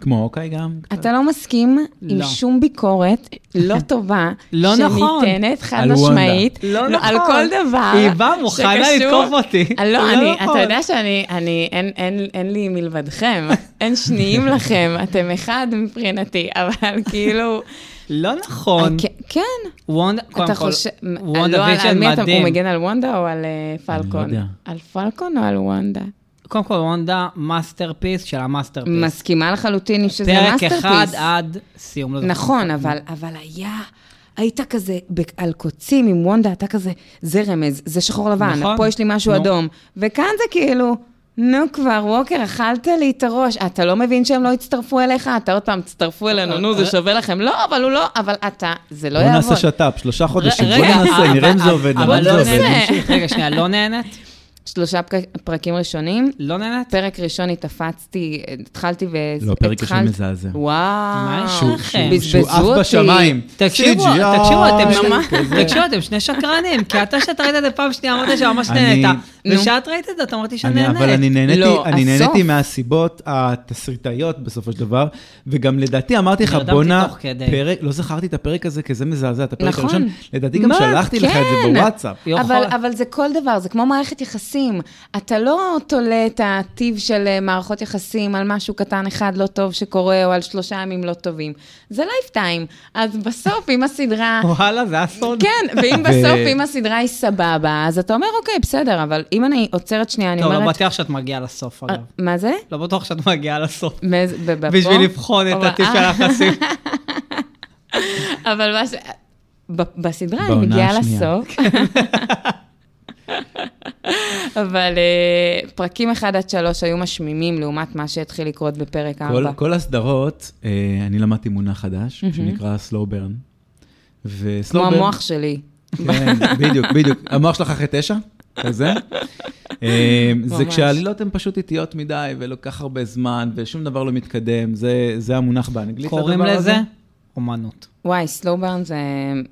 Speaker 1: כמו אוקיי גם. קצת.
Speaker 3: אתה לא מסכים עם
Speaker 2: לא.
Speaker 3: שום ביקורת לא טובה,
Speaker 2: לא נכון.
Speaker 3: שניתנת חד
Speaker 1: על וונדה.
Speaker 3: משמעית,
Speaker 2: לא
Speaker 3: על
Speaker 2: נכון.
Speaker 3: כל דבר
Speaker 2: היא באה מוכנה
Speaker 3: שקשור-
Speaker 2: לתקוף אותי.
Speaker 3: אה,
Speaker 2: לא
Speaker 3: לא, אני,
Speaker 2: נכון.
Speaker 3: אתה יודע שאני, אני, אין, אין, אין לי מלבדכם, אין שניים לכם, אתם אחד מבחינתי, אבל כאילו,
Speaker 2: לא נכון.
Speaker 3: אה, כ- כן,
Speaker 2: וונדה,
Speaker 3: אתה
Speaker 2: קודם כל,
Speaker 3: חושב,
Speaker 2: וונדה
Speaker 3: לא, על- על
Speaker 2: ויז'ן
Speaker 3: מי אתה, הוא
Speaker 2: מדהים. לא
Speaker 3: מגן על וונדה או על אה, פלקון?
Speaker 1: יודע.
Speaker 3: על פלקון או על וונדה?
Speaker 2: קודם כל, וונדה, מאסטרפיס של המאסטרפיס.
Speaker 3: מסכימה לחלוטין עם שזה
Speaker 2: אוקיי. פרק
Speaker 3: מאסטרפיס.
Speaker 2: אחד עד סיום. לא זוכר.
Speaker 3: נכון, אבל, אבל היה, היית כזה ב- על קוצים עם וונדה, אתה כזה, זה רמז, זה שחור לבן,
Speaker 2: נכון.
Speaker 3: פה יש לי משהו
Speaker 2: נו.
Speaker 3: אדום. וכאן זה כאילו, נו כבר, ווקר, אכלת לי את הראש, אתה לא מבין שהם לא הצטרפו אליך, אתה עוד פעם, תצטרפו אלינו, נו,
Speaker 2: אה,
Speaker 3: זה שווה לכם. לא, אבל הוא לא, אבל אתה, זה לא
Speaker 1: בוא נעשה
Speaker 3: יעבוד.
Speaker 1: שת"פ, שלושה חודשים,
Speaker 2: רגע, אה,
Speaker 1: בוא נעשה,
Speaker 2: אבל-
Speaker 1: נראה אם זה עובד,
Speaker 2: אבל
Speaker 1: נראה אם
Speaker 2: לא
Speaker 1: זה עובד.
Speaker 2: נהנית.
Speaker 1: נמשיך.
Speaker 2: רגע, שנייה, לא נהנית?
Speaker 3: שלושה פרק- פרקים ראשונים,
Speaker 2: לא נהנית?
Speaker 3: פרק ראשון התאפצתי, התחלתי ו...
Speaker 1: לא, פרק ראשון
Speaker 3: התחלת-
Speaker 1: מזעזע.
Speaker 3: וואו,
Speaker 2: יש שהוא- לכם? שהוא-
Speaker 3: בזבזו
Speaker 1: שהוא עף
Speaker 3: אותי.
Speaker 1: בשמיים.
Speaker 2: תקשיבו,
Speaker 1: CGI,
Speaker 2: תקשיבו, אתם
Speaker 1: ממש.
Speaker 2: שני- תקשיבו, אתם שני שקרנים, כי אתה שאתה ראית את זה פעם שנייה, אמרת שממש
Speaker 1: אני-
Speaker 2: נהנית,
Speaker 3: נו.
Speaker 2: וכשאת ראית את זה, אתה אמרתי
Speaker 1: אני,
Speaker 2: שנהנית.
Speaker 1: אבל אני נהניתי,
Speaker 3: לא,
Speaker 1: אני
Speaker 3: הסוף.
Speaker 1: נהניתי מהסיבות התסריטאיות בסופו של דבר, וגם לדעתי אמרתי לך,
Speaker 2: נרדמתי
Speaker 1: בואנה,
Speaker 2: תוך כדי."
Speaker 1: פרק, לא זכרתי את הפרק הזה, כי זה מזעזע, את הפרק
Speaker 3: נכון.
Speaker 1: הראשון, לדעתי גם
Speaker 3: מה?
Speaker 1: שלחתי לך את זה
Speaker 3: כן.
Speaker 1: בוואטסאפ.
Speaker 2: יכול.
Speaker 3: אבל, אבל זה כל דבר, זה כמו מערכת יחסים. אתה לא תולה את הטיב של אה, מערכות יחסים על משהו קטן אחד לא טוב שקורה, או על שלושה ימים לא טובים. זה לייפטיים. אז בסוף, אם הסדרה...
Speaker 2: וואלה, זה אסון.
Speaker 3: כן, ואם
Speaker 1: נכון. ו-
Speaker 3: בסוף, אם הסדרה היא סבבה, אז אתה אומר, אוקיי, בסדר, אבל אם אני עוצרת שנייה, אני
Speaker 2: טוב, לא
Speaker 3: אומרת...
Speaker 2: בטוח שאת מגיעה לסוף,
Speaker 3: אה,
Speaker 2: אגב.
Speaker 3: מה זה?
Speaker 2: לא בטוח שאת מגיעה לסוף.
Speaker 3: מאיזה- ב- ב-
Speaker 2: בשביל
Speaker 3: פה?
Speaker 2: לבחון את
Speaker 3: אבל-
Speaker 2: הטיפ
Speaker 3: אה,
Speaker 2: של היחסים.
Speaker 3: אבל מה ש... ב- בסדרה אני
Speaker 1: בעונה
Speaker 3: מגיעה
Speaker 1: השנייה.
Speaker 3: לסוף. אבל אה, פרקים 1 עד 3 היו משמימים לעומת מה שהתחיל לקרות בפרק 4.
Speaker 1: כל, כל הסדרות, אה, אני למדתי מונח חדש, שנקרא slow burn. ו-
Speaker 3: כמו
Speaker 1: slow burn-
Speaker 3: המוח שלי.
Speaker 1: כן, בדיוק, בדיוק. המוח שלך אחרי תשע, כזה. אה, זה
Speaker 3: ממש.
Speaker 1: כשהעלילות הן פשוט איטיות מדי, ולוקח הרבה זמן, ושום דבר לא מתקדם, זה- זה המונח באנגלית.
Speaker 2: קוראים
Speaker 1: לדבר הזה.
Speaker 2: לזה אומנות.
Speaker 3: וואי, סלואו-ברן זה,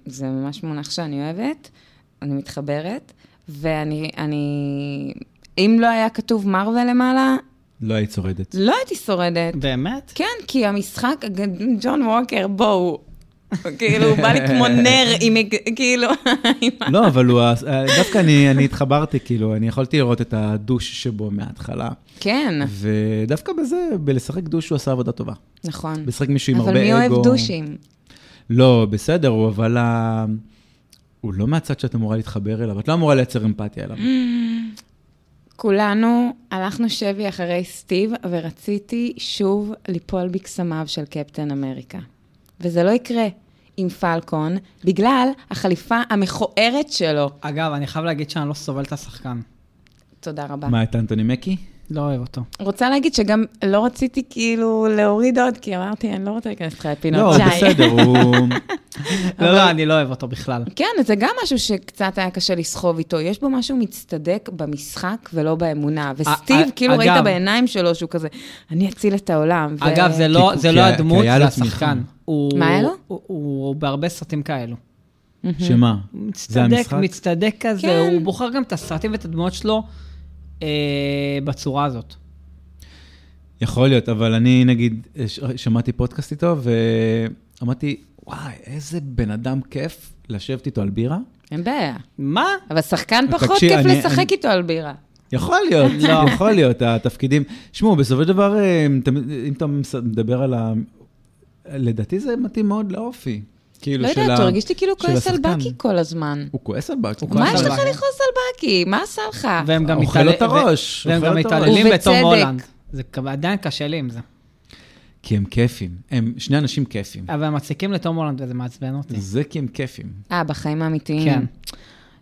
Speaker 3: זה ממש מונח שאני אוהבת, אני מתחברת, ואני, אני, אם לא היה כתוב מרווה למעלה,
Speaker 1: לא היית שורדת.
Speaker 3: לא הייתי שורדת.
Speaker 2: באמת?
Speaker 3: כן, כי המשחק, ג'ון ווקר, בואו. כאילו, הוא בא לי כמו נר עם, כאילו, עם ה-
Speaker 1: לא, אבל הוא... ה- דווקא אני אני התחברתי, כאילו, אני יכולתי לראות את הדוש שבו מההתחלה.
Speaker 3: כן,
Speaker 1: ודווקא בזה, בלשחק דוש הוא עשה עבודה טובה.
Speaker 3: נכון.
Speaker 1: לשחק מישהו עם הרבה
Speaker 3: אבל
Speaker 1: אגו.
Speaker 3: מי אוהב דושים?
Speaker 1: לא, בסדר, הוא אבל ה... הוא לא מהצד שאת אמורה להתחבר אליו, את לא אמורה לייצר אמפתיה אליו.
Speaker 3: Mm. כולנו הלכנו שבי אחרי סטיב, ורציתי שוב ליפול בקסמיו של קפטן אמריקה. וזה לא יקרה עם פלקון, בגלל החליפה המכוערת שלו.
Speaker 2: אגב, אני חייב להגיד שאני לא סובל את השחקן.
Speaker 3: תודה רבה.
Speaker 1: מה, את אנטוני מקי?
Speaker 2: לא אוהב אותו.
Speaker 3: רוצה להגיד שגם לא רציתי כאילו להוריד עוד, כי אמרתי, אני לא רוצה להיכנס לך
Speaker 1: לא,
Speaker 3: לפינות שי.
Speaker 1: בסדר, הוא...
Speaker 2: לא, לא, אני לא אוהב אותו בכלל.
Speaker 3: כן, זה גם משהו שקצת היה קשה לסחוב איתו. יש בו משהו מצטדק במשחק ולא באמונה.
Speaker 2: א-
Speaker 3: וסטיב,
Speaker 2: א-
Speaker 3: כאילו
Speaker 2: אגב-
Speaker 3: ראית בעיניים שלו שהוא כזה, אני אציל את העולם. ו-
Speaker 2: אגב, זה לא-
Speaker 1: כי-
Speaker 2: זה
Speaker 1: כי
Speaker 2: לא
Speaker 1: היה-
Speaker 2: הדמות,
Speaker 1: כי היה
Speaker 2: זה
Speaker 1: לו צמיחה.
Speaker 2: השחקן. הוא-
Speaker 3: מה היה לו?
Speaker 2: הוא- הוא בהרבה סרטים כאלו.
Speaker 1: שמה? זה
Speaker 2: מצטדק,
Speaker 1: המשחק?
Speaker 2: מצטדק כזה,
Speaker 3: כן.
Speaker 2: הוא בוחר גם את הסרטים ואת הדמויות שלו אה, בצורה הזאת.
Speaker 1: יכול להיות, אבל אני נגיד, ש- שמעתי פודקאסט איתו, ואמרתי, וואי, איזה בן אדם כיף לשבת איתו על בירה.
Speaker 3: אין בעיה.
Speaker 2: מה?
Speaker 3: אבל שחקן פחות
Speaker 1: תקשיב,
Speaker 3: כיף
Speaker 1: אני-
Speaker 3: לשחק
Speaker 1: אני- כאילו,
Speaker 3: איתו על בירה.
Speaker 1: יכול להיות,
Speaker 2: לא.
Speaker 1: יכול להיות, התפקידים. שמעו, בסופו של דבר, אה, אם אתה- אם אתה מס- מדבר על ה... לדעתי זה מתאים מאוד לאופי. כאילו,
Speaker 3: לא
Speaker 1: של
Speaker 3: יודעת,
Speaker 1: ה-
Speaker 3: הוא הרגיש לי כאילו
Speaker 1: של
Speaker 3: כועס על
Speaker 1: השחקן.
Speaker 3: בקי כל לא הזמן.
Speaker 1: הוא כועס על בקי.
Speaker 2: כועס
Speaker 3: מה יש
Speaker 2: על
Speaker 3: לך
Speaker 2: בקי.
Speaker 3: לכעוס על בקי? מה עשה לך?
Speaker 2: והם גם
Speaker 1: אוכל
Speaker 2: מתעלל-
Speaker 1: לו את הראש,
Speaker 2: ו- והם
Speaker 1: אוכל
Speaker 2: גם
Speaker 1: לו את הראש.
Speaker 2: מתעללים בתום
Speaker 3: אה. ובצדק.
Speaker 2: הולנד. זה כ- עדיין קשה לי עם זה.
Speaker 1: כי הם כיפים. הם שני אנשים כיפים.
Speaker 2: אבל הם מציקים לתום הולנד וזה מעצבן
Speaker 3: אוקיי.
Speaker 2: אותי.
Speaker 1: זה כי הם כיפים.
Speaker 3: אה, בחיים האמיתיים.
Speaker 2: כן.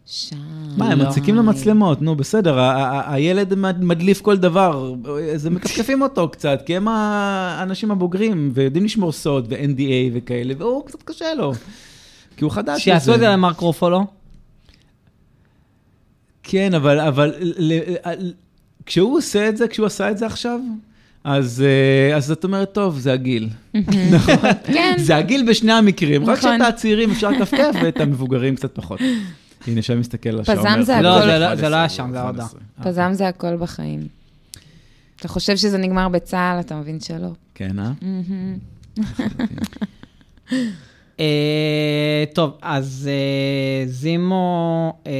Speaker 3: שי.
Speaker 1: מה, הם
Speaker 2: לא.
Speaker 1: מציקים למצלמות, נו בסדר, ה- ה- ה- הילד מד- מדליף כל דבר, אז הם מכפכפים אותו קצת, כי הם האנשים הבוגרים, ויודעים לשמור סוד, ו-NDA וכאלה, והוא קצת קשה לו, כי הוא חדש.
Speaker 2: שיעשו
Speaker 1: בזה.
Speaker 2: את זה למרק רופולו.
Speaker 1: כן, אבל, אבל ל- ל- כשהוא עושה את זה, כשהוא עשה את זה עכשיו, אז, אה, אז את אומרת, טוב, זה הגיל. נכון?
Speaker 3: כן.
Speaker 1: זה הגיל בשני המקרים, רק
Speaker 3: נכון.
Speaker 1: שאת הצעירים אפשר לכפתף ואת המבוגרים קצת פחות. הנה, שי מסתכל על השעון.
Speaker 3: פזם
Speaker 1: אומר,
Speaker 3: זה
Speaker 1: "חודש אה,
Speaker 3: הכל." לא,
Speaker 2: זה לא-
Speaker 1: 11,
Speaker 2: זה לא היה שם, זה
Speaker 1: 11.
Speaker 3: פזם זה הכל בחיים. אתה חושב שזה נגמר בצה"ל, אתה מבין שלא.
Speaker 1: כן, אה?
Speaker 2: אה, טוב, אז אה, זימו... אה,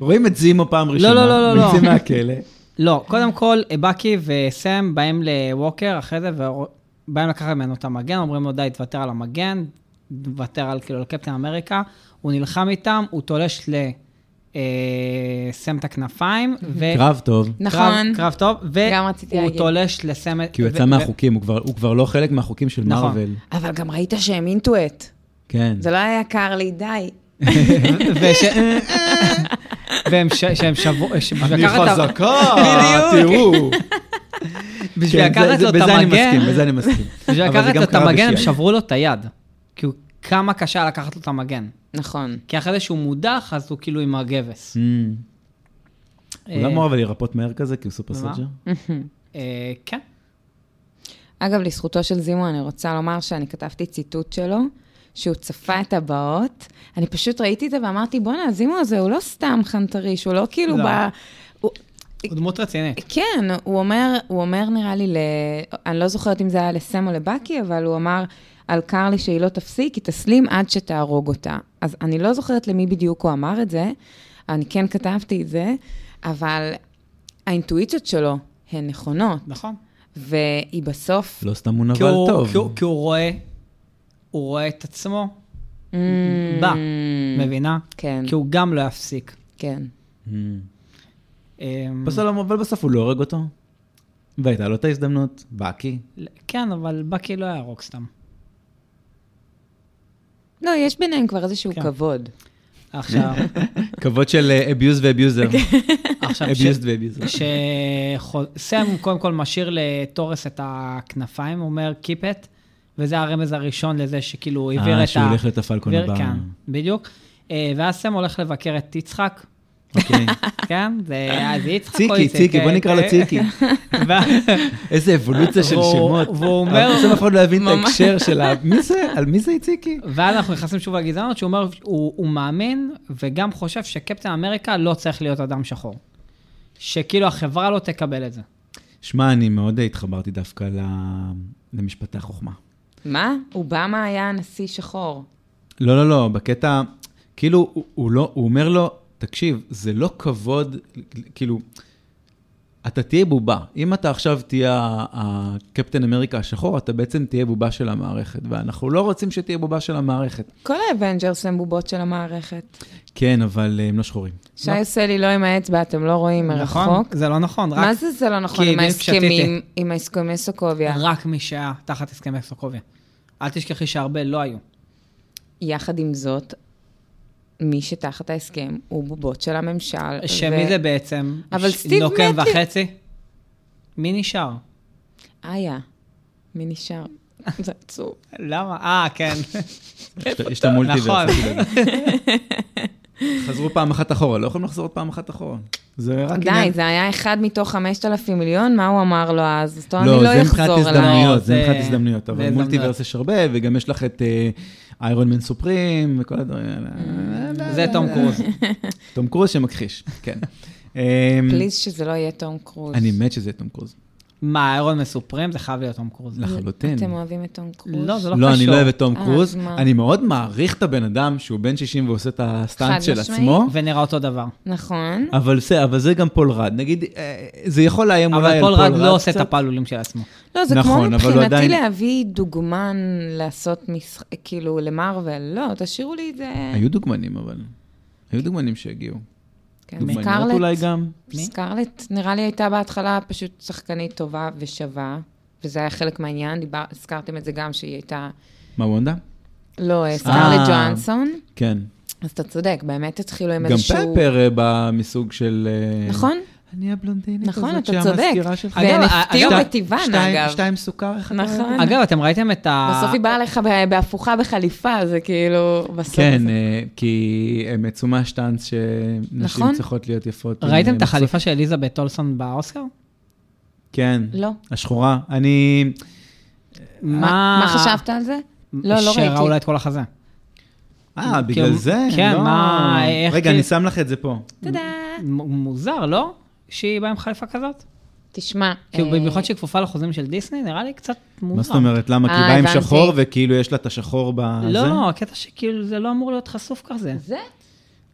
Speaker 1: רואים את זימו פעם ראשונה.
Speaker 2: לא, לא, לא, לא.
Speaker 1: יוצא מהכלא.
Speaker 2: לא, קודם כל, בקי וסם באים לווקר אחרי זה, ובאים לקחת ממנו את המגן, אומרים לו, די, תוותר על המגן, תוותר על, כאילו, על קפטן אמריקה. הוא נלחם איתם, הוא תולש לסם את הכנפיים, ו...
Speaker 1: קרב טוב.
Speaker 3: נכון.
Speaker 2: קרב, קרב טוב,
Speaker 3: גם רציתי
Speaker 2: והוא
Speaker 3: להגיד.
Speaker 2: תולש לסם... את-
Speaker 1: כי הוא יצא
Speaker 2: ו- ו-
Speaker 1: מהחוקים, הוא כבר- הוא כבר לא חלק מהחוקים של
Speaker 2: נכון.
Speaker 1: מארוול.
Speaker 3: אבל גם ראית שהם אינטואט.
Speaker 1: כן.
Speaker 3: זה לא היה קר לי, די.
Speaker 2: לא- וש... והם ש- שהם שבו... ש- בשביל
Speaker 1: אני
Speaker 2: לקחת את ה-
Speaker 1: חזקה,
Speaker 2: בדיוק.
Speaker 1: תראו.
Speaker 2: בשביל
Speaker 1: כן, זה-
Speaker 2: לקחת
Speaker 1: זה-
Speaker 2: לו את
Speaker 1: בזה אני
Speaker 2: המגן,
Speaker 1: מסכים, בזה אני מסכים.
Speaker 2: בשביל
Speaker 1: אבל זה
Speaker 2: לקחת
Speaker 1: גם
Speaker 2: לו את
Speaker 1: קרה
Speaker 2: המגן, הם
Speaker 1: בשיעה.
Speaker 2: שברו לו את היד. כי הוא- כמה קשה היה לקחת לו את המגן.
Speaker 3: נכון.
Speaker 2: כי אחרי זה שהוא מודח, אז הוא כאילו עם הגבס.
Speaker 1: אמ,
Speaker 2: אה,
Speaker 1: אולי מארוול ירפות מהר כזה, כי הוא סופר
Speaker 2: מה?
Speaker 1: סג'ר?
Speaker 2: אה, כן.
Speaker 3: אגב, לזכותו של זימו, אני רוצה לומר שאני כתבתי ציטוט שלו, שהוא צפה את הבאות. אני פשוט ראיתי את זה ואמרתי, בואנה, זימו הזה הוא לא סתם חנטריש, הוא לא כאילו
Speaker 2: לא.
Speaker 3: ב... הוא-
Speaker 2: הוא דמות רצינית.
Speaker 3: כן, הוא אומר, הוא אומר, נראה לי, ל... אני לא זוכרת אם זה היה לסם או לבקי, אבל הוא אמר על קרלי שהיא לא תפסיק, היא תסלים עד שתהרוג אותה. אז אני לא זוכרת למי בדיוק הוא אמר את זה, אני כן כתבתי את זה, אבל האינטואיציות שלו הן נכונות,
Speaker 2: נכון.
Speaker 3: והיא בסוף...
Speaker 1: לא סתם הוא
Speaker 2: כי
Speaker 1: נבל
Speaker 2: הוא-
Speaker 1: טוב.
Speaker 2: כי הוא- כי הוא רואה, הוא רואה את עצמו בה, מבינה?
Speaker 3: כן,
Speaker 2: כי הוא גם לא יפסיק.
Speaker 3: כן.
Speaker 1: אמ.
Speaker 2: אמ,
Speaker 1: בסוף, אבל בסוף הוא לא הורג אותו. והייתה לו את ההזדמנות, בקי.
Speaker 2: כן, אבל בקי לא יהרוג סתם.
Speaker 3: לא, יש ביניהם כבר איזשהו
Speaker 2: כן.
Speaker 3: כבוד.
Speaker 2: עכשיו,
Speaker 1: כבוד של אה, abuse ואביוזר.
Speaker 2: עכשיו, כן. ש-
Speaker 1: abused ואביוזר.
Speaker 2: שסם קודם כל משאיר לתורס את הכנפיים, הוא אומר Keep it, וזה הרמז הראשון לזה שכאילו הוא העביר את ה...
Speaker 1: אה, שהוא הולך להיות הפלקון
Speaker 2: העביר-
Speaker 1: הבא.
Speaker 2: כן, בדיוק. אה, ואז סם הולך לבקר את יצחק,
Speaker 1: אוקיי.
Speaker 2: כן? זה אז זה יצחק או
Speaker 1: ציקי,
Speaker 2: איציק?
Speaker 1: ציקי, בוא
Speaker 2: אה,
Speaker 1: נקרא לו
Speaker 2: אה,
Speaker 1: ציקי.
Speaker 2: ו-
Speaker 1: איזה אבולוציה של
Speaker 2: והוא-
Speaker 1: שמות.
Speaker 2: והוא אומר-
Speaker 1: אבל בסוף אף אחד לא יבין את
Speaker 3: ממש.
Speaker 1: ההקשר של ה... מי זה? על מי זה ציקי?
Speaker 2: ואז אנחנו נכנסים שוב לגזענות, שהוא אומר, הוא, הוא מאמין וגם חושב שקפטן אמריקה לא צריך להיות אדם שחור. שכאילו החברה לא תקבל את זה.
Speaker 1: שמע, אני מאוד התחברתי דווקא ל- למשפטי החוכמה.
Speaker 3: מה? אובמה היה נשיא שחור.
Speaker 1: לא, לא, לא, בקטע, כאילו, הוא, הוא לא, הוא אומר לו, תקשיב, זה לא כבוד, כאילו, אתה תהיה בובה. אם אתה עכשיו תהיה ה- הקפטן אמריקה השחור, אתה בעצם תהיה בובה של המערכת, ואנחנו לא רוצים שתהיה בובה של המערכת.
Speaker 3: כל האבנג'רס הם בובות של המערכת.
Speaker 1: כן, אבל אה, הם לא שחורים.
Speaker 3: שי עושה לי לא עם האצבע, אתם לא רואים
Speaker 2: נכון?
Speaker 3: מרחוק.
Speaker 2: זה לא נכון, רק,
Speaker 3: מה זה זה לא נכון
Speaker 2: כי
Speaker 3: עם
Speaker 2: אני
Speaker 3: ההסכמים,
Speaker 2: פשטתי.
Speaker 3: עם ההסכמי סוקוביה?
Speaker 2: רק מי שהיה תחת הסכמי סוקוביה. אל תשכחי שהרבה לא היו.
Speaker 3: יחד עם זאת, מי שתחת ההסכם הוא בובות של הממשל.
Speaker 2: שמי
Speaker 3: ו-
Speaker 2: זה בעצם?
Speaker 3: אבל
Speaker 2: ש-
Speaker 3: סטיב
Speaker 2: נוקם
Speaker 3: מקי-
Speaker 2: וחצי? מי נשאר?
Speaker 3: איה. מי נשאר? זה עצוב.
Speaker 2: למה? אה, כן.
Speaker 1: יש את- יש את המולטיברס.
Speaker 2: נכון.
Speaker 1: אל תדאג. חזרו פעם אחת אחורה, לא יכולים לחזור עוד פעם אחת אחורה. זה רק
Speaker 3: די, זה היה אחד מתוך 5,000 מיליון, מה הוא אמר לו אז? זאת אומרת, אני
Speaker 1: לא,
Speaker 3: לא
Speaker 1: זה מבחינת
Speaker 3: אחזור אליי.
Speaker 1: הזדמנויות, זה
Speaker 2: זה-
Speaker 1: מבחינת הזדמנויות,
Speaker 2: זה
Speaker 1: אבל
Speaker 2: הזדמנויות.
Speaker 1: מולטיברס יש הרבה, וגם יש לך את אה, איירון מן סופרים, וכל הדברים
Speaker 3: Mm.
Speaker 1: האלה.
Speaker 2: זה תום קרוז.
Speaker 1: תום קרוז שמכחיש, כן. אמ,
Speaker 3: פליז שזה לא יהיה תום קרוז.
Speaker 1: אני מת שזה תום קרוז,
Speaker 2: מה, איירון מסופרים? זה חייב להיות תום קרוז.
Speaker 1: לחלוטין.
Speaker 3: אתם אוהבים את תום קרוז?
Speaker 2: לא, זה לא קשור.
Speaker 1: לא, אני לא אוהב את תום
Speaker 3: אה,
Speaker 1: קרוז,
Speaker 3: אז מה?
Speaker 1: אני מאוד מעריך את הבן אדם שהוא בן 60 ועושה את
Speaker 3: חד
Speaker 1: הסטאנט של
Speaker 3: משמעית.
Speaker 1: עצמו,
Speaker 2: ונראה אותו דבר.
Speaker 1: לא-
Speaker 3: נכון.
Speaker 1: אבל זה- אבל זה גם פול רד, נגיד, אה, זה יכול לאיים אולי
Speaker 2: אבל
Speaker 1: על
Speaker 2: פול רד לא עושה את
Speaker 1: קצת.
Speaker 2: הפעלולים של עצמו.
Speaker 3: לא, זה
Speaker 1: נכון,
Speaker 3: כמו
Speaker 1: אבל הוא
Speaker 3: מבחינתי
Speaker 1: עדיין-
Speaker 3: להביא דוגמן לעשות משחק, כאילו, למרוויל. לא, תשאירו לי את זה.
Speaker 1: היו דוגמנים, אבל. היו דוגמנים שהגיעו.
Speaker 3: כן,
Speaker 1: דוגמניות
Speaker 3: סקרלט.
Speaker 1: אולי גם.
Speaker 2: מי?
Speaker 3: סקרלט, נראה לי הייתה בהתחלה פשוט שחקנית טובה ושווה, וזה היה חלק מהעניין, דיבר, הזכרתם את זה גם שהיא הייתה,
Speaker 1: מה, וונדה?
Speaker 3: לא, אה, סקרלט
Speaker 1: אה.
Speaker 3: ג'ואנסון.
Speaker 1: כן.
Speaker 3: אז אתה צודק, באמת התחילו עם
Speaker 1: גם
Speaker 3: איזשהו...
Speaker 1: פפר אה, בא מסוג של... אה,
Speaker 3: נכון?
Speaker 1: אני הבלונדינית
Speaker 3: נכון,
Speaker 1: הזאת
Speaker 3: אתה צודק.
Speaker 1: שהמזכירה שלך. כן,
Speaker 2: אגב,
Speaker 3: והם הפתיעו
Speaker 2: אגב,
Speaker 3: בטבען,
Speaker 1: שתיים-
Speaker 3: אגב.
Speaker 1: שתיים סוכר, אחד
Speaker 3: נכון.
Speaker 1: רעב.
Speaker 2: אגב, אה, אתם ראיתם את ה...
Speaker 3: בסוף היא באה לך ב- בהפוכה בחליפה, זה כאילו, בסוף...
Speaker 1: כן,
Speaker 3: זה-
Speaker 1: אה, כי הם יצאו מהשטאנץ שנשים
Speaker 3: נכון.
Speaker 1: צריכות להיות יפות.
Speaker 2: ראיתם את
Speaker 1: אה,
Speaker 2: החליפה של אליזבת אולסון באוסקר?
Speaker 1: כן.
Speaker 3: לא.
Speaker 1: השחורה. אני...
Speaker 2: אה,
Speaker 3: מה חשבת על זה? לא, לא
Speaker 2: שראו לה
Speaker 3: ראיתי.
Speaker 2: את כל החזה.
Speaker 1: אה, בגלל
Speaker 2: כאילו,
Speaker 1: זה?
Speaker 2: כן,
Speaker 1: לא.
Speaker 2: מה, איך
Speaker 1: רגע,
Speaker 2: זה-
Speaker 1: אני שם לך את זה פה.
Speaker 3: תודה.
Speaker 2: מ- מוזר, לא? שהיא באה עם חליפה כזאת?
Speaker 3: תשמע.
Speaker 2: כאילו,
Speaker 3: אה,
Speaker 2: במיוחד שהיא כפופה לחוזים של דיסני, נראה לי קצת מוזר.
Speaker 1: מה זאת אומרת? למה? כי
Speaker 3: אה,
Speaker 1: היא באה עם
Speaker 3: הבנתי.
Speaker 1: שחור, וכאילו יש לה את השחור בזה?
Speaker 2: לא, לא, הקטע שכאילו זה לא אמור להיות חשוף כזה.
Speaker 3: זה?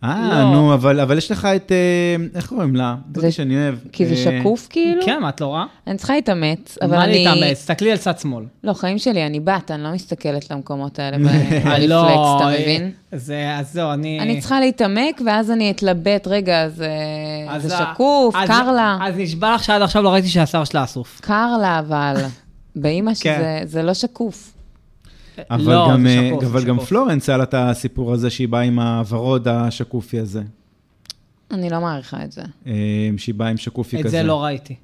Speaker 1: אה,
Speaker 3: לא.
Speaker 1: נו, אבל אבל יש לך את... אה, איך קוראים לה? זאת שאני אוהב.
Speaker 3: כי זה
Speaker 1: אה,
Speaker 3: שקוף כאילו?
Speaker 2: כן, מה, את לא רואה?
Speaker 3: אני צריכה להתאמץ, אבל
Speaker 2: מה
Speaker 3: אני...
Speaker 2: להתאמץ? תסתכלי על צד שמאל.
Speaker 3: לא, חיים שלי, אני בת, אני לא מסתכלת למקומות האלה ברפלקס,
Speaker 2: לא,
Speaker 3: אתה
Speaker 2: אה,
Speaker 3: מבין?
Speaker 2: זה, אז זהו, אני...
Speaker 3: אני צריכה להתעמק, ואז אני אתלבט, רגע, אז אה,
Speaker 2: אז
Speaker 3: זה
Speaker 2: ה-
Speaker 3: שקוף,
Speaker 2: אז-
Speaker 3: קר לה.
Speaker 2: אז נשבע לך שעד עכשיו לא ראיתי שהשיער שלה אסוף.
Speaker 3: קר לה, אבל. באימא
Speaker 1: כן.
Speaker 3: שזה זה לא שקוף.
Speaker 1: אבל
Speaker 2: לא,
Speaker 1: גם,
Speaker 2: זה
Speaker 1: אה,
Speaker 2: שקוף,
Speaker 1: אבל
Speaker 2: זה
Speaker 1: גם
Speaker 2: שקוף.
Speaker 1: פלורנס היה לה את הסיפור הזה שהיא באה עם הוורוד השקופי הזה.
Speaker 3: אני לא מעריכה את זה.
Speaker 1: אה, שהיא באה עם שקופי כזה.
Speaker 2: את זה לא ראיתי.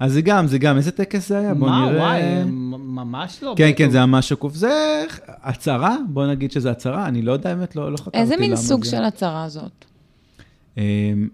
Speaker 1: אז זה גם, זה גם, איזה טקס זה היה? בוא
Speaker 2: מה,
Speaker 1: נראה.
Speaker 2: וואי, אה, מ- ממש לא.
Speaker 1: כן,
Speaker 2: בטוח.
Speaker 1: כן, זה ממש שקוף. זה הצהרה, בוא נגיד שזה הצהרה, אני לא יודע, האמת, לא לא חקרתי למה זה.
Speaker 3: איזה מין סוג של הצהרה זאת?
Speaker 1: אה,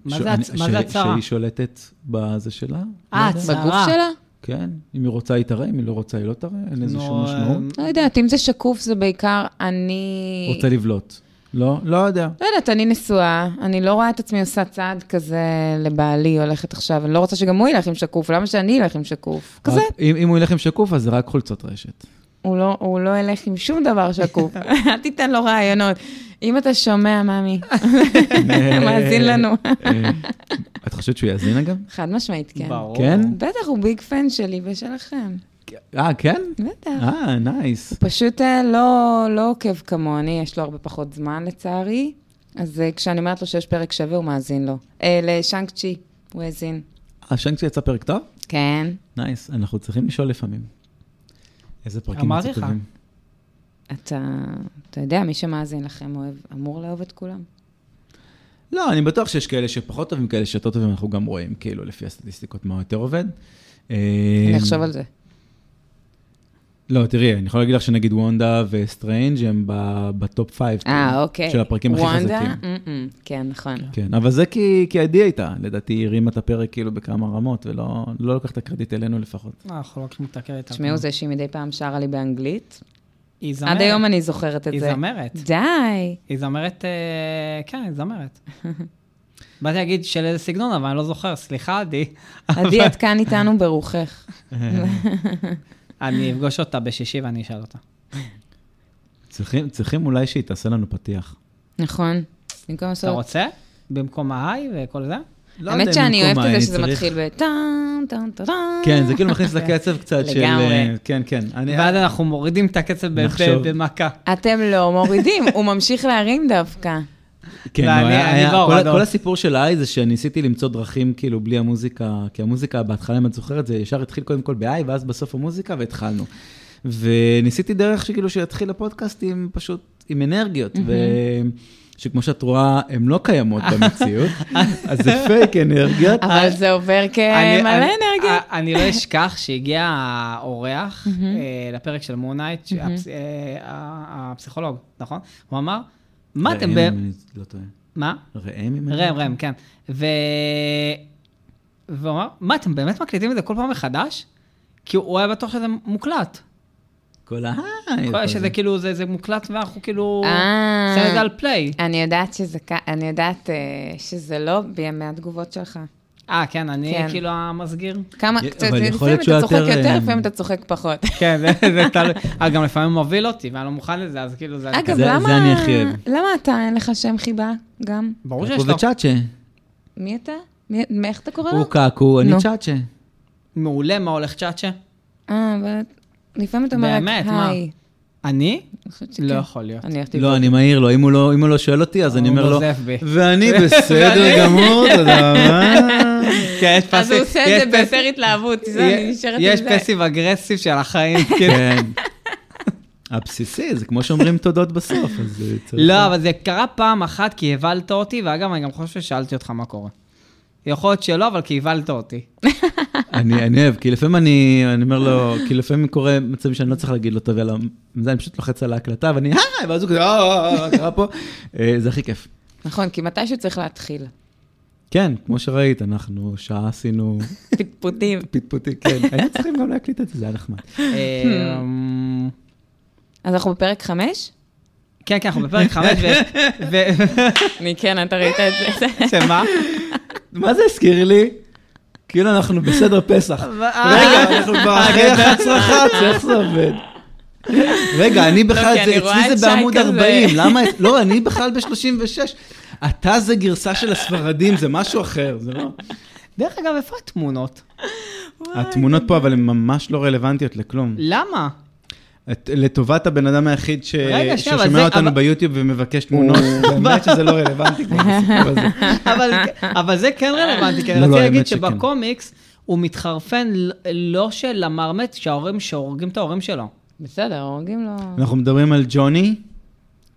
Speaker 2: מה
Speaker 1: ש-
Speaker 2: זה הצ-
Speaker 1: אני-
Speaker 2: מה זה
Speaker 1: ש-
Speaker 2: הצהרה?
Speaker 1: שהיא שולטת בזה שלה.
Speaker 2: אה,
Speaker 1: לא יודע.
Speaker 2: הצהרה.
Speaker 3: בגוף שלה?
Speaker 1: כן, אם היא רוצה, היא תראה, אם היא לא רוצה, היא לא תראה, אין לזה
Speaker 2: נו,
Speaker 1: שום משמעות.
Speaker 2: אה,
Speaker 3: לא יודעת, אם זה שקוף זה בעיקר אני...
Speaker 1: רוצה לבלוט. לא, לא יודע.
Speaker 3: לא יודעת, אני נשואה, אני לא רואה את עצמי עושה צעד כזה לבעלי, הולכת עכשיו, אני לא רוצה שגם הוא ילך עם שקוף, למה שאני אלך עם שקוף? כזה.
Speaker 1: רק- אם אם הוא ילך עם שקוף, אז זה רק חולצות רשת.
Speaker 3: הוא לא, הוא לא ילך עם שום דבר שקוף, אל תיתן לו רעיונות. אם אתה שומע, ממי, מאזין לנו.
Speaker 1: אה, את חושבת שהוא יאזין, אגב?
Speaker 3: חד משמעית, כן.
Speaker 2: אה, ברור.
Speaker 1: כן?
Speaker 3: בטח, הוא ביג פן שלי ושלכם.
Speaker 1: אה, כן?
Speaker 3: בטח.
Speaker 1: אה, נייס.
Speaker 3: הוא פשוט אה, לא, לא עוקב כמוני, יש לו הרבה פחות זמן לצערי, אז אה, כשאני אומרת לו שיש פרק שווה, הוא מאזין לו. אה, לשאנק צ'י, הוא האזין.
Speaker 1: השנקציה יצא פרק טוב?
Speaker 3: כן.
Speaker 1: נייס, אנחנו צריכים לשאול לפעמים. איזה פרקים
Speaker 2: אמרתי
Speaker 1: יצאו
Speaker 2: לך.
Speaker 1: טובים.
Speaker 3: אתה, אתה יודע, מי שמאזין לכם אוהב, אמור לאהוב את כולם.
Speaker 1: לא, אני בטוח שיש כאלה שפחות טובים, כאלה שיותר טובים, אנחנו גם רואים, כאילו, לפי הסטטיסטיקות, מה יותר עובד. אה,
Speaker 3: אני אחשוב על זה.
Speaker 1: לא, תראי, אני יכול להגיד לך שנגיד וונדה וסטרנג' הם ב- בטופ פייב
Speaker 3: אה, אוקיי.
Speaker 1: של הפרקים הכי
Speaker 3: וונדה?
Speaker 1: חזקים.
Speaker 3: מ-מ, כן, נכון.
Speaker 1: כן, אבל זה כי, כי עדי הייתה, לדעתי היא הרימה את הפרק כאילו בכמה רמות, ולא לא לוקח את הקרדיט אלינו לפחות.
Speaker 2: אה, אנחנו לא לוקחים את הקרדיט.
Speaker 3: תשמעו, זה שהיא מדי פעם שרה לי באנגלית.
Speaker 2: היא זמרת.
Speaker 3: עד היום אני זוכרת את
Speaker 2: היא
Speaker 3: זה.
Speaker 2: זמרת.
Speaker 3: די.
Speaker 2: היא זמרת, אה, כן, היא זמרת. באתי להגיד של איזה סגנון, אבל אני לא זוכר, סליחה, עדי.
Speaker 3: עדי, את כאן איתנו ברוחך.
Speaker 2: אני אפגוש אותה בשישי ואני אשאל אותה.
Speaker 1: צריכים, צריכים אולי שהיא תעשה לנו פתיח.
Speaker 3: נכון. במקום
Speaker 2: אתה
Speaker 3: לעשות...
Speaker 2: רוצה? במקום ההיי וכל זה?
Speaker 1: לא
Speaker 3: האמת
Speaker 1: יודע אם
Speaker 3: שאני
Speaker 1: במקום
Speaker 3: אוהבת את
Speaker 1: אני
Speaker 3: זה שזה
Speaker 1: צריך-
Speaker 3: מתחיל ב... טאם, טאם, טאם.
Speaker 1: כן, זה כאילו מכניס לקצב קצת של...
Speaker 3: לגמרי.
Speaker 1: אה, כן, כן. אני-
Speaker 2: ואז אנחנו מורידים את הקצב ב- ב-
Speaker 1: נחשוב.
Speaker 2: במכה.
Speaker 3: אתם לא מורידים, הוא ממשיך להרים דווקא.
Speaker 1: כן,
Speaker 2: לא,
Speaker 1: לא,
Speaker 2: אני-
Speaker 1: היה-
Speaker 2: אני
Speaker 1: היה-
Speaker 2: בהורדות.
Speaker 1: כל- כל הסיפור של האי זה שניסיתי למצוא דרכים כאילו בלי המוזיקה, כי המוזיקה בהתחלה, אם את זוכרת, זה ישר התחיל קודם כל ב-I, ואז בסוף המוזיקה, והתחלנו. וניסיתי דרך שכאילו שיתחיל הפודקאסט עם פשוט, עם אנרגיות, ו... שכמו שאת רואה, הן לא קיימות במציאות, אז זה פייק אנרגיות.
Speaker 3: אבל זה עובר
Speaker 2: אני-
Speaker 3: כמלא
Speaker 2: אני-
Speaker 3: אה, אנרגיה.
Speaker 2: אה, אני לא אשכח שהגיע האורח אה, לפרק של מונייט, אה, הפסיכולוג, נכון? הוא אמר, מה אתם ב...
Speaker 1: ראם, אם אני לא טועה.
Speaker 2: מה?
Speaker 1: ראם? אם אני-
Speaker 2: ראם, ראם, כן. ו... והוא אמר, מה, אתם באמת מקליטים את זה כל פעם מחדש? כי הוא היה בטוח שזה מוקלט.
Speaker 1: כל ההיי.
Speaker 2: כל- שזה כאילו, זה, זה מוקלט ואנחנו כאילו...
Speaker 3: אה.
Speaker 2: שמים את זה על פליי.
Speaker 3: אני יודעת שזה כ- אני יודעת אה, שזה לא בימי התגובות שלך.
Speaker 2: אה, כן, אני
Speaker 3: כן.
Speaker 2: כאילו המסגיר.
Speaker 3: כמה,
Speaker 1: אבל
Speaker 3: אתה-
Speaker 1: יכול להיות
Speaker 3: לפעמים
Speaker 1: שהוא
Speaker 3: אתה צוחק
Speaker 1: יותר,
Speaker 3: יותר,
Speaker 1: אה,
Speaker 3: לפעמים אתה צוחק פחות.
Speaker 2: כן, זה זה תלוי. אה, גם לפעמים הוא מוביל אותי, ואני לא מוכן לזה, אז כאילו זה...
Speaker 3: אגב,
Speaker 1: זה- זה
Speaker 3: למה
Speaker 1: אני הכי אוהב.
Speaker 3: למה אתה, אין לך שם חיבה גם?
Speaker 2: ברור שיש
Speaker 1: הוא
Speaker 2: לו. לא,
Speaker 1: וצ'אצ'ה.
Speaker 3: מי אתה? מי- מי- איך אתה קורא
Speaker 1: הוא
Speaker 3: לו?
Speaker 1: קעקוע, אני
Speaker 3: נו.
Speaker 1: צ'אצ'ה.
Speaker 2: מעולה, מה הולך צ'אצ'ה?
Speaker 3: אה, אבל לפעמים אתה אומר רק
Speaker 2: באמת, מה?
Speaker 3: היי.
Speaker 2: אני?
Speaker 3: אני חושבת שכן.
Speaker 2: לא יכול להיות.
Speaker 3: כן. אני הולכת לבדוק.
Speaker 1: לא, אני מעיר לו, אם הוא לא- אם הוא לא שואל אותי, אז אני
Speaker 2: הוא
Speaker 1: אומר לו,
Speaker 2: נוזף בי.
Speaker 1: ואני בסדר גמור, תודה רבה.
Speaker 2: כן, יש
Speaker 3: אז הוא עושה
Speaker 2: יש
Speaker 3: את זה
Speaker 2: פס-
Speaker 3: ביותר התלהבות, זה, אני
Speaker 2: יש-
Speaker 3: נשארת עם זה.
Speaker 2: יש פסיב אגרסיב של החיים, כאילו.
Speaker 1: כן. הבסיסי, זה כמו שאומרים תודות בסוף, אז אה, צריך...
Speaker 2: לא, אבל זה קרה פעם אחת כי הבלת אותי, ואגב, אני גם חושב ששאלתי אותך מה קורה. יכול להיות שלא, אבל כי הבלת אותי.
Speaker 1: אני אני אוהב, כי לפעמים אני אני אומר לו, כי לפעמים קורה מצבים שאני לא צריך להגיד לו טוב, יאללה, זה אני פשוט לוחץ על ההקלטה, ואני, היי, ואז הוא כזה, "אה, אה, אה, מה קרה פה? אה, זה אה, הכי כיף.
Speaker 3: נכון, כי מתישהו צריך להתחיל.
Speaker 1: כן, כמו שראית, אנחנו שעה עשינו
Speaker 3: פטפוטים.
Speaker 1: פטפוטי, כן. היינו צריכים גם להקליט את זה, זה היה נחמד.
Speaker 2: אמ,
Speaker 3: אז אנחנו בפרק חמש?
Speaker 2: כן, כן, אנחנו בפרק חמש, ו- ו-
Speaker 3: אני כן, אתה ראית את זה.
Speaker 2: שמה?
Speaker 1: מה זה הזכיר לי? כאילו אנחנו בסדר פסח. רגע, אנחנו כבר אחרי 11 אחת, איך זה עובד? רגע, אני
Speaker 3: לא,
Speaker 1: בכלל,
Speaker 3: כי
Speaker 1: זה-
Speaker 3: אני רואה
Speaker 1: אצלי
Speaker 3: את
Speaker 1: זה
Speaker 3: שי
Speaker 1: בעמוד
Speaker 3: כזה.
Speaker 1: 40, למה, לא, אני בכלל ב-36. אתה זה גרסה של הספרדים, זה משהו אחר, זה לא...
Speaker 2: דרך אגב, איפה התמונות?
Speaker 1: התמונות פה, אבל הן ממש לא רלוונטיות לכלום.
Speaker 2: למה?
Speaker 1: את- לטובת הבן אדם היחיד ש-
Speaker 2: רגע, שנייה, אבל
Speaker 1: ששומע
Speaker 2: זה-
Speaker 1: אותנו
Speaker 2: אבל-
Speaker 1: ביוטיוב ומבקש תמונות, באמת שזה לא רלוונטי כבר הסיפור הזה.
Speaker 2: אבל, אבל זה כן רלוונטי, כי אני
Speaker 1: לא, לא,
Speaker 2: רציתי
Speaker 1: האמת
Speaker 2: להגיד
Speaker 1: שכן.
Speaker 2: שבקומיקס הוא מתחרפן ל- לא של המרמט, שההורים שהורגים את ההורים שלו.
Speaker 3: בסדר, הורגים לו...
Speaker 1: אנחנו מדברים על ג'וני.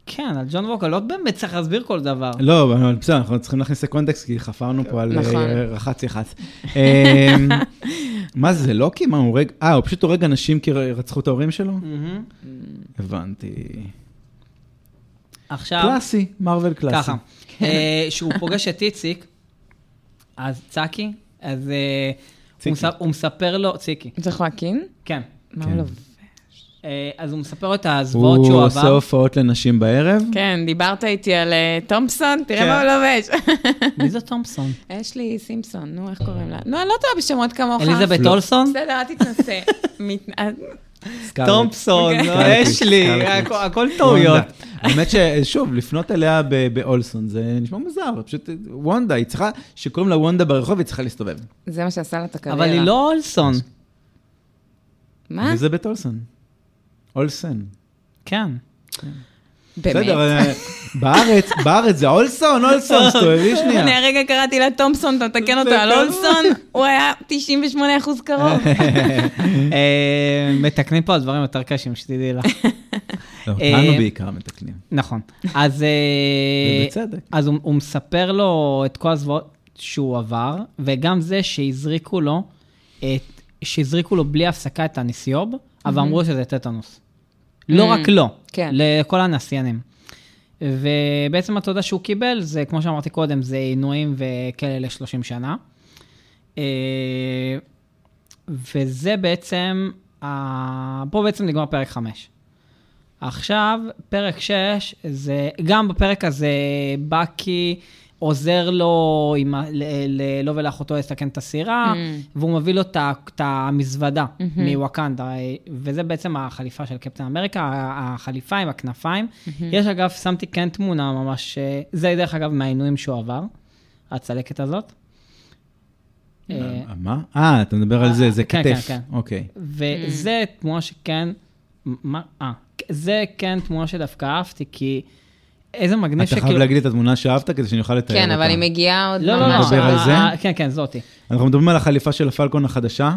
Speaker 2: כן, על ג'ון ווקר, לא באמת צריך להסביר כל דבר.
Speaker 1: לא, אבל בסדר, אנחנו צריכים להכניס לקונטקסט, כי חפרנו פה על אה,
Speaker 3: נכון.
Speaker 1: רח"ט יח"צ. מה זה, זה לוקי? מה, הוא הורג? אה, הוא פשוט הורג אנשים כי רצחו את ההורים שלו?
Speaker 2: מהמם.
Speaker 1: הבנתי.
Speaker 2: עכשיו,
Speaker 1: קלאסי, מרוויל קלאסי.
Speaker 2: ככה, אה, שהוא פוגש את איציק, אז צקי, אז אה,
Speaker 1: ציקי.
Speaker 2: הוא מס- הוא מספר לו, ציקי,
Speaker 3: זה חואקין?
Speaker 2: כן.
Speaker 3: מה
Speaker 1: כן.
Speaker 3: הוא לא...
Speaker 2: אה, אז הוא מספר לו את הזוועות
Speaker 1: הוא
Speaker 2: שהוא
Speaker 1: עושה
Speaker 2: עבר.
Speaker 1: הופעות לנשים בערב.
Speaker 3: כן, דיברת איתי על אה, תומפסון, תראה
Speaker 1: כן.
Speaker 3: מה הוא לובש.
Speaker 2: מי זה תומפסון?
Speaker 3: יש לי סימפסון, נו, איך קוראים לה? נו, אני לא טועה בשמות כמוך.
Speaker 2: אליזבת
Speaker 1: לא.
Speaker 2: אולסון?
Speaker 3: בסדר, אל תתנסה. מת- אה,
Speaker 2: כן,
Speaker 1: סקארלט.
Speaker 2: תומפסון,
Speaker 3: אוקיי.
Speaker 2: לא,
Speaker 1: סקארלט,
Speaker 2: יש לי,
Speaker 1: סקארלט.
Speaker 2: הכ- הכל טעויות.
Speaker 1: וונדה. האמת ששוב, לפנות אליה ב- באולסון, זה נשמע מוזר, פשוט וונדה, היא צריכה, שקוראים לה וונדה ברחוב, היא צריכה להסתובב.
Speaker 3: זה מה שעשה לה את הקריירה.
Speaker 2: אבל היא לא אולסון.
Speaker 3: מה?
Speaker 1: אליזבת אולסון. אולסן.
Speaker 2: כן.
Speaker 3: באמת?
Speaker 1: בסדר, אה, בארץ, בארץ זה אולסון, אולסון, תסתובבי
Speaker 3: אני
Speaker 1: שנייה.
Speaker 3: הרגע קראתי לה תומפסון, אתה מתקן אותה על אולסון, הוא היה 98 אחוז קרוב.
Speaker 2: אה, מתקנים פה על דברים יותר קשים, שתדעי לך.
Speaker 1: לא,
Speaker 3: אה,
Speaker 1: אותנו בעיקר מתקנים.
Speaker 2: נכון. אז... אה,
Speaker 1: ובצדק.
Speaker 2: אז הוא הוא מספר לו את כל הזוועות שהוא עבר, וגם זה שהזריקו לו, את- שהזריקו לו בלי הפסקה את הניסיוב, אבל אמרו שזה טטנוס. לא
Speaker 3: Mm.
Speaker 2: רק לו,
Speaker 3: כן.
Speaker 2: לכל הנסיינים. ובעצם התודה שהוא קיבל, זה כמו שאמרתי קודם, זה עינויים וכלא ל-30 שנה. אה, וזה בעצם, ה- פה בעצם נגמר פרק 5. עכשיו, פרק 6, זה, גם בפרק הזה, בקי עוזר לו עם, ה- ל, ל, לו ולאחותו לסכן את הסירה,
Speaker 3: Mm.
Speaker 2: והוא מביא לו את ה- את המזוודה מוואקנדה, וזה בעצם החליפה של קפטן אמריקה, ה- החליפה עם הכנפיים. יש אגב, שמתי כן תמונה ממש, אה, זה דרך אגב מהעינויים שהוא עבר, הצלקת הזאת. אה,
Speaker 1: אה, מה? אה, אתה מדבר על זה, זה
Speaker 2: כן,
Speaker 1: כתף.
Speaker 2: כן, כן.
Speaker 1: אוקיי.
Speaker 2: וזה
Speaker 3: Mm.
Speaker 2: תמונה שכן, מה, אה, זה כן תמונה שדווקא אהבתי, כי איזה מגניב
Speaker 1: אתה חייב להגיד לי את התמונה שאהבת כדי שאני אוכל לתאר אותה.
Speaker 3: כן, אבל היא מגיעה עוד
Speaker 2: לא, לא, לא.
Speaker 3: ממש...
Speaker 1: נדבר על
Speaker 2: אה,
Speaker 1: זה?
Speaker 2: אה, כן, כן, זאתי.
Speaker 1: אנחנו מדברים על החליפה של הפלקון החדשה,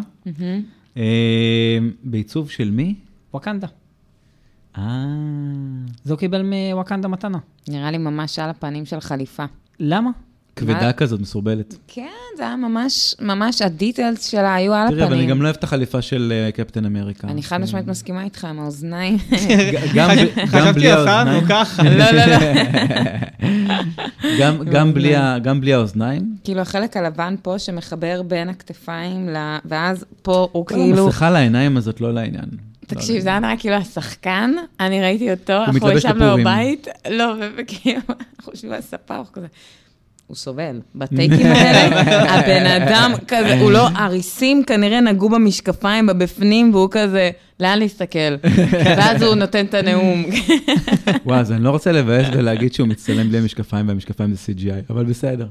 Speaker 1: אה, בעיצוב של מי?
Speaker 2: וואקנדה.
Speaker 1: אה...
Speaker 2: זה הוא קיבל מוואקנדה מתנה.
Speaker 3: נראה לי ממש על הפנים של חליפה.
Speaker 2: למה?
Speaker 1: כבדה
Speaker 3: מה?
Speaker 1: כזאת, מסורבלת.
Speaker 3: כן, זה היה ממש, ממש הדיטלס שלה היו על
Speaker 1: תראי, אבל אני
Speaker 3: הפנים.
Speaker 1: גם כן. לא אוהב את החליפה של אה, קפטן אמריקה.
Speaker 3: אני חד משמעית מסכימה איתך עם האוזניים.
Speaker 1: ג- גם ב- גם בלי האוזניים. לא.
Speaker 2: ככה.
Speaker 3: לא, לא, לא.
Speaker 1: גם- גם בלי ה- גם בלי האוזניים.
Speaker 3: כאילו החלק הלבן פה שמחבר בין הכתפיים, ל- ואז פה הוא
Speaker 1: כל
Speaker 3: כאילו...
Speaker 1: המסכה לעיניים הזאת לא לעניין.
Speaker 3: תקשיב, זה היה נראה כאילו השחקן, אני ראיתי אותו, אנחנו
Speaker 1: מתלבש
Speaker 3: ישבנו
Speaker 1: לפורים.
Speaker 3: בבית, לא, וכאילו, אנחנו יושבים על הספה, אנחנו כזה... הוא סובל. בטייקים האלה, הבן אדם כזה, הוא לא, הריסים כנראה נגעו במשקפיים, בבפנים, והוא כזה, לאן להסתכל? ואז הוא נותן את הנאום.
Speaker 1: וואו, אז אני לא רוצה לבאס ולהגיד שהוא מצטלם בלי משקפיים, והמשקפיים זה CGI, אבל בסדר.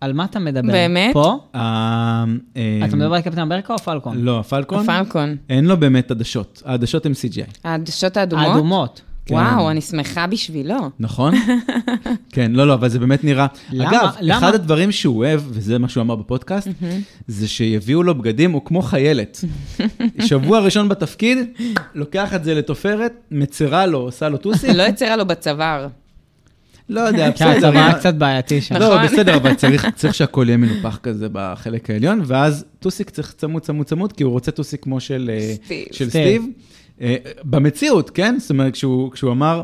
Speaker 2: על מה אתה מדבר?
Speaker 3: באמת?
Speaker 2: פה?
Speaker 1: אה, אה,
Speaker 2: אתה מדבר על קפטן אמריקה או פלקון?
Speaker 1: לא, הפלקון,
Speaker 3: פלקון,
Speaker 1: אין לו באמת עדשות. העדשות הן CGI,
Speaker 3: העדשות האדומות?
Speaker 2: האדומות.
Speaker 1: כן.
Speaker 3: וואו, אני שמחה בשבילו.
Speaker 1: נכון? כן, לא, לא, אבל זה באמת נראה...
Speaker 2: למה?
Speaker 1: אגב,
Speaker 2: למה?
Speaker 1: אחד הדברים שהוא אוהב, וזה מה שהוא אמר בפודקאסט, זה שיביאו לו בגדים, הוא כמו חיילת. שבוע ראשון בתפקיד, לוקח את זה לתופרת, מצרה לו, עושה לו טוסים,
Speaker 3: לא יצרה לו בצוואר.
Speaker 1: לא יודע,
Speaker 2: כן,
Speaker 1: בסדר.
Speaker 2: זה
Speaker 1: מה-
Speaker 2: היה קצת בעייתי שם.
Speaker 1: לא,
Speaker 3: נכון.
Speaker 1: בסדר, אבל צריך, צריך שהכל יהיה מנופח כזה בחלק העליון, ואז טוסיק צריך צמוד, צמוד, צמוד, כי הוא רוצה טוסיק כמו של אה,
Speaker 3: סטיב.
Speaker 1: של
Speaker 2: סטיב.
Speaker 1: סטיב. אה, במציאות, כן? זאת אומרת, כשהוא, כשהוא אמר,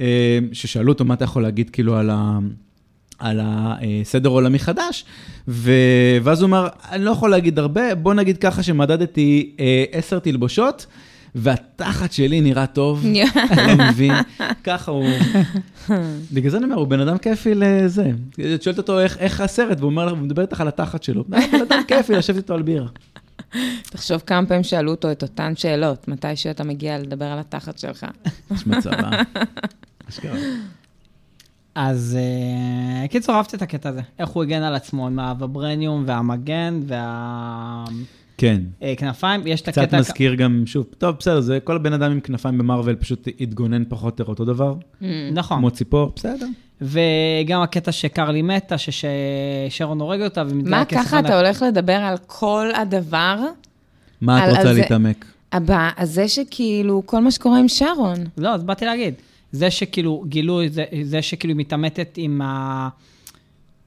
Speaker 1: אה, ששאלו אותו מה אתה יכול להגיד כאילו על ה... על הסדר עולמי חדש, ו... ואז הוא אמר, אני לא יכול להגיד הרבה, בוא נגיד ככה שמדדתי אה, עשר תלבושות, והתחת שלי נראה טוב, אתה לא מבין, ככה הוא... בגלל זה אני אומר, הוא בן אדם כיפי לזה. את שואלת אותו איך, איך הסרט, והוא אומר, הוא מדבר איתך על התחת שלו. "אה, בן אדם כיפי לשבת איתו על בירה.
Speaker 3: תחשוב כמה פעמים שאלו אותו את אותן שאלות, מתי שאתה מגיע לדבר על התחת שלך.
Speaker 1: יש מצב, אה? אשכרה.
Speaker 2: אז אה, קיצור, אהבתי את הקטע הזה. איך הוא הגן על עצמו עם הווברניום והמגן והכנפיים.
Speaker 1: כן.
Speaker 2: יש את
Speaker 1: קצת
Speaker 2: הקטע...
Speaker 1: מזכיר גם, שוב, טוב, בסדר, זה כל בן אדם עם כנפיים במרוויל פשוט התגונן פחות או יותר אותו דבר,
Speaker 3: Mm.
Speaker 2: נכון.
Speaker 1: כמו ציפור, בסדר.
Speaker 2: וגם הקטע שקרלי מתה, ששרון הורג אותה
Speaker 3: מה,
Speaker 2: ומתגלה
Speaker 3: ככה אתה הולך לדבר על כל הדבר?
Speaker 1: מה את
Speaker 3: על- על
Speaker 1: רוצה
Speaker 3: זה-
Speaker 1: להתעמק?
Speaker 3: הבא, הזה שכאילו, כל מה שקורה עם שרון.
Speaker 2: לא, אז באתי להגיד. זה שכאילו גילו, זה, זה שכאילו היא מתעמתת עם ה...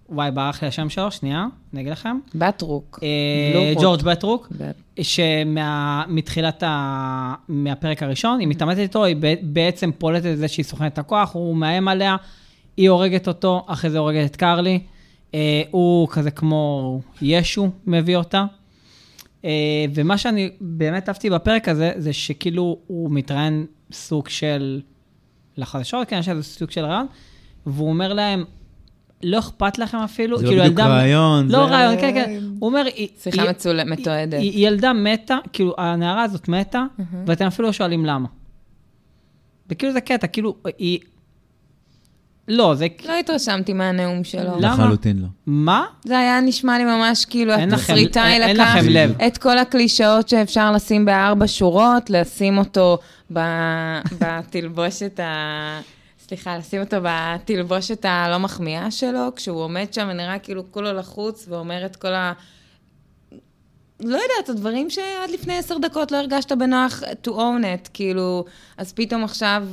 Speaker 2: וואי, ברח לי השם שלו, שנייה, אני אגיד לכם.
Speaker 3: בטרוק.
Speaker 2: אה,
Speaker 3: בלוחות.
Speaker 2: ג'ורג' בטרוק,
Speaker 3: לא ב-
Speaker 2: שמתחילת ה... מהפרק הראשון, היא מתעמתת איתו, היא ב- בעצם פולטת את זה שהיא סוכנת את הכוח, הוא מאיים עליה, היא הורגת אותו, אחרי זה הורגת את קרלי. אה, הוא כזה כמו ישו מביא אותה. אה, ומה שאני באמת אהבתי בפרק הזה, זה שכאילו הוא מתראיין סוג של... לחדשות, כן, יש איזה סוג של רעיון, והוא אומר להם, לא אכפת לכם אפילו,
Speaker 1: זה לא בדיוק
Speaker 2: ילדה-
Speaker 1: רעיון,
Speaker 2: לא
Speaker 1: זה-
Speaker 2: רעיון, כן, כן. הוא אומר, "היא-
Speaker 3: שיחה
Speaker 2: היא-
Speaker 3: מצול- מתועדת."
Speaker 2: היא- היא ילדה מתה, כאילו, הנערה הזאת מתה, ואתם אפילו לא שואלים למה. וכאילו זה קטע, כאילו, היא... לא, זה...
Speaker 3: לא התרשמתי מהנאום שלו.
Speaker 2: למה?
Speaker 1: לחלוטין לא.
Speaker 2: מה?
Speaker 3: זה היה נשמע לי ממש כאילו
Speaker 2: אין לכם-
Speaker 3: התסריטאי
Speaker 2: אין- אין
Speaker 3: לקח
Speaker 2: לכם
Speaker 1: לב.
Speaker 3: את כל הקלישאות שאפשר לשים בארבע שורות, לשים אותו ב... בתלבושת ה... סליחה, לשים אותו בתלבושת הלא מחמיאה שלו, כשהוא עומד שם ונראה כאילו כולו לחוץ ואומר את כל ה... לא יודעת, הדברים שעד לפני עשר דקות לא הרגשת בנוח to own it, כאילו, אז פתאום עכשיו,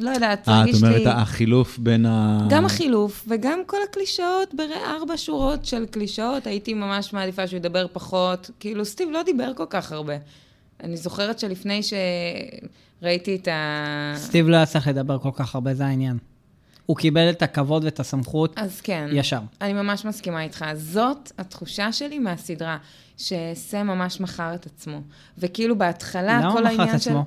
Speaker 3: לא יודעת,
Speaker 1: אה, את
Speaker 3: הרגיש לי...
Speaker 1: אומרת, החילוף בין ה...
Speaker 2: אה.
Speaker 3: גם החילוף וגם כל הקלישאות, בארבע שורות של קלישאות, הייתי ממש מעדיפה שהוא ידבר פחות. כאילו, סטיב לא דיבר כל כך הרבה. אני זוכרת שלפני שראיתי את ה...
Speaker 2: סטיב לא היה צריך לדבר כל כך הרבה, זה העניין. הוא קיבל את הכבוד ואת הסמכות
Speaker 3: אז כן.
Speaker 2: ישר.
Speaker 3: אני ממש מסכימה איתך. זאת התחושה שלי מהסדרה, שסם ממש מכר את עצמו. וכאילו בהתחלה,
Speaker 2: למה
Speaker 3: כל
Speaker 2: מכר את
Speaker 3: העניין של...
Speaker 2: עצמו?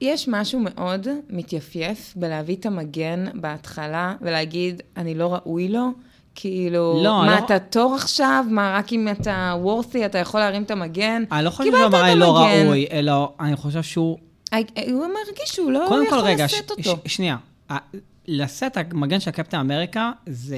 Speaker 3: יש משהו מאוד מתייפייף בלהביא את המגן בהתחלה ולהגיד, אני לא ראוי לו. כאילו,
Speaker 2: לא,
Speaker 3: מה,
Speaker 2: לא-
Speaker 3: אתה תור עכשיו? מה, רק אם אתה worthy, אתה יכול להרים את המגן?
Speaker 2: אני לא חושב
Speaker 3: קיבלת
Speaker 2: שהוא
Speaker 3: את
Speaker 2: אמר "אה, לא
Speaker 3: המגן."
Speaker 2: ראוי, אלא אני חושב שהוא
Speaker 3: I- אה, הוא מרגיש שהוא לא
Speaker 2: אה, קודם כל,
Speaker 3: יכול
Speaker 2: רגע,
Speaker 3: לשאת
Speaker 2: ש-
Speaker 3: אותו.
Speaker 2: ש- שנייה. ה- לשאת המגן של קפטן אמריקה זה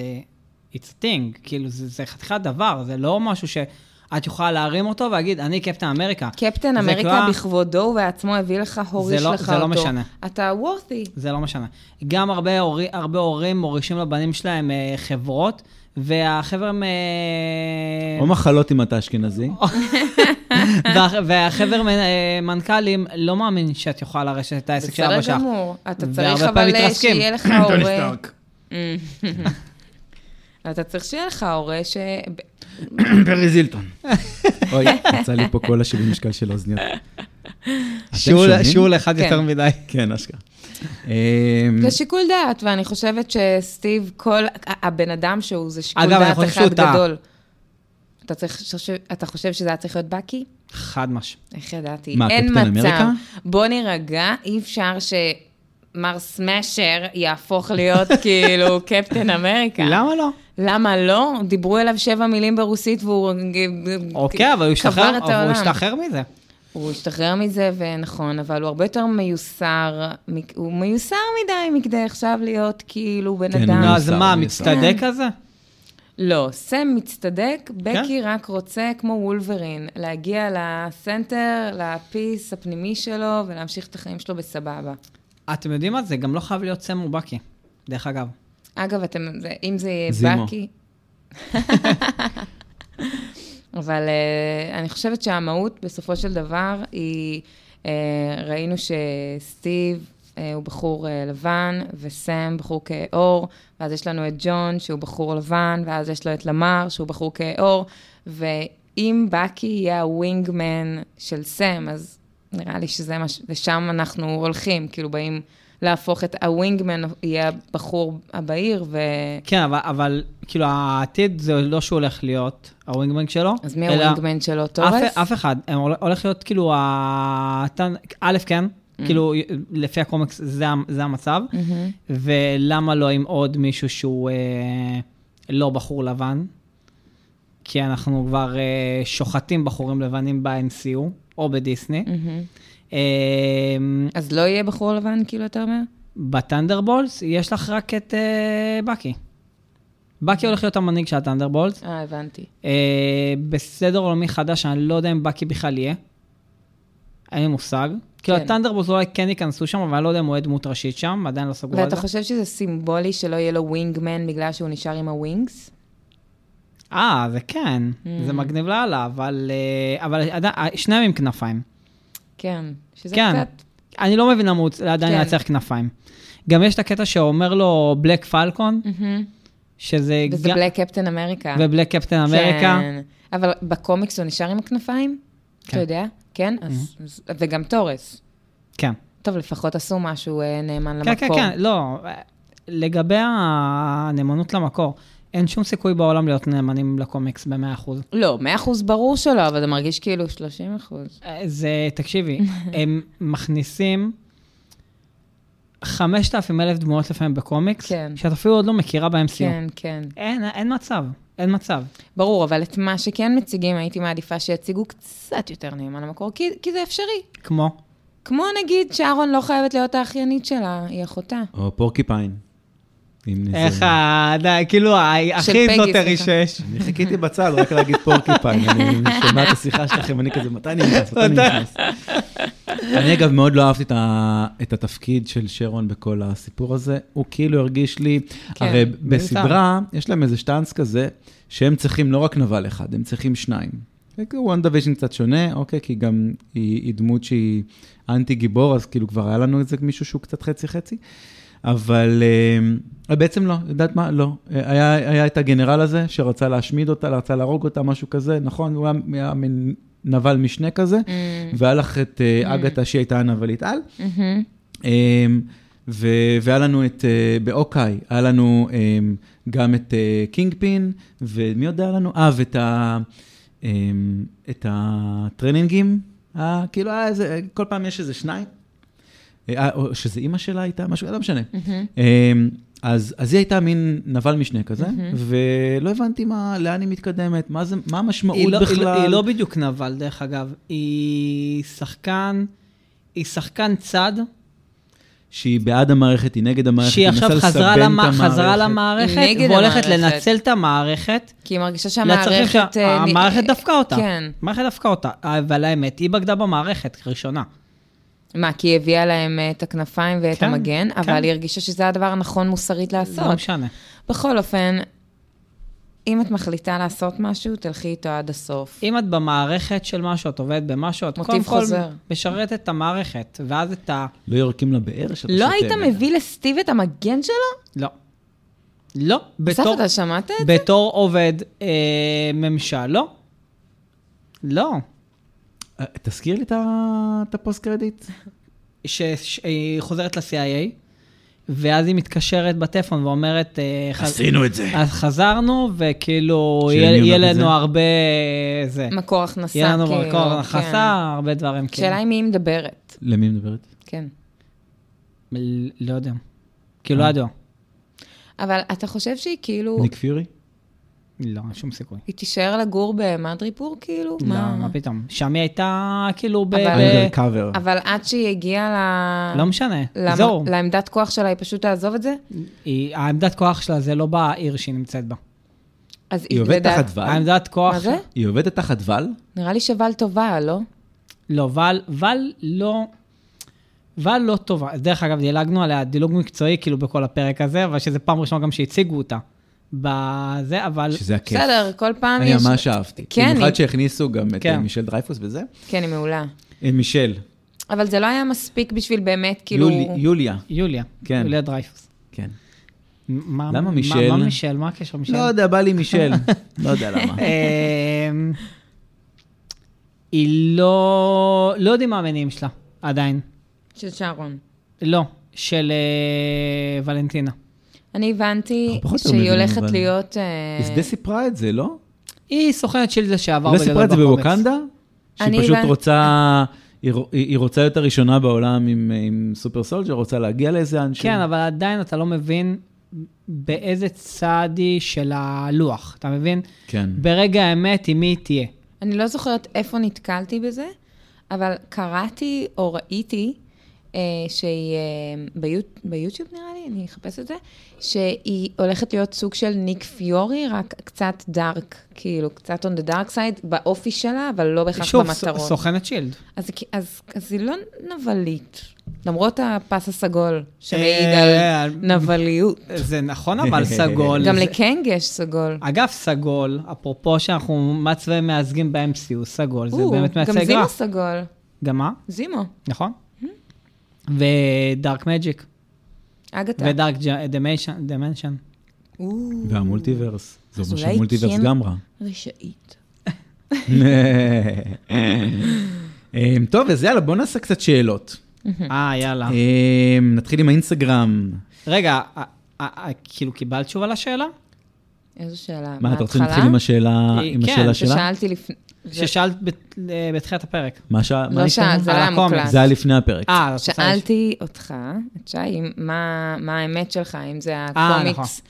Speaker 2: it's a thing, כאילו זה, זה חתיכת דבר, זה לא משהו שאת יכולה להרים אותו ולהגיד, אני קפטן אמריקה.
Speaker 3: קפטן
Speaker 2: זה
Speaker 3: אמריקה
Speaker 2: כבר-
Speaker 3: בכבודו ובעצמו הביא לך, הוריש
Speaker 2: לא-
Speaker 3: לך אותו.
Speaker 2: זה לא משנה.
Speaker 3: אתה worthy.
Speaker 2: זה לא משנה. גם הרבה, הורי, הרבה הורים מורישים לבנים שלהם אה, חברות, והחבר'ה... מ-
Speaker 1: או מחלות אם אתה אשכנזי.
Speaker 2: וה- והחבר'ה מ- אה, מנכ"לים לא מאמין שאת יכולה לרשת את העסק של אבא
Speaker 3: בסדר
Speaker 2: שלך.
Speaker 3: גמור. אתה
Speaker 2: והרבה
Speaker 3: צריך
Speaker 2: פעמים
Speaker 3: אבל אה,
Speaker 2: מתרסקים.
Speaker 3: שיהיה לך הורה... אתה צריך שיהיה לך הורה ש...
Speaker 1: פרי זילטון. אוי, יצא לי פה כל השיווי משקל של האוזניות. אתם שומעים?
Speaker 2: שיעור לאחד
Speaker 3: כן.
Speaker 2: יותר מדי.
Speaker 1: כן, אשכרה. אמ,
Speaker 3: זה שיקול דעת, ואני חושבת שסטיב, כל ה- הבן אדם שהוא, זה שיקול
Speaker 2: אגב, אני
Speaker 3: דעת
Speaker 2: חושב
Speaker 3: אחד
Speaker 2: שהוא טעה.
Speaker 3: גדול. אתה צריך- חושב- אתה חושב שזה היה צריך להיות בקי?
Speaker 2: חד משמעית.
Speaker 3: איך ידעתי?
Speaker 1: מה,
Speaker 3: אין
Speaker 1: קפטן
Speaker 3: מצב.
Speaker 1: אמריקה?
Speaker 3: בוא נירגע, אי אפשר שמר סמאשר יהפוך להיות כאילו קפטן אמריקה.
Speaker 2: למה לא?
Speaker 3: למה לא? דיברו אליו שבע מילים ברוסית והוא...
Speaker 2: אוקיי, אבל הוא השתחרר,
Speaker 3: כן. קבר את
Speaker 2: אבל הוא
Speaker 3: העולם.
Speaker 2: השתחרר מזה.
Speaker 3: הוא השתחרר מזה, ונכון, אבל הוא הרבה יותר מיוסר, מ- הוא מיוסר מדי מכדי עכשיו להיות כאילו בן
Speaker 1: כן,
Speaker 3: אדם.
Speaker 1: הוא
Speaker 2: נו,
Speaker 1: מיוסר,
Speaker 2: אה, אז מה,
Speaker 1: מיוסר.
Speaker 2: מצטדק
Speaker 3: כן.
Speaker 2: כזה?
Speaker 3: לא, סם מצטדק,
Speaker 1: כן?
Speaker 3: בקי רק רוצה, כמו וולברין, להגיע לסנטר, לפיס הפנימי שלו, ולהמשיך את החיים שלו בסבבה.
Speaker 2: אתם יודעים מה? זה גם לא חייב להיות סם ובקי, דרך אגב.
Speaker 3: אגב, אתם, זה- אם זה יהיה
Speaker 1: זימו.
Speaker 3: בקי... אבל uh, אני חושבת שהמהות בסופו של דבר היא, uh, ראינו שסטיב uh, הוא בחור uh, לבן, וסם בחור כאור, ואז יש לנו את ג'ון שהוא בחור לבן, ואז יש לו את למר שהוא בחור כאור, ואם בקי יהיה הווינגמן של סם, אז נראה לי שזה מה ש... לשם אנחנו הולכים, כאילו באים להפוך את הווינגמן, יהיה הבחור הבהיר, ו...
Speaker 2: כן, אבל, אבל כאילו העתיד זה לא שהוא הולך להיות הווינגמן שלו.
Speaker 3: אז מי
Speaker 2: אלא
Speaker 3: הווינגמן שלו, תורס?
Speaker 2: אף, אף אחד, הם הול- הולך להיות כאילו, ה- א', כן,
Speaker 3: Mm.
Speaker 2: כאילו, לפי הקומיקס זה, ה- זה המצב,
Speaker 3: מהמם.
Speaker 2: ולמה לא עם עוד מישהו שהוא אה, לא בחור לבן? כי אנחנו כבר אה, שוחטים בחורים לבנים ב-MCU, או בדיסני.
Speaker 3: מהמם.
Speaker 2: אה,
Speaker 3: אז לא יהיה בחור לבן, כאילו, אתה אומר?
Speaker 2: בטנדרבולס יש לך רק את אה, בקי. בקי הולך להיות המנהיג של הטנדרבולס.
Speaker 3: אה, הבנתי.
Speaker 2: אה, בסדר עולמי חדש, אני לא יודע אם בקי בכלל יהיה. אין לי מושג. כאילו, הטנדרבולס אולי כן ייכנסו שם, אבל אני לא יודע אם הוא יהיה דמות ראשית שם, עדיין לא סגרו על זה.
Speaker 3: ואתה חושב שזה סימבולי שלא יהיה לו ווינגמן בגלל שהוא נשאר עם הווינגס?
Speaker 2: אה, זה כן, זה
Speaker 3: Mm.
Speaker 2: מגניב לאללה, אבל, אה, אבל עדיין- אה, שניהם עם כנפיים.
Speaker 3: כן. שזה
Speaker 2: כן.
Speaker 3: קצת...
Speaker 2: אני לא מבין למה הוא עדיין
Speaker 3: כן.
Speaker 2: היה צריך כנפיים. גם יש את הקטע שאומר לו בלק פלקון,
Speaker 3: מהמם.
Speaker 2: שזה...
Speaker 3: Mm. וזה
Speaker 2: גם-
Speaker 3: בלק קפטן אמריקה.
Speaker 2: ובלק קפטן אמריקה.
Speaker 3: כן. אבל בקומיקס הוא נשאר עם הכנפיים?
Speaker 2: כן.
Speaker 3: אתה יודע? כן? אז- אז- וגם תורס.
Speaker 2: כן.
Speaker 3: טוב, לפחות עשו משהו אה, נאמן
Speaker 2: כן,
Speaker 3: למקור.
Speaker 2: כן, כן, לא. לגבי הנאמנות למקור, אין שום סיכוי בעולם להיות נאמנים לקומיקס ב-100%.
Speaker 3: לא, 100% ברור שלא, אבל זה מרגיש כאילו 30%.
Speaker 2: זה, תקשיבי, הם מכניסים 5,000 אלף דמויות לפעמים בקומיקס,
Speaker 3: כן.
Speaker 2: שאת אפילו עוד לא מכירה בהם סיום.
Speaker 3: כן, כן.
Speaker 2: אין, אין מצב, אין מצב.
Speaker 3: ברור, אבל את מה שכן מציגים, הייתי מעדיפה שיציגו קצת יותר נאמן למקור, כי, כי זה אפשרי.
Speaker 2: כמו,
Speaker 3: כמו נגיד שאהרון לא חייבת להיות האחיינית שלה, היא אחותה.
Speaker 1: או פורקיפיין. אם נזהר.
Speaker 2: איך ה... די, כאילו, ה- הכי
Speaker 3: פגי,
Speaker 2: איזוטרי
Speaker 3: סליחה.
Speaker 2: שיש.
Speaker 1: אני חיכיתי בצד רק להגיד פורקיפיין, אני שומע את השיחה שלכם, אני כזה, מתי אני נכנס? מתי אני נכנס? אני אגב מאוד לא אהבתי את ה- את התפקיד של שרון בכל הסיפור הזה, הוא כאילו הרגיש לי,
Speaker 3: כן,
Speaker 1: הרי
Speaker 2: מיותר.
Speaker 1: בסדרה יש להם איזה שטאנץ כזה, שהם צריכים לא רק נבל אחד, הם צריכים שניים. וואן דוויז'ן קצת שונה, אוקיי, כי גם היא היא דמות שהיא אנטי גיבור, אז כאילו כבר היה לנו איזה מישהו שהוא קצת חצי-חצי. אבל אה, בעצם לא, יודעת מה? לא. אה, היה, היה את הגנרל הזה שרצה להשמיד אותה, רצה להרוג אותה, משהו כזה, נכון? הוא היה, היה מין נבל משנה כזה, והיה לך את אה, אגתה שהיא הייתה הנבלית על.
Speaker 3: מהמם.
Speaker 1: אה, ו, והיה לנו את, אה, באוקיי, היה לנו אה, גם את אה, קינג פין, ומי עוד היה לנו? אה, ואת ה, אה, את הטרנינגים, אה, כאילו, היה איזה, כל פעם יש איזה שניים. אה, או שזה אימא שלה הייתה, משהו, לא משנה. אמ, אז, אז היא הייתה מין נבל משנה כזה, ולא הבנתי מה, לאן היא מתקדמת, מה, זה, מה המשמעות
Speaker 2: היא לא, היא,
Speaker 1: בכלל.
Speaker 2: לא- היא לא בדיוק נבל, דרך אגב. היא שחקן, היא שחקן צד,
Speaker 1: שהיא בעד המערכת, היא נגד המערכת,
Speaker 2: שהיא
Speaker 1: היא מנסה
Speaker 2: עכשיו
Speaker 1: לסבן
Speaker 2: חזרה,
Speaker 1: את
Speaker 2: למע... חזרה
Speaker 1: המערכת.
Speaker 2: למערכת,
Speaker 3: היא נגד
Speaker 2: והולכת
Speaker 3: המערכת.
Speaker 2: לנצל את המערכת.
Speaker 3: כי היא מרגישה
Speaker 2: לצרכים
Speaker 3: שהמערכת...
Speaker 2: שה-
Speaker 3: אה,
Speaker 2: המערכת דפקה אותה.
Speaker 3: כן.
Speaker 2: המערכת דפקה אותה. אבל האמת, היא בגדה במערכת, ראשונה.
Speaker 3: מה, כי היא הביאה להם אה, את הכנפיים ואת
Speaker 2: כן,
Speaker 3: המגן,
Speaker 2: כן.
Speaker 3: אבל היא הרגישה שזה הדבר הנכון מוסרית לעשות.
Speaker 2: לא משנה.
Speaker 3: בכל אופן, אם את מחליטה לעשות משהו, תלכי איתו עד הסוף.
Speaker 2: אם את במערכת של משהו, את עובדת במשהו, את
Speaker 3: מוטיב
Speaker 2: קודם כל
Speaker 3: חוזר.
Speaker 2: משרתת את המערכת, ואז את ה...
Speaker 1: לא יורקים לבאר שאתה
Speaker 3: לא
Speaker 1: שותה
Speaker 3: היית
Speaker 1: ממנה.
Speaker 3: מביא לסטיב את המגן שלו?
Speaker 2: לא. לא.
Speaker 3: סף,
Speaker 2: בתור,
Speaker 3: אתה שמעת את זה?
Speaker 2: בתור עובד אה, ממשל, לא. לא.
Speaker 1: אה, תזכיר לי את ה- את הפוסט קרדיט.
Speaker 2: שהיא חוזרת ל-CIA, ואז היא מתקשרת בטלפון ואומרת... אה, חז-
Speaker 1: עשינו את זה.
Speaker 2: אז חזרנו, וכאילו,
Speaker 1: שאני
Speaker 2: יהיה
Speaker 1: אוהב
Speaker 2: יהיה
Speaker 1: את
Speaker 2: לנו
Speaker 1: זה.
Speaker 2: הרבה... אה, זה.
Speaker 3: מקור הכנסה,
Speaker 2: יהיה לנו
Speaker 3: כאילו,
Speaker 2: מקור
Speaker 3: כן.
Speaker 2: הכנסה, הרבה דברים כאילו.
Speaker 3: השאלה היא מי היא מדברת.
Speaker 1: למי מדברת?
Speaker 3: כן.
Speaker 2: מ- לא יודע. כאילו,
Speaker 1: אה.
Speaker 2: לא ידוע.
Speaker 3: אבל אתה חושב שהיא כאילו,
Speaker 1: ניק פיורי?
Speaker 2: לא, אין שום סיכוי.
Speaker 3: היא תישאר לגור במדריפור כאילו?
Speaker 2: לא, מה פתאום. שם היא הייתה כאילו ב...
Speaker 3: אבל-
Speaker 2: ב-
Speaker 1: אנדר קאבר.
Speaker 3: אבל עד שהיא הגיעה ל...
Speaker 1: אה.
Speaker 2: לא משנה,
Speaker 3: למ-
Speaker 2: זהו.
Speaker 3: לעמדת כוח שלה, היא פשוט תעזוב את זה?
Speaker 2: היא- העמדת כוח שלה זה לא בעיר שהיא נמצאת בה.
Speaker 3: אז
Speaker 1: היא עובדת
Speaker 3: לדעת-
Speaker 1: תחת ואל?
Speaker 2: העמדת כוח...
Speaker 3: מה זה?
Speaker 1: היא עובדת תחת ואל?
Speaker 3: נראה לי שוואל טובה, לא?
Speaker 2: לא, ואל, ואל לא... ואל לא טובה. דרך אגב, דילגנו עליה דילוג מקצועי כאילו בכל הפרק הזה, אבל שזה פעם ראשונה גם שהציגו אותה. בזה, אבל...
Speaker 1: שזה הכיף.
Speaker 3: בסדר, כל פעם
Speaker 1: אני
Speaker 3: יש...
Speaker 1: ממש אהבתי.
Speaker 3: כן,
Speaker 1: במיוחד
Speaker 3: היא-
Speaker 1: שהכניסו גם את
Speaker 2: כן.
Speaker 1: אה, מישל דרייפוס וזה.
Speaker 3: כן, היא מעולה.
Speaker 1: אה, מישל.
Speaker 3: אבל זה לא היה מספיק בשביל באמת, כאילו...
Speaker 1: יולי- יוליה.
Speaker 2: יוליה.
Speaker 1: כן.
Speaker 2: יוליה דרייפוס.
Speaker 1: כן.
Speaker 2: מה-
Speaker 1: למה
Speaker 2: מה-
Speaker 1: מישל?
Speaker 2: מה מישל? מה הקשר מישל?
Speaker 1: לא יודע, בא לי מישל. לא יודע למה.
Speaker 2: אמ, היא לא... לא יודעים מה המניעים שלה, עדיין.
Speaker 3: של שרון.
Speaker 2: לא. של אה, ולנטינה.
Speaker 3: אני הבנתי
Speaker 1: אנחנו פחות או יותר
Speaker 3: שהיא
Speaker 1: מבינים,
Speaker 3: הולכת
Speaker 1: אבל-
Speaker 3: להיות... אה,
Speaker 1: יסדה סיפרה את זה, לא?
Speaker 2: היא סוכנת של לשעבר
Speaker 1: לא סיפרה את זה
Speaker 2: בקומיקס.
Speaker 1: בווקנדה?
Speaker 3: אני
Speaker 1: שהיא
Speaker 3: לא-
Speaker 1: פשוט
Speaker 3: הבנ-
Speaker 1: רוצה, היא רו- היא היא רוצה להיות הראשונה בעולם עם- אה, עם סופר סולג'ר, רוצה להגיע לאיזה אנשים.
Speaker 2: כן, אבל עדיין אתה לא מבין באיזה צד היא של הלוח, אתה מבין?
Speaker 1: כן.
Speaker 2: ברגע האמת, עם מי היא תהיה.
Speaker 3: אני לא זוכרת איפה נתקלתי בזה, אבל קראתי או ראיתי אה, שהיא, אה, ביוט, ביוטיוב נראה לי, אני אחפש את זה, שהיא הולכת להיות סוג של ניק פיורי, רק קצת דארק, כאילו, קצת on the dark side, באופי שלה, אבל לא בהכרח
Speaker 2: שוב,
Speaker 3: במטרות.
Speaker 2: סוכ- סוכנת שילד.
Speaker 3: אז, כי- אז, אז היא לא נבלית, למרות הפס הסגול, שמעיד
Speaker 2: אה,
Speaker 3: על
Speaker 2: על-
Speaker 3: נבליות.
Speaker 2: זה נכון, אבל סגול.
Speaker 3: גם
Speaker 2: זה- אה,
Speaker 3: לקנג יש סגול.
Speaker 2: אגב, סגול, אפרופו שאנחנו מה צבעים מייצגים ב-MCU, סגול, זה
Speaker 3: או,
Speaker 2: באמת
Speaker 3: גם לא
Speaker 2: מייצג רע.
Speaker 3: זימו סגול.
Speaker 2: גם מה?
Speaker 3: זימו,
Speaker 2: נכון.
Speaker 3: Mm-hmm.
Speaker 2: ודארק מג'יק,
Speaker 3: אגתה.
Speaker 2: ודארק דמנשן.
Speaker 3: או.
Speaker 1: והמולטיברס. זה
Speaker 3: אז
Speaker 1: אומר
Speaker 3: אולי
Speaker 1: שהמולטיברס
Speaker 3: כן-
Speaker 1: גם רע.
Speaker 3: רשעית.
Speaker 1: אמ, טוב, אז יאללה, בוא נעשה קצת שאלות.
Speaker 3: Mm-hmm.
Speaker 2: אה, יאללה.
Speaker 1: אמ, נתחיל עם האינסטגרם.
Speaker 2: רגע, א- א- א- כאילו קיבלת תשובה לשאלה?
Speaker 3: איזו שאלה?
Speaker 1: מה, אתה רוצה
Speaker 3: מההתחלה?
Speaker 1: להתחיל עם השאלה
Speaker 3: אה,
Speaker 1: עם
Speaker 2: כן,
Speaker 1: השאלה שלה?
Speaker 3: ששאלתי לפני... זה-
Speaker 2: ששאלת בת- אה, בתחילת הפרק.
Speaker 1: מה שע- מה
Speaker 3: לא
Speaker 1: יש לנו?
Speaker 3: שאלת, זה
Speaker 2: על
Speaker 3: לא היה
Speaker 2: הקומיקס.
Speaker 3: מוקלט.
Speaker 1: זה היה לפני הפרק.
Speaker 2: אה, את רוצה לש-
Speaker 3: שאלתי אותך, את שי, אם- מה מה האמת שלך, אם זה
Speaker 2: נכון.
Speaker 3: הקומיקס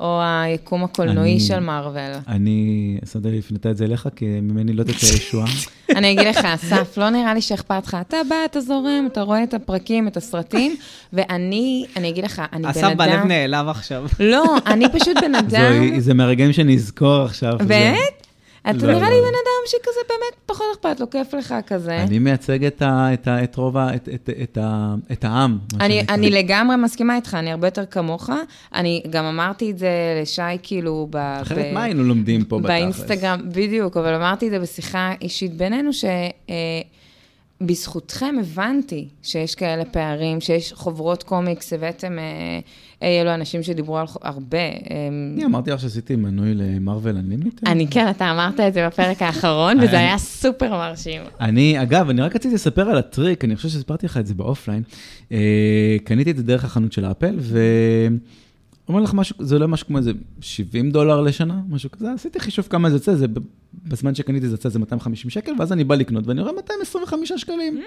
Speaker 3: או היקום הקולנועי
Speaker 1: אה, אני-
Speaker 3: של מארוול.
Speaker 1: אני, שמתי לב, הפנתה את זה אליך, כי ממני לא תצא ישועה.
Speaker 3: אני אגיד לך, אסף, לא נראה לי שאכפת לך. אתה בא, אתה זורם, אתה רואה את הפרקים, את הסרטים, ואני, אני אגיד לך, אני בן
Speaker 2: אסף בלב
Speaker 3: אדם...
Speaker 2: נעלב עכשיו.
Speaker 3: לא, אני פשוט בן אדם...
Speaker 1: זוהי- זה מהרגעים שאני אזכור עכשיו. זה-
Speaker 3: באמת?
Speaker 1: לא,
Speaker 3: אתה נראה
Speaker 1: לא,
Speaker 3: לי
Speaker 1: לא.
Speaker 3: בן אדם שכזה באמת פחות אכפת לו, כיף לך כזה.
Speaker 1: אני מייצג את ה- את ה- את רוב ה... את- את- את ה- את העם. מה
Speaker 3: אני,
Speaker 1: שנקרא.
Speaker 3: אני לגמרי מסכימה איתך, אני הרבה יותר כמוך. אני גם אמרתי את זה לשי, כאילו, ב...
Speaker 1: אחרת
Speaker 3: ב-
Speaker 1: מה היינו לומדים פה בתכלס?
Speaker 3: באינסטגרם, בדיוק, אבל אמרתי את זה בשיחה אישית בינינו, שבזכותכם הבנתי שיש כאלה פערים, שיש חוברות קומיקס, הבאתם, אה, אה, אלו אנשים שדיברו על חו- הרבה. אה,
Speaker 1: אני אמרתי לך שעשיתי מנוי למרוויל אנלימיטד?
Speaker 3: אני כן, אתה אמרת את זה בפרק האחרון, וזה היה סופר מרשים.
Speaker 1: אני, אגב, אני רק רציתי לספר על הטריק, אני חושב שסיפרתי לך את זה באופליין. אה, קניתי את זה דרך החנות של אפל, ו... אומר לך משהו, זה עולה משהו כמו איזה 70 דולר לשנה, משהו כזה, עשיתי חישוב כמה זה יוצא, זה ב- בזמן שקניתי זה יצא איזה 250 שקל, ואז אני בא לקנות ואני רואה 225 שקלים.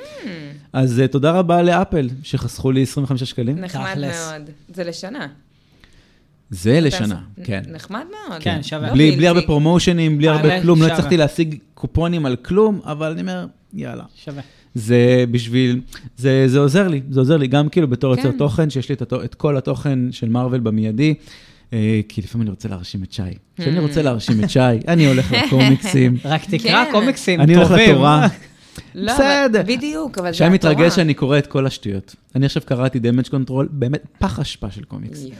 Speaker 1: אז אה, תודה רבה לאפל, שחסכו לי 25 שקלים.
Speaker 3: נחמד
Speaker 2: תכלס.
Speaker 3: מאוד. זה לשנה.
Speaker 1: זה לשנה,
Speaker 3: נ-
Speaker 1: כן.
Speaker 3: נחמד מאוד.
Speaker 2: כן, שווה.
Speaker 3: לא
Speaker 1: בלי,
Speaker 3: בלתי.
Speaker 1: בלי הרבה פרומושנים, בלי הרבה
Speaker 2: האמת,
Speaker 1: כלום, לא
Speaker 2: שווה.
Speaker 1: הצלחתי להשיג קופונים על כלום, אבל אני אומר, יאללה.
Speaker 2: שווה.
Speaker 1: זה בשביל, זה, זה עוזר לי, זה עוזר לי גם כאילו בתור
Speaker 3: כן.
Speaker 1: יוצר תוכן, שיש לי את, התו- את כל התוכן של מארוול במיידי, אה, כי לפעמים אני רוצה להרשים את שי.
Speaker 3: Mm.
Speaker 1: כשאני רוצה להרשים את שי, אני הולך לקומיקסים,
Speaker 2: רק תקרא
Speaker 3: כן.
Speaker 2: קומיקסים
Speaker 1: אני
Speaker 2: טובים.
Speaker 1: הולך לתורה.
Speaker 3: לא,
Speaker 1: בסדר.
Speaker 3: אבל- בדיוק, אבל זה
Speaker 1: שי
Speaker 3: התורה.
Speaker 1: מתרגש שאני קורא את כל השטויות. אני עכשיו קראתי Damage Control, באמת פח אשפה של קומיקס.
Speaker 3: יואו.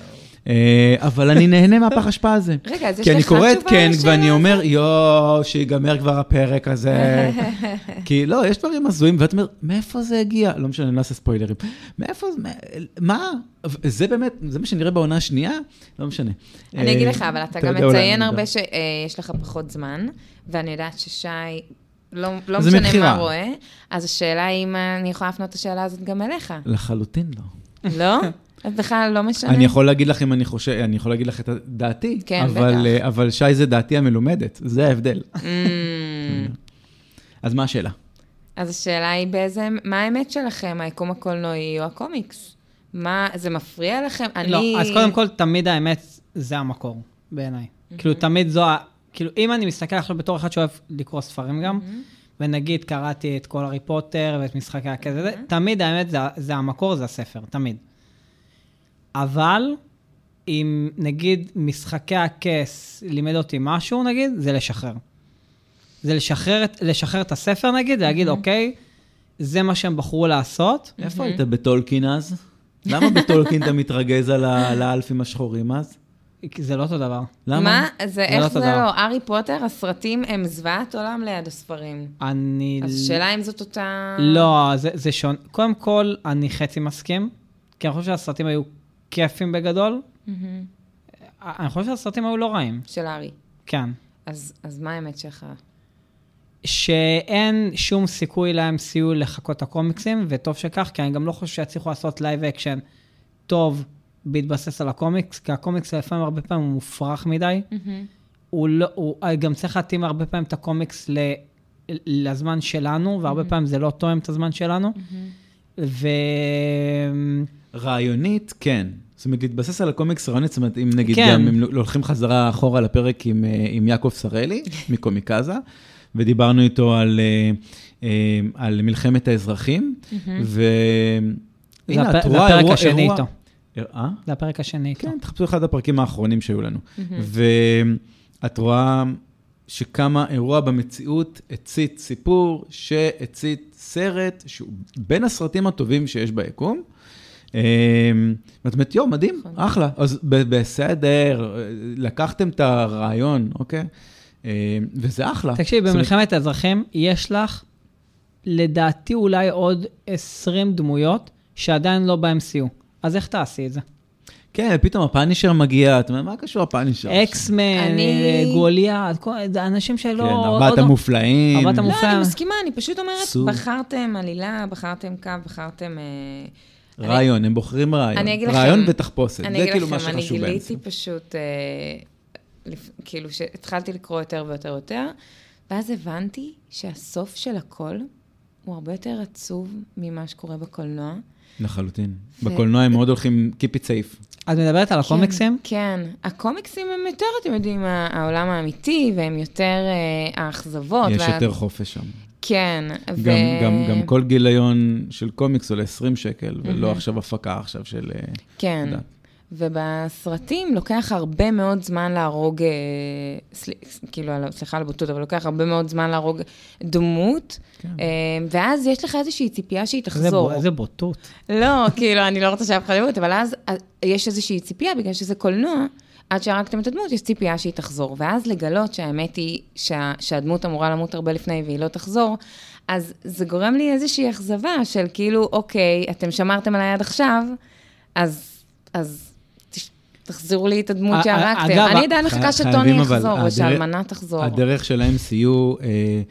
Speaker 1: אה, אבל אני נהנה מהפח אשפה הזה.
Speaker 3: רגע, אז יש
Speaker 1: כי אני
Speaker 3: לך
Speaker 1: קורא את
Speaker 3: תשובה
Speaker 1: קנג
Speaker 3: לשאלה
Speaker 1: ואני אומר, יואו, שיגמר כבר הפרק הזה. כי לא, יש דברים הזויים, ואת אומרת, מאיפה זה הגיע? לא משנה, אני לא אעשה ספוילרים. מאיפה, זה- מה? זה באמת, זה מה שנראה בעונה השנייה? לא משנה.
Speaker 3: אני אגיד
Speaker 1: אה,
Speaker 3: לך, אבל אתה
Speaker 1: יודע,
Speaker 3: גם
Speaker 1: אולי
Speaker 3: מציין
Speaker 1: אני
Speaker 3: הרבה
Speaker 1: יודע.
Speaker 3: שיש לך פחות זמן, ואני יודעת ששי, לא לא
Speaker 1: זה
Speaker 3: משנה
Speaker 1: מבחירה.
Speaker 3: מה רואה, אז השאלה היא אם אני יכולה להפנות את השאלה הזאת גם אליך,
Speaker 1: לחלוטין לא.
Speaker 3: לא? אז בכלל לא משנה.
Speaker 1: אני יכול להגיד לך אם אני חושב, אני יכול להגיד לך את דעתי,
Speaker 3: כן,
Speaker 1: אבל,
Speaker 3: בטח.
Speaker 1: אה, אבל שי זה דעתי המלומדת, זה ההבדל.
Speaker 3: Mm.
Speaker 1: אז מה השאלה?
Speaker 3: אז השאלה היא באיזה, מה האמת שלכם, היקום הקולנועי או הקומיקס? מה, זה מפריע לכם?
Speaker 2: לא,
Speaker 3: אני...
Speaker 2: אז קודם כל, תמיד האמת זה המקור, בעיניי. כאילו, תמיד זו ה... כאילו, אם אני מסתכל עכשיו בתור אחד שאוהב לקרוא ספרים
Speaker 3: Mm.
Speaker 2: גם, ונגיד קראתי את כל הארי פוטר ואת משחקי הכזה, תמיד האמת זה, ה- זה המקור, זה הספר, תמיד. אבל אם נגיד משחקי הכס לימד אותי משהו, נגיד, זה לשחרר. זה לשחרר, את- לשחרר את הספר, נגיד, ולהגיד, אוקיי, זה מה שהם בחרו לעשות.
Speaker 1: איפה היית בטולקין אז? למה בטולקין אתה מתרגז על ה- על האלפים השחורים אז?
Speaker 2: כי זה לא אותו דבר.
Speaker 1: למה?
Speaker 3: מה? זה איך
Speaker 2: לא
Speaker 3: זה
Speaker 2: תודה.
Speaker 3: לא? הארי פוטר, הסרטים הם זוועת עולם ליד הספרים.
Speaker 2: אני...
Speaker 3: אז השאלה אם זאת אותה...
Speaker 2: לא, זה, זה שונה. קודם כל, אני חצי מסכים, כי אני חושב שהסרטים היו כיפים בגדול.
Speaker 3: מהמם.
Speaker 2: אני חושב שהסרטים היו לא רעים,
Speaker 3: של הארי.
Speaker 2: כן.
Speaker 3: אז, אז מה האמת שלך?
Speaker 2: שאין שום סיכוי ל-MCU לחכות את הקומיקסים, וטוב שכך, כי אני גם לא חושב שיצליחו לעשות לייב אקשן טוב בהתבסס על הקומיקס, כי הקומיקס לפעמים הרבה פעמים הוא מופרך מדי. הוא לא, הוא גם צריך להתאים הרבה פעמים את הקומיקס ל, לזמן שלנו, והרבה פעמים זה לא תואם את הזמן שלנו. ו...
Speaker 1: רעיונית, כן. זאת אומרת, להתבסס על הקומיקס רעיונית, זאת אומרת, אם נגיד
Speaker 2: כן.
Speaker 1: גם, אם הולכים חזרה אחורה לפרק עם, אה, עם יעקב שראל, מקומיקזה, ודיברנו איתו על, אה, אה, על מלחמת האזרחים, ו...
Speaker 2: זה
Speaker 1: הנה,
Speaker 2: הפ-
Speaker 1: את
Speaker 2: זה
Speaker 1: רואה
Speaker 2: הפרק
Speaker 1: אירוע-
Speaker 2: השני
Speaker 1: אירוע-
Speaker 2: איתו.
Speaker 1: אה?
Speaker 2: זה הפרק השני איתו.
Speaker 1: כן, תחפשו אחד הפרקים האחרונים שהיו לנו. ואת רואה שכמה אירוע במציאות הצית סיפור, שהצית סרט, שהוא בין הסרטים הטובים שיש ביקום. אמ, ואת אומרת, יואו, מדהים,
Speaker 2: נכון.
Speaker 1: אחלה. אז ב- בסדר, אה, לקחתם את הרעיון, אוקיי? אמ, וזה אחלה.
Speaker 2: תקשיב,
Speaker 1: זאת אומרת,
Speaker 2: במלחמת האזרחים יש לך, לדעתי, אולי עוד 20 דמויות שעדיין לא ב-MCU. אז איך תעשי את זה?
Speaker 1: כן, פתאום הפאנישר מגיע, את אומרת, מה קשור הפאנישר?
Speaker 2: אקסמן,
Speaker 3: אני-
Speaker 2: אה, גוליית, כל- אנשים שלא...
Speaker 1: כן,
Speaker 2: עוד
Speaker 1: ארבעת
Speaker 2: לא-
Speaker 1: המופלאים.
Speaker 2: ארבעת המופלאים.
Speaker 3: לא,
Speaker 2: מופע-
Speaker 3: אני מסכימה, אני פשוט אומרת,
Speaker 1: סוג.
Speaker 3: בחרתם עלילה, בחרתם קו, בחרתם... אה,
Speaker 1: רעיון, הם בוחרים רעיון.
Speaker 3: אני אגיד לכם...
Speaker 1: רעיון ותחפושת,
Speaker 3: אני
Speaker 1: זה
Speaker 3: אגיד
Speaker 1: כאילו
Speaker 3: לכם,
Speaker 1: מה שחשוב
Speaker 3: אני
Speaker 1: באמצע.
Speaker 3: גיליתי פשוט, אה, לפ- כאילו, שהתחלתי לקרוא יותר ויותר ויותר, ואז הבנתי שהסוף של הכל הוא הרבה יותר עצוב ממה שקורה בקולנוע.
Speaker 1: לחלוטין.
Speaker 3: ו-
Speaker 1: בקולנוע הם מאוד הולכים keep it safe.
Speaker 2: את מדברת על הקומיקסים?
Speaker 3: כן. כן. הקומיקסים הם יותר, אתם יודעים, ה- העולם האמיתי, והם יותר אה, האכזבות.
Speaker 1: יש
Speaker 3: וה-
Speaker 1: יותר חופש שם.
Speaker 3: כן. ו-
Speaker 1: גם, גם, גם כל גיליון של קומיקס עולה 20 שקל, ולא עכשיו הפקה עכשיו של... אה,
Speaker 3: כן.
Speaker 1: יודעת.
Speaker 3: ובסרטים לוקח הרבה מאוד זמן להרוג, אה, סל... כאילו, על- סליחה על הבוטות, אבל לוקח הרבה מאוד זמן להרוג דמות,
Speaker 1: כן.
Speaker 3: אה, ואז יש לך איזושהי ציפייה שהיא
Speaker 2: זה
Speaker 3: תחזור.
Speaker 2: בו- זה בוטות.
Speaker 3: לא, כאילו, אני לא רוצה שאף אחד ימות, אבל אז אה, יש איזושהי ציפייה, בגלל שזה קולנוע, עד שהרגתם את הדמות, יש ציפייה שהיא תחזור. ואז לגלות שהאמת היא שה, שהדמות אמורה למות הרבה לפני והיא לא תחזור, אז זה גורם לי איזושהי אכזבה של כאילו, אוקיי, אתם שמרתם עליי עד עכשיו, אז, אז תש- תחזירו לי את
Speaker 2: א- א-
Speaker 3: הדמות שהרגתם.
Speaker 2: אגב,
Speaker 3: אני עדיין
Speaker 1: חי-
Speaker 3: מחכה שטוני
Speaker 1: חייבים אבל,
Speaker 3: יחזור, או
Speaker 1: הדרך-
Speaker 3: שהאלמנה תחזור.
Speaker 1: הדרך של ה-MCU, אה,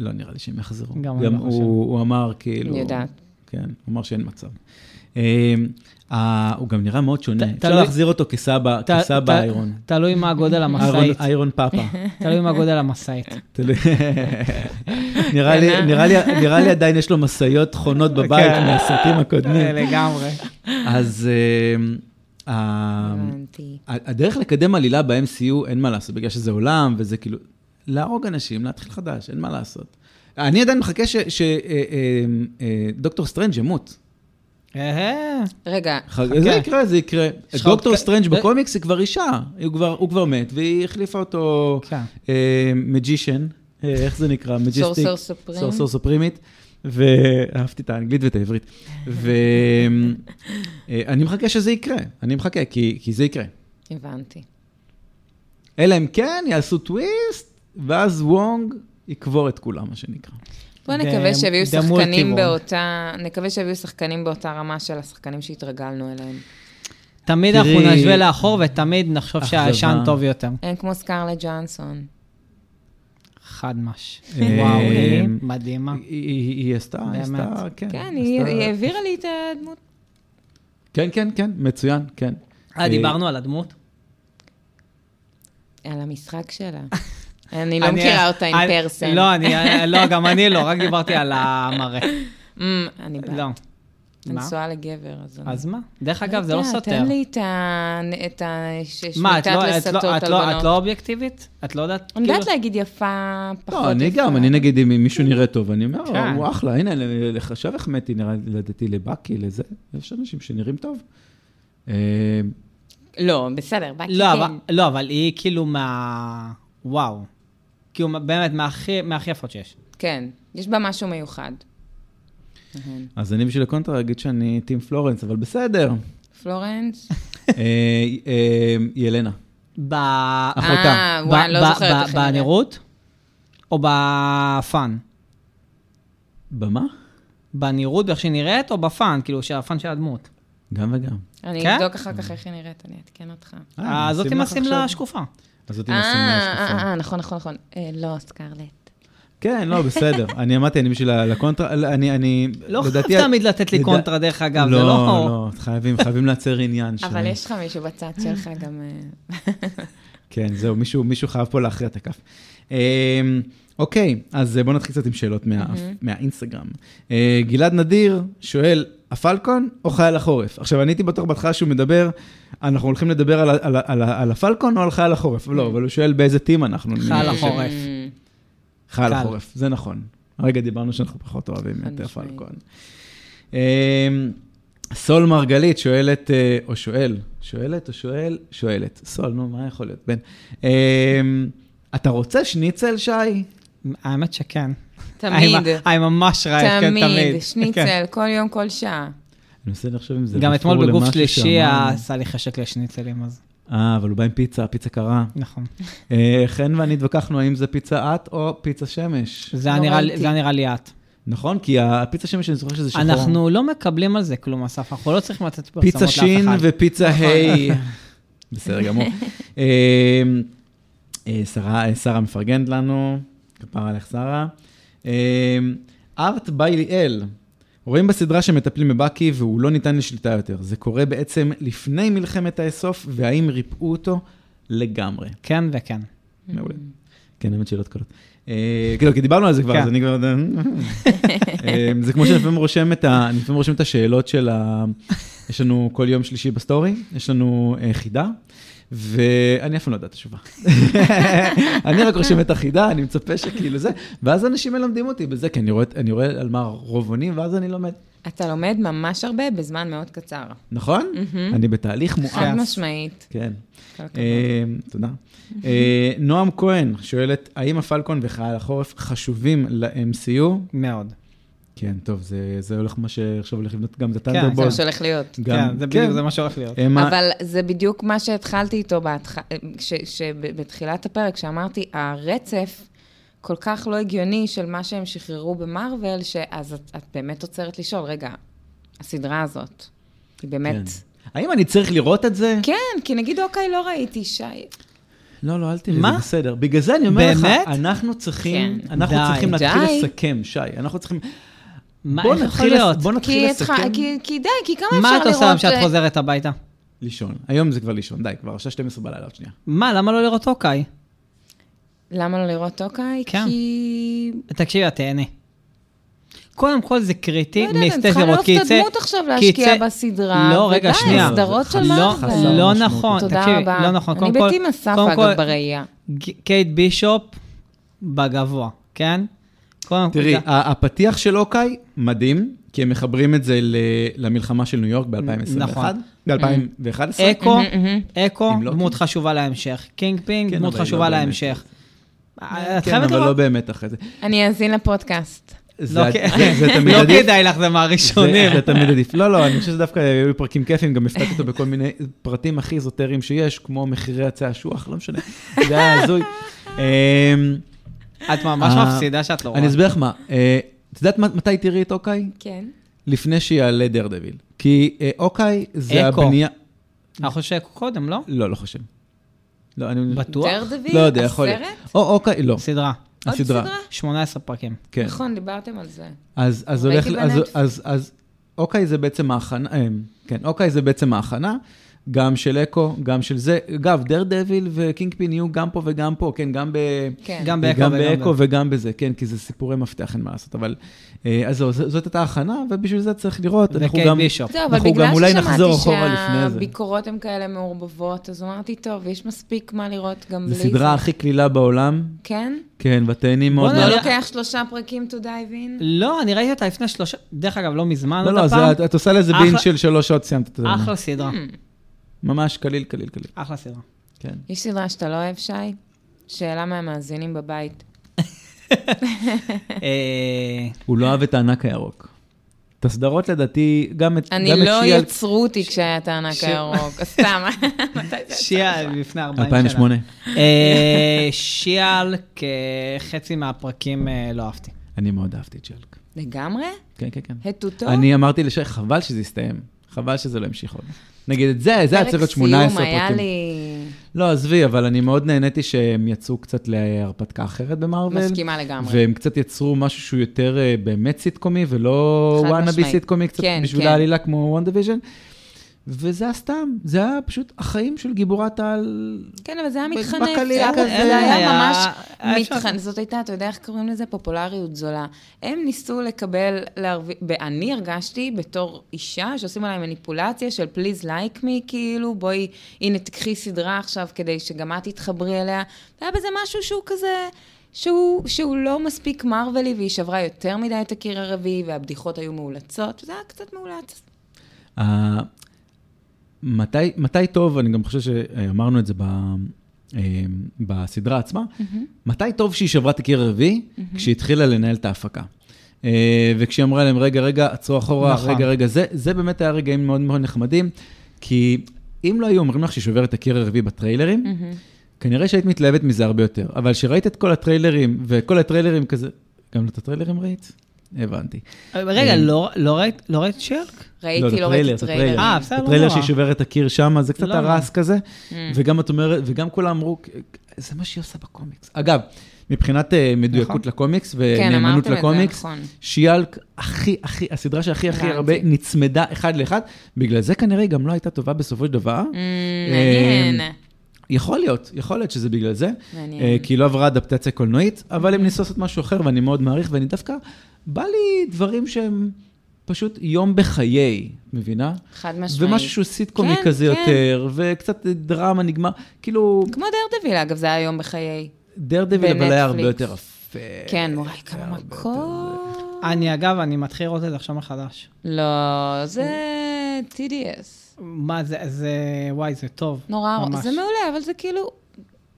Speaker 1: לא נראה לי שהם יחזרו.
Speaker 2: גם
Speaker 1: גם,
Speaker 2: אני לא חושב.
Speaker 1: הוא, הוא אמר כאילו...
Speaker 3: אני יודעת.
Speaker 1: כן, הוא אמר שאין מצב. אה, אה, הוא גם נראה מאוד שונה.
Speaker 2: ת-
Speaker 1: אפשר
Speaker 2: תלוי-
Speaker 1: להחזיר אותו כסבא,
Speaker 2: ת- ת-
Speaker 1: כסבא איירון.
Speaker 2: תלוי מה גודל
Speaker 1: איירון-
Speaker 2: המשאית.
Speaker 1: איירון פאפה.
Speaker 2: תלוי מה גודל המשאית.
Speaker 1: תלוי. נראה לי-
Speaker 3: כן, אה?
Speaker 1: נראה לי- נראה לי עדיין יש לו משאיות חונות בבית
Speaker 2: כן.
Speaker 1: מהסרטים
Speaker 3: אה,
Speaker 1: הקודמים.
Speaker 2: לגמרי.
Speaker 1: אז אה, ה-
Speaker 3: הבנתי.
Speaker 1: הדרך לקדם עלילה ב-MCU, אין מה לעשות, בגלל שזה עולם וזה כאילו, להרוג אנשים, להתחיל חדש, אין מה לעשות. אני עדיין מחכה אה, שדוקטור אה, סטרנג' ימות.
Speaker 2: אה,
Speaker 3: רגע,
Speaker 1: ח- זה יקרה, זה יקרה.
Speaker 2: יש לך עוד
Speaker 3: כן,
Speaker 1: דוקטור
Speaker 2: כ-
Speaker 1: סטרנג'
Speaker 2: זה-
Speaker 1: בקומיקס היא כבר אישה, הוא כבר- הוא כבר מת, והיא החליפה אותו
Speaker 2: כן.
Speaker 1: מג'ישן, איך זה נקרא? מג'יסטיק.
Speaker 3: סורסור סופרים.
Speaker 1: סורסור סופרימית, ואהבתי את האנגלית ואת העברית. ואני מחכה שזה יקרה, אני מחכה, כי כי זה יקרה.
Speaker 3: הבנתי.
Speaker 1: אלא אם כן יעשו טוויסט, ואז וונג יקבור את כולם, מה שנקרא.
Speaker 3: בוא
Speaker 2: ד-
Speaker 3: נקווה שיביאו
Speaker 2: דה מולטיוורן.
Speaker 3: שחקנים באותה, נקווה שיביאו שחקנים באותה רמה של השחקנים שהתרגלנו אליהם.
Speaker 2: תמיד אנחנו
Speaker 1: תראי-
Speaker 2: נשווה לאחור ותמיד נחשוב
Speaker 1: אכזבה.
Speaker 2: שהישן טוב יותר.
Speaker 3: אין כמו סקרלט ג'אנסון.
Speaker 2: כן, חד מש.
Speaker 1: אה,
Speaker 2: וואו, היא מדהימה.
Speaker 1: היא- היא היא עשתה, היא
Speaker 2: באמת.
Speaker 1: עשתה, כן.
Speaker 3: כן, היא
Speaker 1: עשתה-
Speaker 3: היא העבירה לי את הדמות.
Speaker 1: כן, כן, כן, מצוין, כן.
Speaker 2: אה, דיברנו על הדמות?
Speaker 3: על המשחק שלה. אני לא מכירה אותה עם
Speaker 2: אני-
Speaker 3: פרסן.
Speaker 2: לא, אני- לא, גם אני לא, רק דיברתי על המראה.
Speaker 3: אמ, אני באה.
Speaker 2: לא.
Speaker 3: אני
Speaker 2: מה?
Speaker 3: נשואה לגבר, אז... אני-
Speaker 2: אז מה? דרך אגב, זה
Speaker 3: יודע,
Speaker 2: לא סותר.
Speaker 3: תן לי את ה... את ה... ש-
Speaker 2: מה, את
Speaker 3: שמיטת
Speaker 2: לא- את
Speaker 3: לסטות
Speaker 2: לא-
Speaker 3: על
Speaker 2: את לא- את
Speaker 3: בנות.
Speaker 2: לא אובייקטיבית? את לא יודעת?
Speaker 3: אני יודעת
Speaker 2: כאילו-
Speaker 3: להגיד יפה, פחות
Speaker 1: לא,
Speaker 3: יפה.
Speaker 1: אני גם, אני נגיד, אם מישהו נראה טוב, אני אומר,
Speaker 2: כן.
Speaker 1: הוא אחלה, הנה, עכשיו החמאתי, נראה לי, לדעתי, לבאקי, לזה. יש אנשים שנראים טוב. אה,
Speaker 3: לא, בסדר, באתי
Speaker 2: לא,
Speaker 3: כן.
Speaker 2: אבל- לא, אבל היא כאילו מה... וואו. כאילו, מה- באמת, מהכי מהכי יפות שיש.
Speaker 3: כן, יש בה משהו מיוחד. אהן.
Speaker 1: אז אני בשביל הקונטרה אגיד שאני טים פלורנס, אבל בסדר.
Speaker 3: פלורנס?
Speaker 1: אה, אה, ילנה.
Speaker 2: ב...
Speaker 1: אחותה.
Speaker 3: אה, וואי, אני לא זוכרת איך
Speaker 2: ב-
Speaker 3: היא נראית.
Speaker 2: בנראות? או בפאן?
Speaker 1: במה?
Speaker 2: בנראות, באיך שהיא נראית, או בפאן? כאילו, שהפאן של הדמות.
Speaker 1: גם וגם.
Speaker 3: אני
Speaker 2: כן?
Speaker 3: אבדוק אחר כך איך היא נראית, אני אעדכן אותך.
Speaker 1: אה,
Speaker 2: הזאת
Speaker 1: נשים לך
Speaker 2: עם השמלה
Speaker 1: עכשיו?
Speaker 2: השקופה.
Speaker 1: אז זאת
Speaker 3: אה,
Speaker 1: עם השמלה
Speaker 3: אה,
Speaker 1: השקופה.
Speaker 3: אה, נכון, נכון, נכון. אה, לא, סקרלט.
Speaker 1: כן, לא, בסדר. אני אמרתי, אני בשביל לקונטרה, לא, אני, אני...
Speaker 2: לא
Speaker 1: לדעתי-
Speaker 2: חייב תמיד לתת לי
Speaker 1: לדע-
Speaker 2: קונטרה, דרך אגב, זה
Speaker 1: לא,
Speaker 2: לא...
Speaker 1: לא, חייבים, חייבים לייצר עניין.
Speaker 3: אבל
Speaker 1: ש-
Speaker 3: יש לך מישהו בצד שלך גם... אה,
Speaker 1: כן, זהו, מישהו, מישהו חייב פה להכריע את הכף. אמ, אוקיי, אז בואו נתחיל קצת עם שאלות מה, מהאינסטגרם. אה, גלעד נדיר שואל, הפלקון או חייל החורף? עכשיו, אני הייתי בטוח בהתחלה שהוא מדבר, אנחנו הולכים לדבר על, ה- על, ה- על, ה- על הפלקון או על חייל החורף? לא, אבל הוא שואל באיזה טים אנחנו. אה, אני
Speaker 2: חייל
Speaker 1: חושב-
Speaker 2: החורף.
Speaker 3: אמ,
Speaker 1: חייל
Speaker 2: קל.
Speaker 1: החורף, זה נכון. הרגע דיברנו שאנחנו פחות אוהבים את
Speaker 3: משמעית.
Speaker 1: הפלקון. אמ, סול מרגלית שואלת, אה, או שואל, שואלת או שואל, שואלת. סול, נו, מה יכול להיות, בן? אמ, אתה רוצה שניצל, שי?
Speaker 2: האמת שכן.
Speaker 3: תמיד.
Speaker 2: אני- אני ממש רעב, כן,
Speaker 3: תמיד,
Speaker 2: תמיד. כן.
Speaker 3: שניצל, כל יום, כל שעה.
Speaker 1: אני מנסה לחשוב אם זה
Speaker 2: גם אתמול
Speaker 1: רפור
Speaker 2: בגוף
Speaker 1: למשהו
Speaker 2: שלישי
Speaker 1: שאמרנו.
Speaker 2: עשה לי חשק לשניצלים, אז
Speaker 1: אה, אבל הוא בא עם פיצה, פיצה קרה.
Speaker 2: נכון.
Speaker 1: אה, חן ואני התווכחנו האם זה פיצה את או פיצה שמש.
Speaker 2: זה היה
Speaker 3: לא
Speaker 2: נראה לי-
Speaker 3: ראיתי.
Speaker 2: זה היה נראה לי את.
Speaker 1: נכון? כי הפיצה שמש, אני זוכר שזה שחור.
Speaker 2: אנחנו לא מקבלים על זה כלום, אסף, אנחנו לא צריכים לתת פרסומות לאף אחד.
Speaker 1: פיצה שין ופיצה היי. בסדר גמור. אה, אה, שרה אה, שרה מפרגנת לנו, כפרה עליך שרה. אה, ארט ביי ליאל, רואים בסדרה שמטפלים בבאקי והוא לא ניתן לשליטה יותר. זה קורה בעצם לפני מלחמת האסוף, והאם ריפאו אותו? לגמרי.
Speaker 2: כן וכן.
Speaker 1: מעולה. כן, האמת שאלות קלות. אה, כאילו, כי דיברנו על זה כבר,
Speaker 2: כן.
Speaker 1: אז אני כבר... אה, זה כמו שאני לפעמים רושם את ה... אני לפעמים רושם את השאלות של ה... יש לנו כל יום שלישי בסטורי, יש לנו אה, חידה, ואני אף פעם לא יודע את התשובה. אני רק רושם את החידה, אני מצפה שכאילו זה, ואז אנשים מלמדים אותי בזה, כי אני רואה, אני רואה על מה הרוב עונים, ואז אני לומד.
Speaker 3: אתה לומד ממש הרבה בזמן מאוד קצר.
Speaker 1: נכון? אני בתהליך
Speaker 3: חד
Speaker 1: מואץ.
Speaker 3: משמעית.
Speaker 1: כן.
Speaker 3: כל הכבוד.
Speaker 1: אה, תודה. אה, נועם כהן שואלת, האם הפלקון וחייל החורף חשובים ל-MCU?
Speaker 2: מאוד.
Speaker 1: כן, טוב, זה זה הולך מה שעכשיו הולך לבנות גם את
Speaker 2: כן,
Speaker 3: זה
Speaker 1: הטנדרבולט.
Speaker 3: מה שהולך להיות.
Speaker 1: גם- אה,
Speaker 2: כן, זה בדיוק, זה מה שהולך להיות.
Speaker 1: הם ה-
Speaker 3: אבל זה בדיוק מה שהתחלתי איתו בהתח... ש... שבתחילת הפרק, שאמרתי, הרצף כל כך לא הגיוני של מה שהם שחררו במארוול, שאז את, את באמת עוצרת לשאול, רגע, הסדרה הזאת,
Speaker 1: כן.
Speaker 3: היא באמת...
Speaker 1: האם אני צריך לראות את זה?
Speaker 3: כן, כי נגיד, אוקיי, לא ראיתי, שי.
Speaker 1: לא, לא, אל תראה,
Speaker 2: מה?
Speaker 1: זה בסדר. בגלל זה אני אומר לך,
Speaker 2: באמת?
Speaker 1: אנחנו צריכים,
Speaker 3: כן.
Speaker 1: אנחנו
Speaker 2: די,
Speaker 1: צריכים להתחיל
Speaker 3: די.
Speaker 1: לסכם, שי. אנחנו צריכים...
Speaker 2: מה,
Speaker 1: בוא
Speaker 2: איך יכול
Speaker 1: נתחיל לס-
Speaker 2: להיות?
Speaker 1: בוא נתחיל
Speaker 3: כי, את...
Speaker 1: לסכם.
Speaker 3: כי, כי די, כי כמה
Speaker 2: מה
Speaker 3: אפשר
Speaker 2: את
Speaker 3: לראות...
Speaker 2: עושה כשאת
Speaker 3: אה,
Speaker 2: חוזרת הביתה?
Speaker 1: לישון. היום זה כבר לישון, די, כבר עכשיו 12 בלילה עוד שנייה.
Speaker 2: מה, למה לא לראות אוקיי?
Speaker 3: למה לא לראות אוקיי?
Speaker 2: כן.
Speaker 3: כי...
Speaker 2: תקשיבי, את תהני. קודם כל זה קריטי,
Speaker 3: לא יודעת, אני
Speaker 2: משתי
Speaker 3: צריכה
Speaker 2: זירות,
Speaker 3: לאהוב
Speaker 2: כי
Speaker 3: את
Speaker 2: יצא-
Speaker 3: הדמות עכשיו
Speaker 2: כי
Speaker 3: להשקיע
Speaker 2: יצא-
Speaker 3: בסדרה,
Speaker 2: לא, רגע,
Speaker 3: ודי,
Speaker 2: שנייה.
Speaker 3: סדרות של
Speaker 2: לא,
Speaker 1: מארוול.
Speaker 2: לא
Speaker 1: חסר
Speaker 2: נכון,
Speaker 3: תודה
Speaker 2: תקשיבי,
Speaker 3: רבה.
Speaker 2: לא נכון. קודם
Speaker 3: אני
Speaker 2: כל-
Speaker 3: בטים אסף,
Speaker 2: קודם כל,
Speaker 3: אגב, בראייה.
Speaker 2: ג- קייט בישופ בגבוה, כן? קודם כל,
Speaker 1: תראי,
Speaker 2: זה-
Speaker 1: ה- הפתיח של אוקיי, מדהים, כי הם מחברים את זה ל- למלחמה של ניו יורק ב-2021.
Speaker 2: נכון. אה,
Speaker 1: ב-2011.
Speaker 2: אקו,
Speaker 3: מהמם, מהמם.
Speaker 2: אקו,
Speaker 1: אם לא
Speaker 2: דמות
Speaker 1: קינג.
Speaker 2: חשובה להמשך. קינג פינג,
Speaker 1: כן,
Speaker 2: דמות
Speaker 1: אבל היא
Speaker 2: חשובה
Speaker 1: לא באמת.
Speaker 2: להמשך. אה, את
Speaker 1: כן,
Speaker 2: חייבת
Speaker 1: אבל לא
Speaker 2: לראות.
Speaker 1: באמת אחרי זה.
Speaker 3: אני אאזין לפודקאסט.
Speaker 1: זה-
Speaker 2: לא
Speaker 1: זה- זה
Speaker 2: כ-
Speaker 1: תמיד
Speaker 2: לא
Speaker 1: עדיף.
Speaker 2: כדאי לך, זה מהראשונים.
Speaker 1: זה זה תמיד עדיף. לא, לא, אני חושב שדווקא היו לי פרקים כיפים, גם הפתעתי אותו בכל מיני פרטים הכי איזוטריים שיש, כמו מחירי עצי השוח, לא משנה. זה היה הזוי.
Speaker 2: אוקיי.
Speaker 1: אמ,
Speaker 2: את ממש
Speaker 1: אה,
Speaker 2: מפסידה שאת לא רואה.
Speaker 1: אני אסביר לך מה, אה, את יודעת מת- מתי תראי את אוקיי?
Speaker 3: כן.
Speaker 1: לפני שיעלה דרדביל. כי אה, אוקיי זה
Speaker 2: אקו.
Speaker 1: הבנייה...
Speaker 2: אני חושב שאקו קודם, לא?
Speaker 1: לא, לא חושב. לא, אני...
Speaker 2: בטוח?
Speaker 3: דרדוויל?
Speaker 1: לא יודע, יכול להיות.
Speaker 3: הסרט?
Speaker 1: או אוקיי, לא,
Speaker 2: סדרה.
Speaker 3: עוד
Speaker 1: הסדרה.
Speaker 3: סדרה?
Speaker 2: 18 פרקים.
Speaker 1: כן.
Speaker 3: נכון, דיברתם על זה.
Speaker 1: אז, אז
Speaker 3: ראיתי
Speaker 1: הולך, אז,
Speaker 3: בנטפליקס.
Speaker 1: אז, אז אוקיי זה בעצם ההכנה, אה, כן, אוקיי זה בעצם ההכנה, גם של אקו, גם של זה. אגב, דר דביל וקינג פין יהיו גם פה וגם פה, כן, גם ב...
Speaker 3: כן.
Speaker 2: גם באקו
Speaker 1: גם
Speaker 2: וגם
Speaker 1: באקו
Speaker 2: ב-
Speaker 1: וגם בזה, כן, כי זה סיפורי מפתח, אין מה לעשות, אבל... אה, אז זהו, ז- זאת הייתה הכנה, ובשביל זה צריך לראות. אנחנו
Speaker 2: וקייט
Speaker 1: גם...
Speaker 2: בישופ.
Speaker 3: זהו, אבל
Speaker 1: אנחנו גם אולי
Speaker 3: בגלל
Speaker 1: נחזור אחורה
Speaker 3: ששמעתי
Speaker 1: לפני זה.
Speaker 3: שהביקורות הן כאלה מעורבבות, אז אמרתי, טוב, יש מספיק מה לראות גם בלי
Speaker 1: זו
Speaker 3: זה.
Speaker 1: סדרה הכי קלילה בעולם,
Speaker 3: כן?
Speaker 1: כן, ותהני מאוד.
Speaker 2: בוא
Speaker 1: מה-
Speaker 2: לא,
Speaker 3: לא
Speaker 2: לא.
Speaker 3: לוקח שלושה פרקים to dive in?
Speaker 2: לא, אני ראיתי אותה לפני שלושה, דרך אגב, לא מזמן
Speaker 1: לא,
Speaker 2: עוד
Speaker 1: לא,
Speaker 2: הפעם.
Speaker 1: זה- את- את עושה לזה בין
Speaker 2: אחלה-
Speaker 1: של שלוש שעות, סיימת את זה.
Speaker 2: אחלה סדרה,
Speaker 3: Hmm.
Speaker 1: ממש קליל, קליל, קליל.
Speaker 2: אחלה סדרה.
Speaker 1: כן.
Speaker 3: יש סדרה שאתה לא אוהב, שי? שאלה מהמאזינים בבית.
Speaker 2: אה,
Speaker 1: הוא לא אהב את הענק הירוק. את הסדרות לדעתי, גם את...
Speaker 3: אני
Speaker 1: גם את
Speaker 3: לא,
Speaker 1: שיאל-
Speaker 3: יצרו אותי כשהיה את הענק
Speaker 2: ש-
Speaker 3: הירוק. סתם. מתי זה
Speaker 2: שיאל לפני 40 שנה.
Speaker 1: 2008.
Speaker 2: אה, שיאל כחצי מהפרקים אה, לא אהבתי.
Speaker 1: אני מאוד אהבתי את שיאלק.
Speaker 3: לגמרי?
Speaker 1: כן, כן, כן.
Speaker 3: הטוטו?
Speaker 1: אני אמרתי לשי, חבל שזה יסתיים. חבל שזה לא ימשיך עוד. נגיד, את זה, זה היה צריך להיות
Speaker 3: פרק
Speaker 1: 18
Speaker 3: סיום היה
Speaker 1: פרקים.
Speaker 3: לי...
Speaker 1: לא, עזבי, אבל אני מאוד נהניתי שהם יצאו קצת להרפתקה אחרת במרוויל.
Speaker 3: מסכימה לגמרי.
Speaker 1: והם קצת יצרו משהו שהוא יותר אה, באמת סיטקומי, ולא
Speaker 3: חד
Speaker 1: וואנאבי
Speaker 3: משמעית.
Speaker 1: סיטקומי, קצת
Speaker 3: כן,
Speaker 1: בשביל
Speaker 3: כן.
Speaker 1: העלילה כמו וואן דיוויז'ן. וזה היה סתם, זה היה פשוט החיים של גיבורת העל.
Speaker 3: כן, אבל זה היה
Speaker 1: בקליע
Speaker 3: מתחנף.
Speaker 1: כזה.
Speaker 3: זה היה ממש
Speaker 2: היה אפשר-
Speaker 3: מתחנף. זאת הייתה, אתה יודע איך קוראים לזה? פופולריות זולה. הם ניסו לקבל, להרוויח, ואני הרגשתי בתור אישה שעושים עליי מניפולציה של פליז לייק מי, כאילו, בואי, הנה, תקחי סדרה עכשיו כדי שגם את תתחברי אליה. והיה בזה משהו שהוא כזה... שהוא, שהוא לא מספיק מרווילי, והיא שברה יותר מדי את הקיר הרביעי, והבדיחות היו מאולצות, וזה היה קצת מאולץ.
Speaker 1: ה- מתי, מתי טוב, אני גם חושב שאמרנו את זה ב, אה, בסדרה עצמה, מתי טוב שהיא שברה את הקיר הרביעי? כשהיא התחילה לנהל את ההפקה. אה, וכשהיא אמרה להם, רגע, רגע, עצרו אחורה,
Speaker 2: נכון.
Speaker 1: רגע, רגע, זה, זה באמת היה רגעים מאוד מאוד נחמדים, כי אם לא היו אומרים לך שהיא שוברת את הקיר הרביעי בטריילרים, כנראה שהיית מתלהבת מזה הרבה יותר. אבל כשראית את כל הטריילרים, וכל הטריילרים כזה, גם לא את הטריילרים ראית? הבנתי.
Speaker 2: רגע,
Speaker 1: אה.
Speaker 2: לא- לא ראית- לא ראית שרק?
Speaker 1: לא,
Speaker 3: ראיתי, לא ראיתי
Speaker 1: את
Speaker 3: טריילר.
Speaker 2: אה, בסדר, לא
Speaker 1: הטריילר
Speaker 2: נורא.
Speaker 1: שהיא שוברת את הקיר שם, זה קצת
Speaker 2: לא,
Speaker 1: הרס כזה.
Speaker 3: Mm.
Speaker 1: וגם את אומרת, וגם כולם אמרו, זה מה שהיא עושה בקומיקס. אגב, מבחינת אה, מדויקות
Speaker 2: נכון.
Speaker 1: לקומיקס
Speaker 3: כן,
Speaker 1: ונאמנות
Speaker 3: אמרתם את זה,
Speaker 1: לקומיקס,
Speaker 3: נכון.
Speaker 1: שיאלק הכי, הכי, הסדרה שהכי הכי
Speaker 3: הבנתי.
Speaker 1: הרבה נצמדה אחד לאחד, בגלל זה כנראה היא גם לא הייתה טובה בסופו של דבר.
Speaker 3: Mm, מעניין.
Speaker 1: אה, יכול להיות, יכול להיות שזה בגלל זה,
Speaker 3: מעניין.
Speaker 1: אה, כי היא לא עברה אדפטציה קולנועית, אבל הם ניסו לעשות משהו אחר ואני מאוד מעריך, ואני דווקא, בא לי דברים שהם פשוט יום בחיי, מבינה?
Speaker 3: חד משמעית.
Speaker 1: ומשהו שהוא סיטקומי
Speaker 3: כן,
Speaker 1: כזה
Speaker 3: כן.
Speaker 1: יותר, וקצת דרמה נגמר, כאילו,
Speaker 3: כמו דרדוויל, אגב, זה היה יום בחיי.
Speaker 1: דר דביל, אבל היה הרבה
Speaker 3: בנטפליקס.
Speaker 1: יותר יפה.
Speaker 3: כן, וואי, כמה מכות.
Speaker 2: אני, אגב, אני מתחיל לראות את זה עכשיו מחדש.
Speaker 3: לא, זה TDS.
Speaker 2: מה זה, זה, וואי, זה טוב.
Speaker 3: נורא,
Speaker 2: ממש.
Speaker 3: זה מעולה, אבל זה כאילו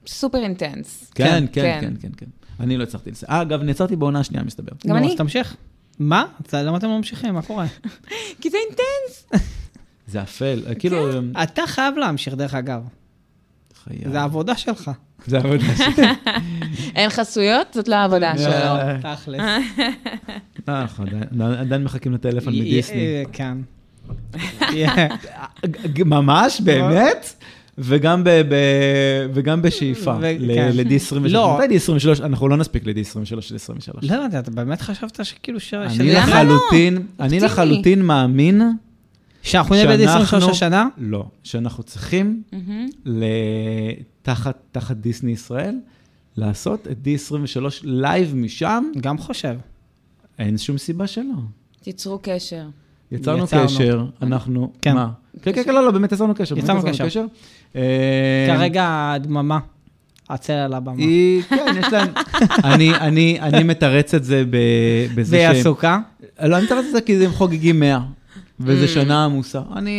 Speaker 3: סופר אינטנס.
Speaker 1: כן, כן,
Speaker 3: כן.
Speaker 1: כן, כן, כן. אני לא הצלחתי לזה. אה, אגב, נעצרתי בעונה השנייה, מסתבר.
Speaker 3: גם
Speaker 2: נו,
Speaker 3: אני.
Speaker 2: אז תמשיך. מה? אז למה אתם לא ממשיכים? מה קורה?
Speaker 3: כי זה אינטנס.
Speaker 1: זה אפל, אה, כאילו...
Speaker 3: כן.
Speaker 1: אה,
Speaker 2: אתה חייב להמשיך, דרך אגב.
Speaker 3: אה,
Speaker 1: חייב.
Speaker 2: זה העבודה שלך.
Speaker 1: זה עבודה שלי.
Speaker 3: אין חסויות, זאת לא העבודה שלו.
Speaker 1: אה,
Speaker 2: תכלס.
Speaker 1: אה, אנחנו עדיין- עדיין מחכים לטלפון
Speaker 2: י-
Speaker 1: מדיסני.
Speaker 2: אה, כן. אה,
Speaker 1: ג- ממש, באמת? וגם, ב, ב, וגם בשאיפה,
Speaker 2: ו- כן.
Speaker 1: ל-D23.
Speaker 2: לא.
Speaker 1: מתי D23? אנחנו לא נספיק ל-D23 של 23.
Speaker 2: לא הבנתי, אתה באמת חשבת שכאילו ש...
Speaker 1: אני
Speaker 2: שזה-
Speaker 3: למה לא?
Speaker 1: לחלוטין, אני
Speaker 3: אופטימי.
Speaker 1: לחלוטין מאמין
Speaker 2: שאנחנו נהיה ב-23
Speaker 1: שאנחנו...
Speaker 2: השנה?
Speaker 1: לא, שאנחנו צריכים ל- תחת תחת דיסני ישראל, לעשות את D23 לייב משם,
Speaker 2: גם חושב.
Speaker 1: אין שום סיבה שלא.
Speaker 3: תיצרו קשר.
Speaker 1: יצרנו
Speaker 2: יצרנו.
Speaker 1: קשר, אנחנו,
Speaker 2: כן.
Speaker 1: מה? כן, כן, כן, לא, לא, באמת יצרנו קשר. באמת
Speaker 2: יצרנו קשר.
Speaker 1: אה,
Speaker 2: כרגע הדממה. הצל על הבמה.
Speaker 1: היא, כן, יש להם... אני, אני, אני מתרץ את זה ב, בזה
Speaker 2: והיא עסוקה?
Speaker 1: לא, אני מתרץ את זה כי הם חוגגים 100,
Speaker 2: Mm.
Speaker 1: וזו שנה עמוסה. אני,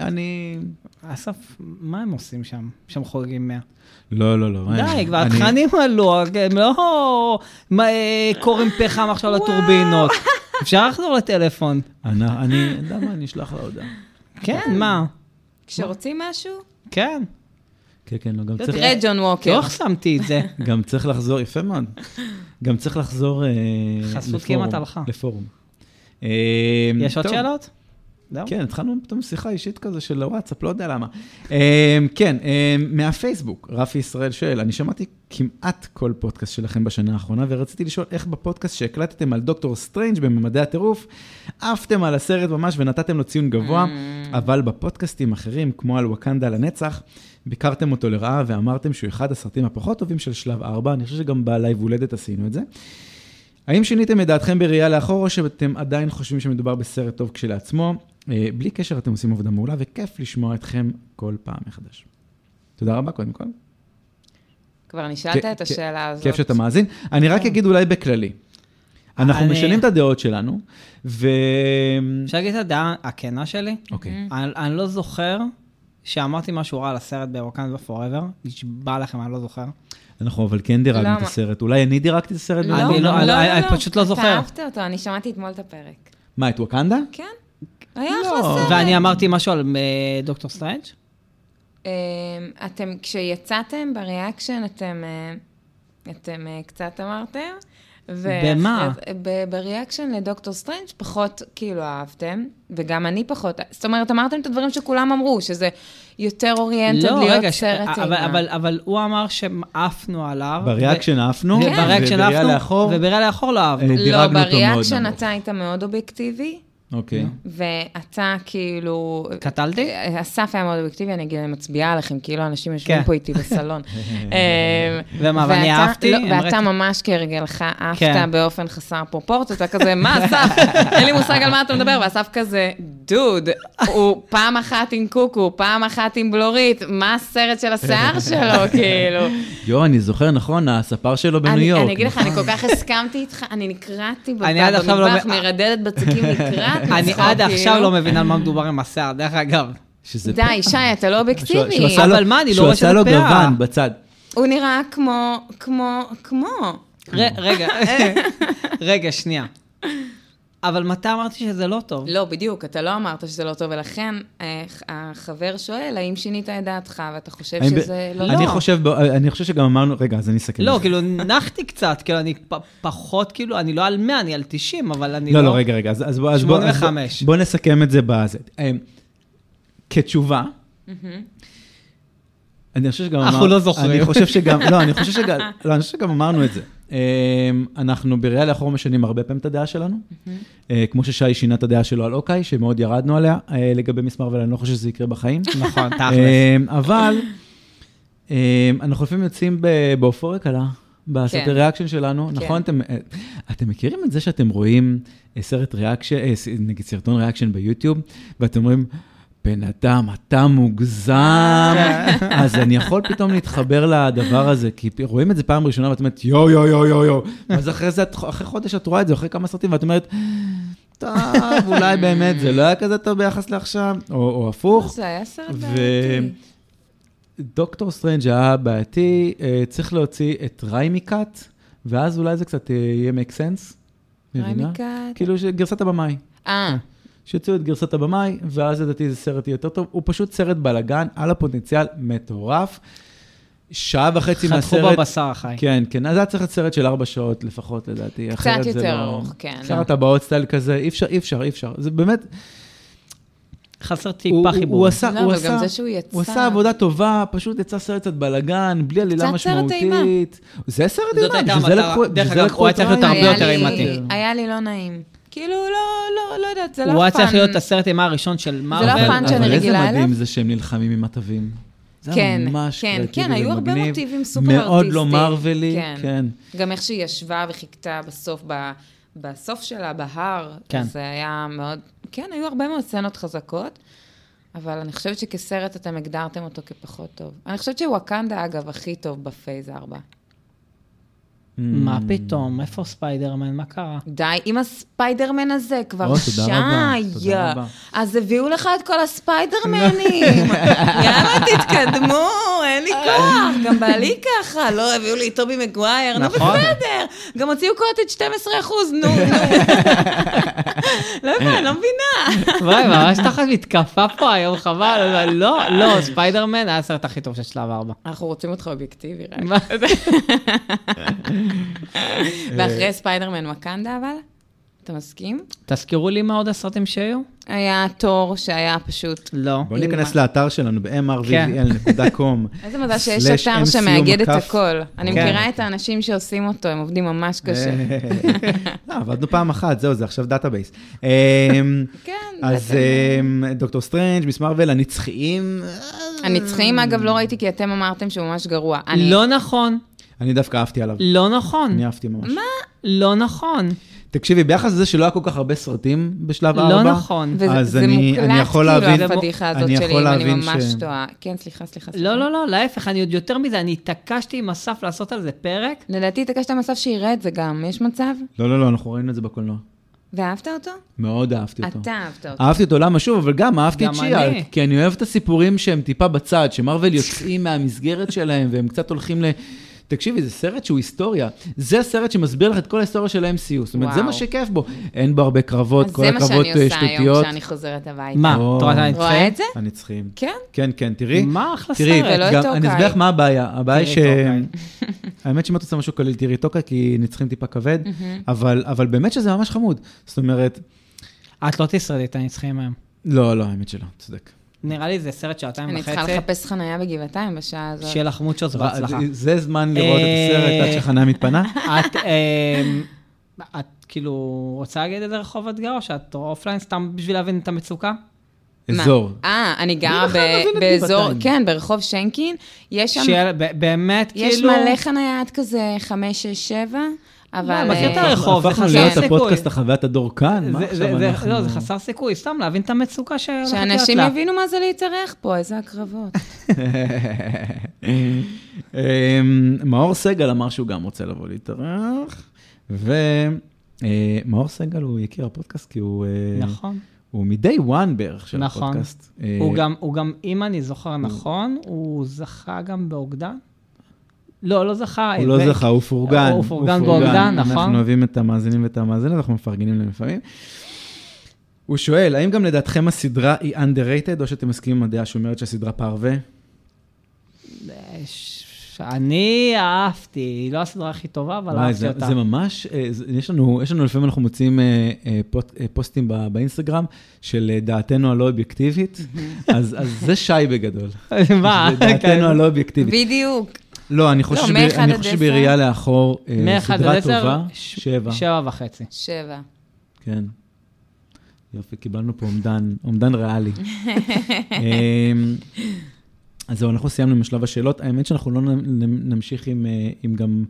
Speaker 1: אני...
Speaker 2: אסף, מה הם עושים שם? שם חוגגים 100.
Speaker 1: לא, לא, לא.
Speaker 2: די,
Speaker 1: אני-
Speaker 2: כבר
Speaker 1: אני-
Speaker 2: התכנים עלו, הם לא מה, אה, קוראים פחם עכשיו לטורבינות. אפשר לחזור לטלפון.
Speaker 1: אני, אני, אני יודע מה, אני אשלח לה הודעה.
Speaker 2: כן, מה?
Speaker 3: כשרוצים משהו, לא
Speaker 2: כן.
Speaker 1: כן, כן, לא, גם צריך,
Speaker 3: תראה ג'ון
Speaker 2: לא
Speaker 3: ווקר.
Speaker 2: החסמתי את זה.
Speaker 1: גם צריך לחזור, יפה מאוד. גם צריך לחזור אה,
Speaker 2: חסות
Speaker 1: לפורום,
Speaker 2: כמעט הלכה.
Speaker 1: לפורום.
Speaker 2: יש עוד
Speaker 1: טוב.
Speaker 2: שאלות? זהו?
Speaker 1: כן, התחלנו פתאום שיחה אישית כזה של הוואטסאפ, לא יודע למה. אמ, כן, אמ, מהפייסבוק, רפי ישראל שואל, אני שמעתי כמעט כל פודקאסט שלכם בשנה האחרונה, ורציתי לשאול איך בפודקאסט שהקלטתם על דוקטור סטרנג' בממדי הטירוף, עפתם על הסרט ממש ונתתם לו ציון גבוה, אבל בפודקאסטים אחרים, כמו על וואקנדה לנצח, ביקרתם אותו לרעה ואמרתם שהוא אחד הסרטים הפחות טובים של שלב 4, אני חושב שגם בלייב הולדת עשינו את זה. האם שיניתם את דעתכם בראייה לאחור, או שאתם עדיין חושבים שמדובר בסרט טוב כשלעצמו? אה, בלי קשר, אתם עושים עבודה מעולה, וכיף לשמוע אתכם כל פעם מחדש. תודה רבה, קודם כל.
Speaker 3: כבר
Speaker 1: כ-
Speaker 3: נשאלת את
Speaker 1: כ-
Speaker 3: השאלה הזאת.
Speaker 1: כיף שאתה מאזין. אני
Speaker 3: כן.
Speaker 1: רק אגיד אולי בכללי. אנחנו
Speaker 2: אני-
Speaker 1: משנים את הדעות שלנו, ו...
Speaker 2: אפשר להגיד את הדעה הכנה שלי?
Speaker 1: אוקיי.
Speaker 2: אני אני לא זוכר שאמרתי משהו רע על הסרט בווקנדה פוראבר. נשבע לכם, אני לא זוכר.
Speaker 1: אנחנו אבל כן דירגנו את
Speaker 3: Mm. למה?
Speaker 1: הסרט. אולי אני דירגתי את הסרט?
Speaker 3: לא,
Speaker 1: בזמן?
Speaker 2: אני לא-
Speaker 3: לא,
Speaker 2: אני- אני
Speaker 3: לא,
Speaker 2: פשוט לא זוכר.
Speaker 3: אתה אהבת אותו, אני שמעתי אתמול את הפרק.
Speaker 1: מה, את וואקנדה?
Speaker 3: כן, היה
Speaker 1: לא.
Speaker 3: אחלה סרט.
Speaker 2: ואני אמרתי משהו על אה, דוקטור סטרנג'?
Speaker 3: אמ, אתם, כשיצאתם בריאקשן, אתם, אה, אתם אה, קצת אמרתם, ואחרי
Speaker 2: במה?
Speaker 3: זה- ב- בריאקשן לדוקטור סטרנג' פחות כאילו אהבתם, וגם אני פחות. זאת אומרת, אמרתם את הדברים שכולם אמרו, שזה יותר אוריינטד
Speaker 2: לא,
Speaker 3: להיות
Speaker 2: רגע, ש-
Speaker 3: סרט לא,
Speaker 2: אבל-
Speaker 3: אימה.
Speaker 2: אבל- אבל הוא אמר שעפנו עליו.
Speaker 1: בריאקשן עפנו,
Speaker 2: כן. ובריאקשן
Speaker 1: ובראייה
Speaker 2: עפנו,
Speaker 1: לאחור,
Speaker 2: ובראייה לאחור לא אהבנו.
Speaker 1: אה,
Speaker 3: לא,
Speaker 1: דירגנו אותו מאוד
Speaker 3: בריאקשן
Speaker 1: נמוך.
Speaker 3: אתה היית מאוד אובייקטיבי, לא.
Speaker 1: אוקיי.
Speaker 3: ואתה כאילו...
Speaker 2: קטלתי?
Speaker 3: אסף היה מאוד אובייקטיבי, אני אגיד, אני מצביעה עליכם, כאילו אנשים
Speaker 2: כן.
Speaker 3: יושבים פה איתי בסלון. אמ,
Speaker 2: ומה, ואני
Speaker 3: ואתה-
Speaker 2: אהבתי?
Speaker 3: לא,
Speaker 2: הם
Speaker 3: ואתה
Speaker 2: ראיתי.
Speaker 3: ממש כהרגלך
Speaker 2: כן.
Speaker 3: עפת באופן חסר פרופורציות, אתה כזה, מה אסף? אין לי מושג על מה אתה מדבר, ואסף כזה, דוד, הוא פעם אחת עם קוקו, פעם אחת עם בלורית, מה הסרט של השיער שלו, כאילו?
Speaker 1: יואו, אני זוכר נכון, הספר שלו בניו
Speaker 3: אני-
Speaker 1: יורק.
Speaker 3: אני אגיד לך, אני כל כך הסכמתי איתך, אני נקרעתי
Speaker 2: אני עד
Speaker 3: בב-
Speaker 2: עכשיו לא
Speaker 3: במטבח,
Speaker 2: מ-
Speaker 3: מרדדת בצקים, נקרעת מצחוק,
Speaker 2: אני
Speaker 3: כאילו.
Speaker 2: עד עכשיו לא מבין על מה מדובר עם השיער, דרך אגב.
Speaker 1: שזה
Speaker 3: די, שי, אתה לא
Speaker 1: שהוא- שהוא
Speaker 3: אובייקטיבי.
Speaker 1: עשה לו-
Speaker 2: אבל מה, אני לא
Speaker 1: שהוא
Speaker 2: רואה
Speaker 1: עשה
Speaker 2: שזה
Speaker 1: לו
Speaker 2: פאה.
Speaker 1: גוון בצד.
Speaker 3: הוא נראה כמו, כמו, כמו.
Speaker 2: ר- רגע, רגע, שנייה. אבל מתי אמרתי שזה לא טוב?
Speaker 3: לא, בדיוק, אתה לא אמרת שזה לא טוב, ולכן אה, החבר שואל, האם שינית את דעתך, ואתה חושב
Speaker 1: האם ב-
Speaker 3: שזה לא
Speaker 1: אני
Speaker 3: טוב.
Speaker 1: חושב, ב- אני חושב שגם אמרנו, רגע, אז אני אסכם.
Speaker 2: לא,
Speaker 1: את זה.
Speaker 2: כאילו, נחתי קצת, כאילו, אני פ- פחות, כאילו, אני לא על 100, אני על 90, אבל אני לא...
Speaker 1: לא, לא, רגע, רגע, אז אז בוא... אז בוא- אז בוא-
Speaker 2: 85.
Speaker 1: בוא נסכם את זה בזה. אמ, כתשובה, אני חושב שגם
Speaker 2: אנחנו
Speaker 1: אמר-
Speaker 2: לא זוכרים.
Speaker 1: אני חושב שגם, לא, אני חושב שגם, לא, אני חושב שגם אמרנו את זה. אמ, אנחנו בראייה לאחור משנים הרבה פעמים את הדעה שלנו. אה, כמו ששי שינה את הדעה שלו על אוקיי, שמאוד ירדנו עליה אה, לגבי מסמר, אבל אני לא חושב שזה יקרה בחיים.
Speaker 2: נכון, תכלס.
Speaker 1: אמ, אבל אמ, אנחנו לפעמים יוצאים ב- באופוריה קלה. בסרט
Speaker 3: כן.
Speaker 1: הריאקשן שלנו,
Speaker 3: כן.
Speaker 1: נכון? אתם, אה, אתם מכירים את זה שאתם רואים אה, סרט ריאקשן, אה, ס- נגיד סרטון ריאקשן ביוטיוב, ואתם אומרים, בן אדם, אתה מוגזם,
Speaker 3: כן.
Speaker 1: אז אני יכול פתאום להתחבר לדבר הזה, כי פ- רואים את זה פעם ראשונה, ואת אומרת, יו, יו, יו, יו, יו. אז אחרי זה, את- אחרי חודש את רואה את זה, אחרי כמה סרטים, ואת אומרת, טוב, אולי באמת זה לא היה כזה טוב ביחס לעכשיו, או, או הפוך.
Speaker 3: זה היה סרט
Speaker 1: ו-
Speaker 3: בעייתי.
Speaker 1: דוקטור סטרנג' היה בעייתי, אה, צריך להוציא את ריימיקאט, ואז אולי זה קצת אה, יהיה make sense. מבינה?
Speaker 3: רמיקה-
Speaker 1: כאילו ש- גרסת הבמאי.
Speaker 3: אה,
Speaker 1: שיוציאו את גרסת הבמאי, ואז לדעתי זה סרט יהיה יותר טוב. הוא פשוט סרט בלאגן, על הפוטנציאל מטורף. שעה וחצי
Speaker 2: חתכו
Speaker 1: מהסרט...
Speaker 2: בבשר החי.
Speaker 1: כן, כן, אז היה צריך להיות סרט של ארבע שעות לפחות, לדעתי.
Speaker 3: קצת
Speaker 1: אחרת זה
Speaker 3: יותר
Speaker 1: לא-
Speaker 3: ארוך, כן.
Speaker 1: סרט הבאות סטייל כזה, אי אפשר, אי אפשר, אי אפשר. זה באמת,
Speaker 2: חסר
Speaker 1: הוא-
Speaker 2: טיפה
Speaker 1: הוא-
Speaker 2: חיבור.
Speaker 1: כן. הוא עשה,
Speaker 3: לא,
Speaker 1: הוא
Speaker 3: אבל גם
Speaker 1: עשה-
Speaker 3: זה שהוא יצא.
Speaker 1: הוא עשה עבודה טובה, פשוט יצא סרט קצת בלאגן, בלי עלילה
Speaker 3: קצת סרט אימה.
Speaker 1: משמעותית. זה סרט
Speaker 2: זאת
Speaker 1: אימה,
Speaker 2: הייתה
Speaker 1: בשביל זה
Speaker 2: המטרה.
Speaker 1: לקחו-
Speaker 2: דרך
Speaker 1: בשביל זה
Speaker 2: אגב,
Speaker 1: לקחו
Speaker 2: הוא היה
Speaker 1: את
Speaker 2: צריך להיות
Speaker 1: ריין.
Speaker 2: הרבה
Speaker 3: לא, היה
Speaker 2: יותר
Speaker 3: לי-
Speaker 2: אימתי.
Speaker 3: היה לי לא נעים. כאילו, לא, לא, לא יודעת, זה לא פאן.
Speaker 2: הוא היה צריך להיות הסרט אימה הראשון של מארוול.
Speaker 3: הפאן לא שאני
Speaker 1: אבל איזה
Speaker 3: רגילה
Speaker 1: מדהים
Speaker 3: אליו.
Speaker 1: זה שהם נלחמים עם עטבים. זה היה
Speaker 3: כן,
Speaker 1: ממש אה,
Speaker 3: כן,
Speaker 1: קריאטיבי
Speaker 3: כן, היו הרבה
Speaker 1: ומגניב.
Speaker 3: מוטיבים סופר
Speaker 1: מאוד לא
Speaker 3: ארטיסטיים.
Speaker 1: מרווילי,
Speaker 3: כן.
Speaker 1: כן.
Speaker 3: גם איך שהיא ישבה וחיכתה בסוף, ב- בסוף שלה, בהר,
Speaker 2: כן.
Speaker 3: זה היה מאוד... כן, היו הרבה מאוד סצנות חזקות, אבל אני חושבת שכסרט אתם הגדרתם אותו כפחות טוב. אני חושבת שוואקנדה, אגב, הכי טוב בפייז 4.
Speaker 2: מה
Speaker 1: Mm.
Speaker 2: פתאום, איפה ספיידרמן, מה קרה?
Speaker 3: די, עם הספיידרמן הזה כבר
Speaker 1: או,
Speaker 3: שי.
Speaker 1: תודה רבה, תודה רבה.
Speaker 3: אז הביאו לך את כל הספיידרמנים. יאללה, תתקדמו, אין לי כוח. גם בעלי ככה, לא, הביאו לי את טובי מגווייר, נו
Speaker 2: נכון.
Speaker 3: בסדר. גם הוציאו קוטג' 12 אחוז, נו, נו. לא יודעת, לא מבינה.
Speaker 2: וואי, ממש תחת מתקפה פה היום, חבל, אבל לא, לא, ספיידרמן היה הסרט הכי טוב של שלב 4.
Speaker 3: אנחנו רוצים אותך אובייקטיבי, רק. ואחרי ספיידרמן מקנדה, אבל? אתה מסכים?
Speaker 2: תזכרו לי מה עוד הסרטים שהיו?
Speaker 3: היה תור שהיה פשוט...
Speaker 2: לא.
Speaker 1: בואו
Speaker 3: אימא.
Speaker 1: ניכנס לאתר שלנו
Speaker 2: כן.
Speaker 1: ב-mrvvl.com.
Speaker 3: איזה מזל שיש אתר שמאגד את הכל. אני
Speaker 2: כן.
Speaker 3: מכירה את האנשים שעושים אותו, הם עובדים ממש קשה.
Speaker 1: אה. לא, עבדנו פעם אחת, זהו, זה עכשיו דאטאבייס. אמ,
Speaker 3: כן,
Speaker 1: אז
Speaker 3: אתם-
Speaker 1: אמ, דוקטור סטרנג', מיס מרוויל, הנצחיים,
Speaker 3: הנצחיים, אגב, לא ראיתי כי אתם אמרתם שהוא ממש גרוע. אני-
Speaker 2: לא נכון,
Speaker 1: אני דווקא אהבתי עליו.
Speaker 2: לא נכון,
Speaker 1: אני אהבתי ממש.
Speaker 2: לא נכון.
Speaker 1: תקשיבי, ביחס לזה שלא היה כל כך הרבה סרטים בשלב
Speaker 2: לא
Speaker 1: ארבע,
Speaker 2: נכון.
Speaker 3: וזה-
Speaker 1: אז
Speaker 3: זה
Speaker 1: אני
Speaker 3: מוקלט,
Speaker 1: אני יכול
Speaker 3: כאילו,
Speaker 1: להבין,
Speaker 3: הפדיחה הזאת
Speaker 1: אני יכול
Speaker 3: שלי, אם אני
Speaker 1: להבין
Speaker 3: ממש
Speaker 1: ש-
Speaker 3: טועה. כן, סליחה, סליחה. סליחה.
Speaker 2: לא, לא, לא, להפך, אני עוד יותר מזה, אני התעקשתי עם אסף לעשות על זה פרק.
Speaker 3: לדעתי, התעקשת מצב שיראה את זה גם. יש מצב?
Speaker 1: לא, לא, לא, אנחנו ראינו את זה בקולנוע.
Speaker 3: ואהבת אותו?
Speaker 1: מאוד אהבתי אותו.
Speaker 3: אתה אהבת אותו.
Speaker 1: אהבתי אותו, למה שוב, אבל גם אהבתי את
Speaker 2: גם
Speaker 1: שיאלק,
Speaker 2: אני.
Speaker 1: כי אני אוהב את הסיפורים שהם טיפה בצד, שמרוויל יוצאים מהמסגרת שלהם, והם קצת הולכים ל... תקשיבי, זה סרט שהוא היסטוריה. זה הסרט שמסביר לך את כל ההיסטוריה של ה-MCU. זאת אומרת, זה מה
Speaker 3: וואו.
Speaker 1: שכיף בו. אין בו הרבה קרבות,
Speaker 3: אז
Speaker 1: כל
Speaker 3: זה מה
Speaker 1: הקרבות
Speaker 3: שאני
Speaker 1: אה,
Speaker 3: עושה היום
Speaker 1: שטותיות.
Speaker 3: כשאני חוזרת הביתה.
Speaker 2: מה,
Speaker 1: או.
Speaker 2: תורת
Speaker 3: רואה
Speaker 2: הנצחים?
Speaker 3: את זה?
Speaker 1: הנצחים.
Speaker 3: כן.
Speaker 1: כן, כן, תראי.
Speaker 2: מה אחלה
Speaker 1: תראי,
Speaker 2: סרט?
Speaker 3: ולא את
Speaker 1: גם-
Speaker 3: לא טוקאי.
Speaker 1: אני אסביר לך מה הבעיה. הבעיה היא ש...
Speaker 2: תראי
Speaker 1: האמת שאם את עושה משהו קליל, תראי טוקאי, כי נצחים טיפה כבד, אבל אבל באמת שזה ממש חמוד. זאת אומרת,
Speaker 2: את לא תשרדי את הנצחים היום.
Speaker 1: לא, לא, האמת שלא, צודק.
Speaker 2: נראה לי זה סרט שעתיים
Speaker 3: אני צריכה
Speaker 2: וחצי.
Speaker 3: לחפש חנייה בגבעתיים בשעה הזאת.
Speaker 2: שיהיה לך מוצ'וס בהצלחה.
Speaker 1: זה זמן לראות את
Speaker 2: אה,
Speaker 1: הסרט עד שחנה מתפנה.
Speaker 2: את, אמ, את כאילו רוצה להגיד איזה רחוב את גרה, או שאת אופליין סתם בשביל להבין את המצוקה?
Speaker 3: מה?
Speaker 1: אזור.
Speaker 3: אה, אני גרה
Speaker 1: בכלל
Speaker 3: ב-
Speaker 1: מבין את
Speaker 3: באזור,
Speaker 1: גבעתיים?
Speaker 3: כן, ברחוב שינקין. יש שם,
Speaker 2: שיהיה, ב- באמת, כאילו...
Speaker 3: יש מלא חנייה עד כזה 5-6-7, אבל...
Speaker 2: מכיר את
Speaker 3: אה,
Speaker 2: הרחוב. זה
Speaker 1: הפכנו
Speaker 2: חסר
Speaker 1: להיות
Speaker 2: סיכוי.
Speaker 1: הפודקאסט החוויית הדור כאן, מה
Speaker 2: זה-
Speaker 1: עכשיו
Speaker 2: זה- זה-
Speaker 1: אנחנו...
Speaker 2: לא, זה חסר סיכוי, סתם להבין את המצוקה שהולכת להיות לא לה.
Speaker 3: שאנשים יבינו מה זה להתארח פה, איזה הקרבות.
Speaker 1: אמ, מאור סגל אמר שהוא גם רוצה לבוא להתארח, ומאור סגל הוא יקיר הפודקאסט כי הוא... אה,
Speaker 2: נכון.
Speaker 1: הוא מ-day one בערך של
Speaker 2: נכון.
Speaker 1: הפודקאסט. אה,
Speaker 2: הוא גם, הוא גם, אם אני זוכר נכון, הוא זכה גם באוגדן? לא, לא זכה.
Speaker 1: הוא לא
Speaker 2: ו-
Speaker 1: זכה, הוא פורגן.
Speaker 2: הוא פורגן באוגדן, נכון?
Speaker 1: אנחנו אוהבים את המאזינים ואת המאזינות, אנחנו מפרגנים להם לפעמים. הוא שואל, האם גם לדעתכם הסדרה היא underrated, או שאתם מסכימים עם הדעה שאומרת שהסדרה פרווה?
Speaker 2: אה, ש- אני אהבתי, היא לא הסדרה הכי טובה, אבל
Speaker 1: וואי,
Speaker 2: אהבתי
Speaker 1: זה,
Speaker 2: אותה.
Speaker 1: זה ממש, אה, זה, יש, לנו, יש לנו לפעמים אנחנו מוצאים אה, אה, פוט, אה, פוסטים ב, באינסטגרם של אה, דעתנו הלא אובייקטיבית, אז, אז זה שי בגדול.
Speaker 2: מה? כן.
Speaker 1: זה דעתנו הלא אובייקטיבית.
Speaker 3: בדיוק.
Speaker 1: לא, אני חושב
Speaker 3: לא,
Speaker 1: שב-
Speaker 3: מאחד
Speaker 1: אני
Speaker 3: עד
Speaker 1: חושב
Speaker 3: עשר?
Speaker 1: שבראייה לאחור, אה,
Speaker 2: מאחד עד
Speaker 1: סדרה
Speaker 2: עשר,
Speaker 1: טובה,
Speaker 2: ש-
Speaker 1: שבע.
Speaker 2: שבע וחצי.
Speaker 3: שבע.
Speaker 1: כן. יופי, קיבלנו פה אומדן, אומדן ריאלי. אמ, אז זהו, אנחנו סיימנו עם השלב השאלות. האמת שאנחנו לא נ- נ- נמשיך עם, אה, עם גם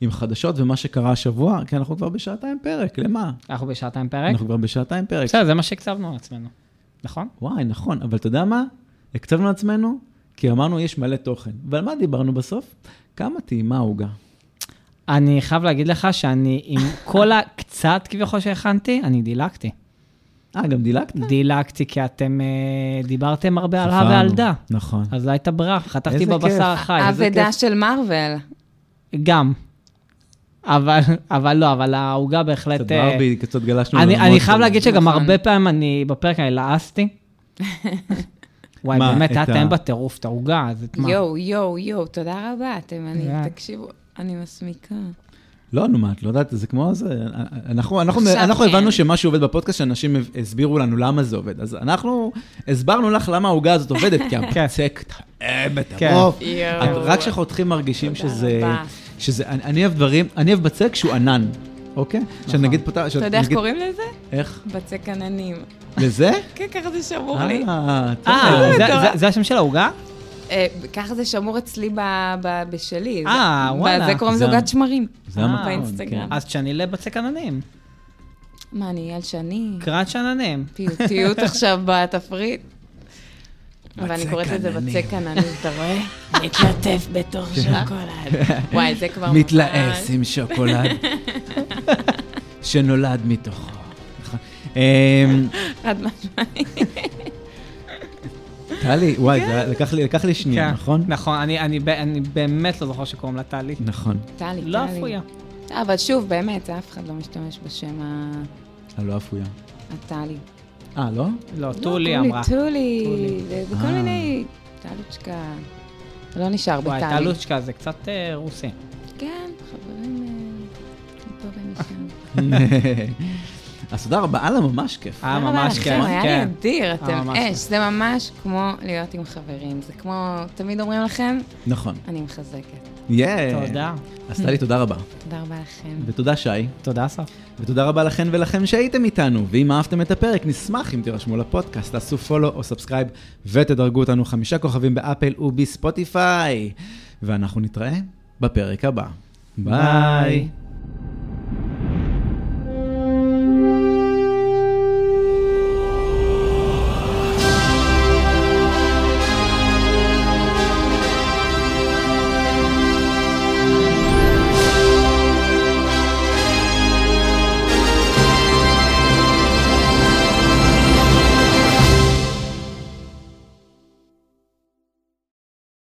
Speaker 1: עם חדשות ומה שקרה השבוע, כי אנחנו כבר בשעתיים פרק, למה?
Speaker 2: אנחנו בשעתיים פרק.
Speaker 1: אנחנו כבר בשעתיים פרק.
Speaker 2: בסדר, זה מה שהקצבנו לעצמנו, נכון?
Speaker 1: וואי, נכון, אבל אתה יודע מה? הקצבנו לעצמנו, כי אמרנו, יש מלא תוכן. ועל מה דיברנו בסוף? כמה טעימה העוגה.
Speaker 2: אני חייב להגיד לך שאני, עם כל הקצת כביכול שהכנתי, אני דילגתי.
Speaker 1: אה, גם דילגת?
Speaker 2: דילגתי כי אתם אה, דיברתם הרבה על הא
Speaker 1: חפרנו.
Speaker 2: ועל דא.
Speaker 1: נכון.
Speaker 2: אז לא הייתה ברירה, חתכתי
Speaker 1: איזה
Speaker 2: בבשר
Speaker 1: כיף.
Speaker 2: החי. איזה
Speaker 3: אבדה
Speaker 2: כיף.
Speaker 3: של מארוול.
Speaker 2: גם. אבל, אבל לא, אבל העוגה בהחלט...
Speaker 1: קצת
Speaker 2: אה,
Speaker 1: ברבי, קצת גלשנו.
Speaker 2: אני,
Speaker 1: לעולמות
Speaker 2: אני חייב
Speaker 1: של-
Speaker 2: להגיד שגם
Speaker 3: נכון.
Speaker 2: הרבה פעמים אני בפרק אני לעסתי. וואי,
Speaker 1: מה,
Speaker 2: באמת,
Speaker 1: את ה-
Speaker 2: אתם בטירוף, את העוגה, אז את מה?
Speaker 3: יואו, יואו, יואו, תודה רבה, אתם, אני,
Speaker 2: תודה.
Speaker 3: תקשיבו, אני מסמיקה.
Speaker 1: לא, נו מה, את לא יודעת, זה כמו זה, אנחנו, אנחנו,
Speaker 3: עכשיו
Speaker 1: אנחנו
Speaker 3: כן.
Speaker 1: הבנו שמה שעובד בפודקאסט, שאנשים הסבירו לנו למה זה עובד. אז אנחנו הסברנו לך למה העוגה הזאת עובדת, כי הבצק טעה בטרוף.
Speaker 3: יואו.
Speaker 1: את- רק כשחותכים מרגישים
Speaker 3: תודה
Speaker 1: שזה,
Speaker 3: רבה.
Speaker 1: שזה, אני- אני אוהב דברים, אני אוהב בצק שהוא ענן, אוקיי? שנגיד פותח,
Speaker 3: אתה יודע איך קוראים לזה?
Speaker 1: איך?
Speaker 3: בצק עננים.
Speaker 1: לזה?
Speaker 3: כן, ככה זה שמור לי.
Speaker 1: אה, טוב.
Speaker 2: אה, זה-
Speaker 3: אתה-
Speaker 2: זה- זה השם של העוגה?
Speaker 3: אה, ככה זה שמור אצלי ב- ב- בשלי. זה-
Speaker 2: אה,
Speaker 3: ב-
Speaker 2: וואלה.
Speaker 3: זה קוראים
Speaker 1: זה
Speaker 3: זוגת
Speaker 1: ה-
Speaker 3: שמרים.
Speaker 1: זה כן.
Speaker 2: אה,
Speaker 1: המתכון,
Speaker 3: באינסטגרם.
Speaker 2: אז תשני לבצק עננים.
Speaker 3: מה, אני אייל שני?
Speaker 2: קראת שעננים.
Speaker 1: כן,
Speaker 3: פיוטיות עכשיו בתפריט. אבל אני
Speaker 1: בצק
Speaker 3: קוראת לזה
Speaker 1: עננים.
Speaker 3: בצק עננים, אתה רואה? מתלטף בתוך שוקולד. וואי, זה כבר
Speaker 1: כן.
Speaker 3: ממש...
Speaker 1: מתלעס עם שוקולד שנולד מתוכו. נכון. אמ,
Speaker 3: חד משמעית.
Speaker 1: טלי, וואי, זה היה- לקח לי- לקח לי שנייה,
Speaker 2: כן,
Speaker 1: נכון?
Speaker 2: נכון, אני- אני ב- אני באמת לא זוכר שקוראים לה טלי.
Speaker 1: נכון,
Speaker 3: טלי,
Speaker 2: לא
Speaker 3: טלי.
Speaker 2: אפויה.
Speaker 3: אה, אבל שוב, באמת, אף אחד לא משתמש בשם ה-
Speaker 1: הלא לא אפויה.
Speaker 3: הטלי.
Speaker 1: אה, לא?
Speaker 2: לא,
Speaker 3: לא,
Speaker 2: טולי אמרה.
Speaker 3: טולי,
Speaker 2: טולי.
Speaker 3: זה- זה כל
Speaker 1: אה.
Speaker 3: מיני... טלוצ'קה. זה לא נשאר
Speaker 2: וואי,
Speaker 3: בטלי.
Speaker 2: טלוצ'קה זה קצת אה, רוסי.
Speaker 3: כן, חברים... אה, מפה ומשם.
Speaker 1: אז תודה רבה, הלאה, ממש כיף.
Speaker 2: אה,
Speaker 3: תודה רבה
Speaker 2: ממש
Speaker 3: לכם,
Speaker 2: כן,
Speaker 3: היה לי
Speaker 2: כן.
Speaker 3: אדיר,
Speaker 2: אה,
Speaker 3: אתם
Speaker 2: ממש
Speaker 3: אש.
Speaker 2: כיף.
Speaker 3: זה ממש כמו להיות עם חברים. זה כמו, תמיד אומרים לכם,
Speaker 1: נכון.
Speaker 3: אני מחזקת.
Speaker 1: יאה.
Speaker 2: תודה.
Speaker 1: אז טלי, תודה רבה.
Speaker 3: תודה רבה לכם.
Speaker 1: ותודה, שי.
Speaker 2: תודה, אסף.
Speaker 1: ותודה רבה לכן ולכם שהייתם איתנו. ואם אהבתם את הפרק, נשמח אם תירשמו לפודקאסט, תעשו פולו או סאבסקרייב, ותדרגו אותנו חמישה כוכבים באפל ובספוטיפיי. ואנחנו נתראה בפרק הבא. ביי.
Speaker 2: ביי.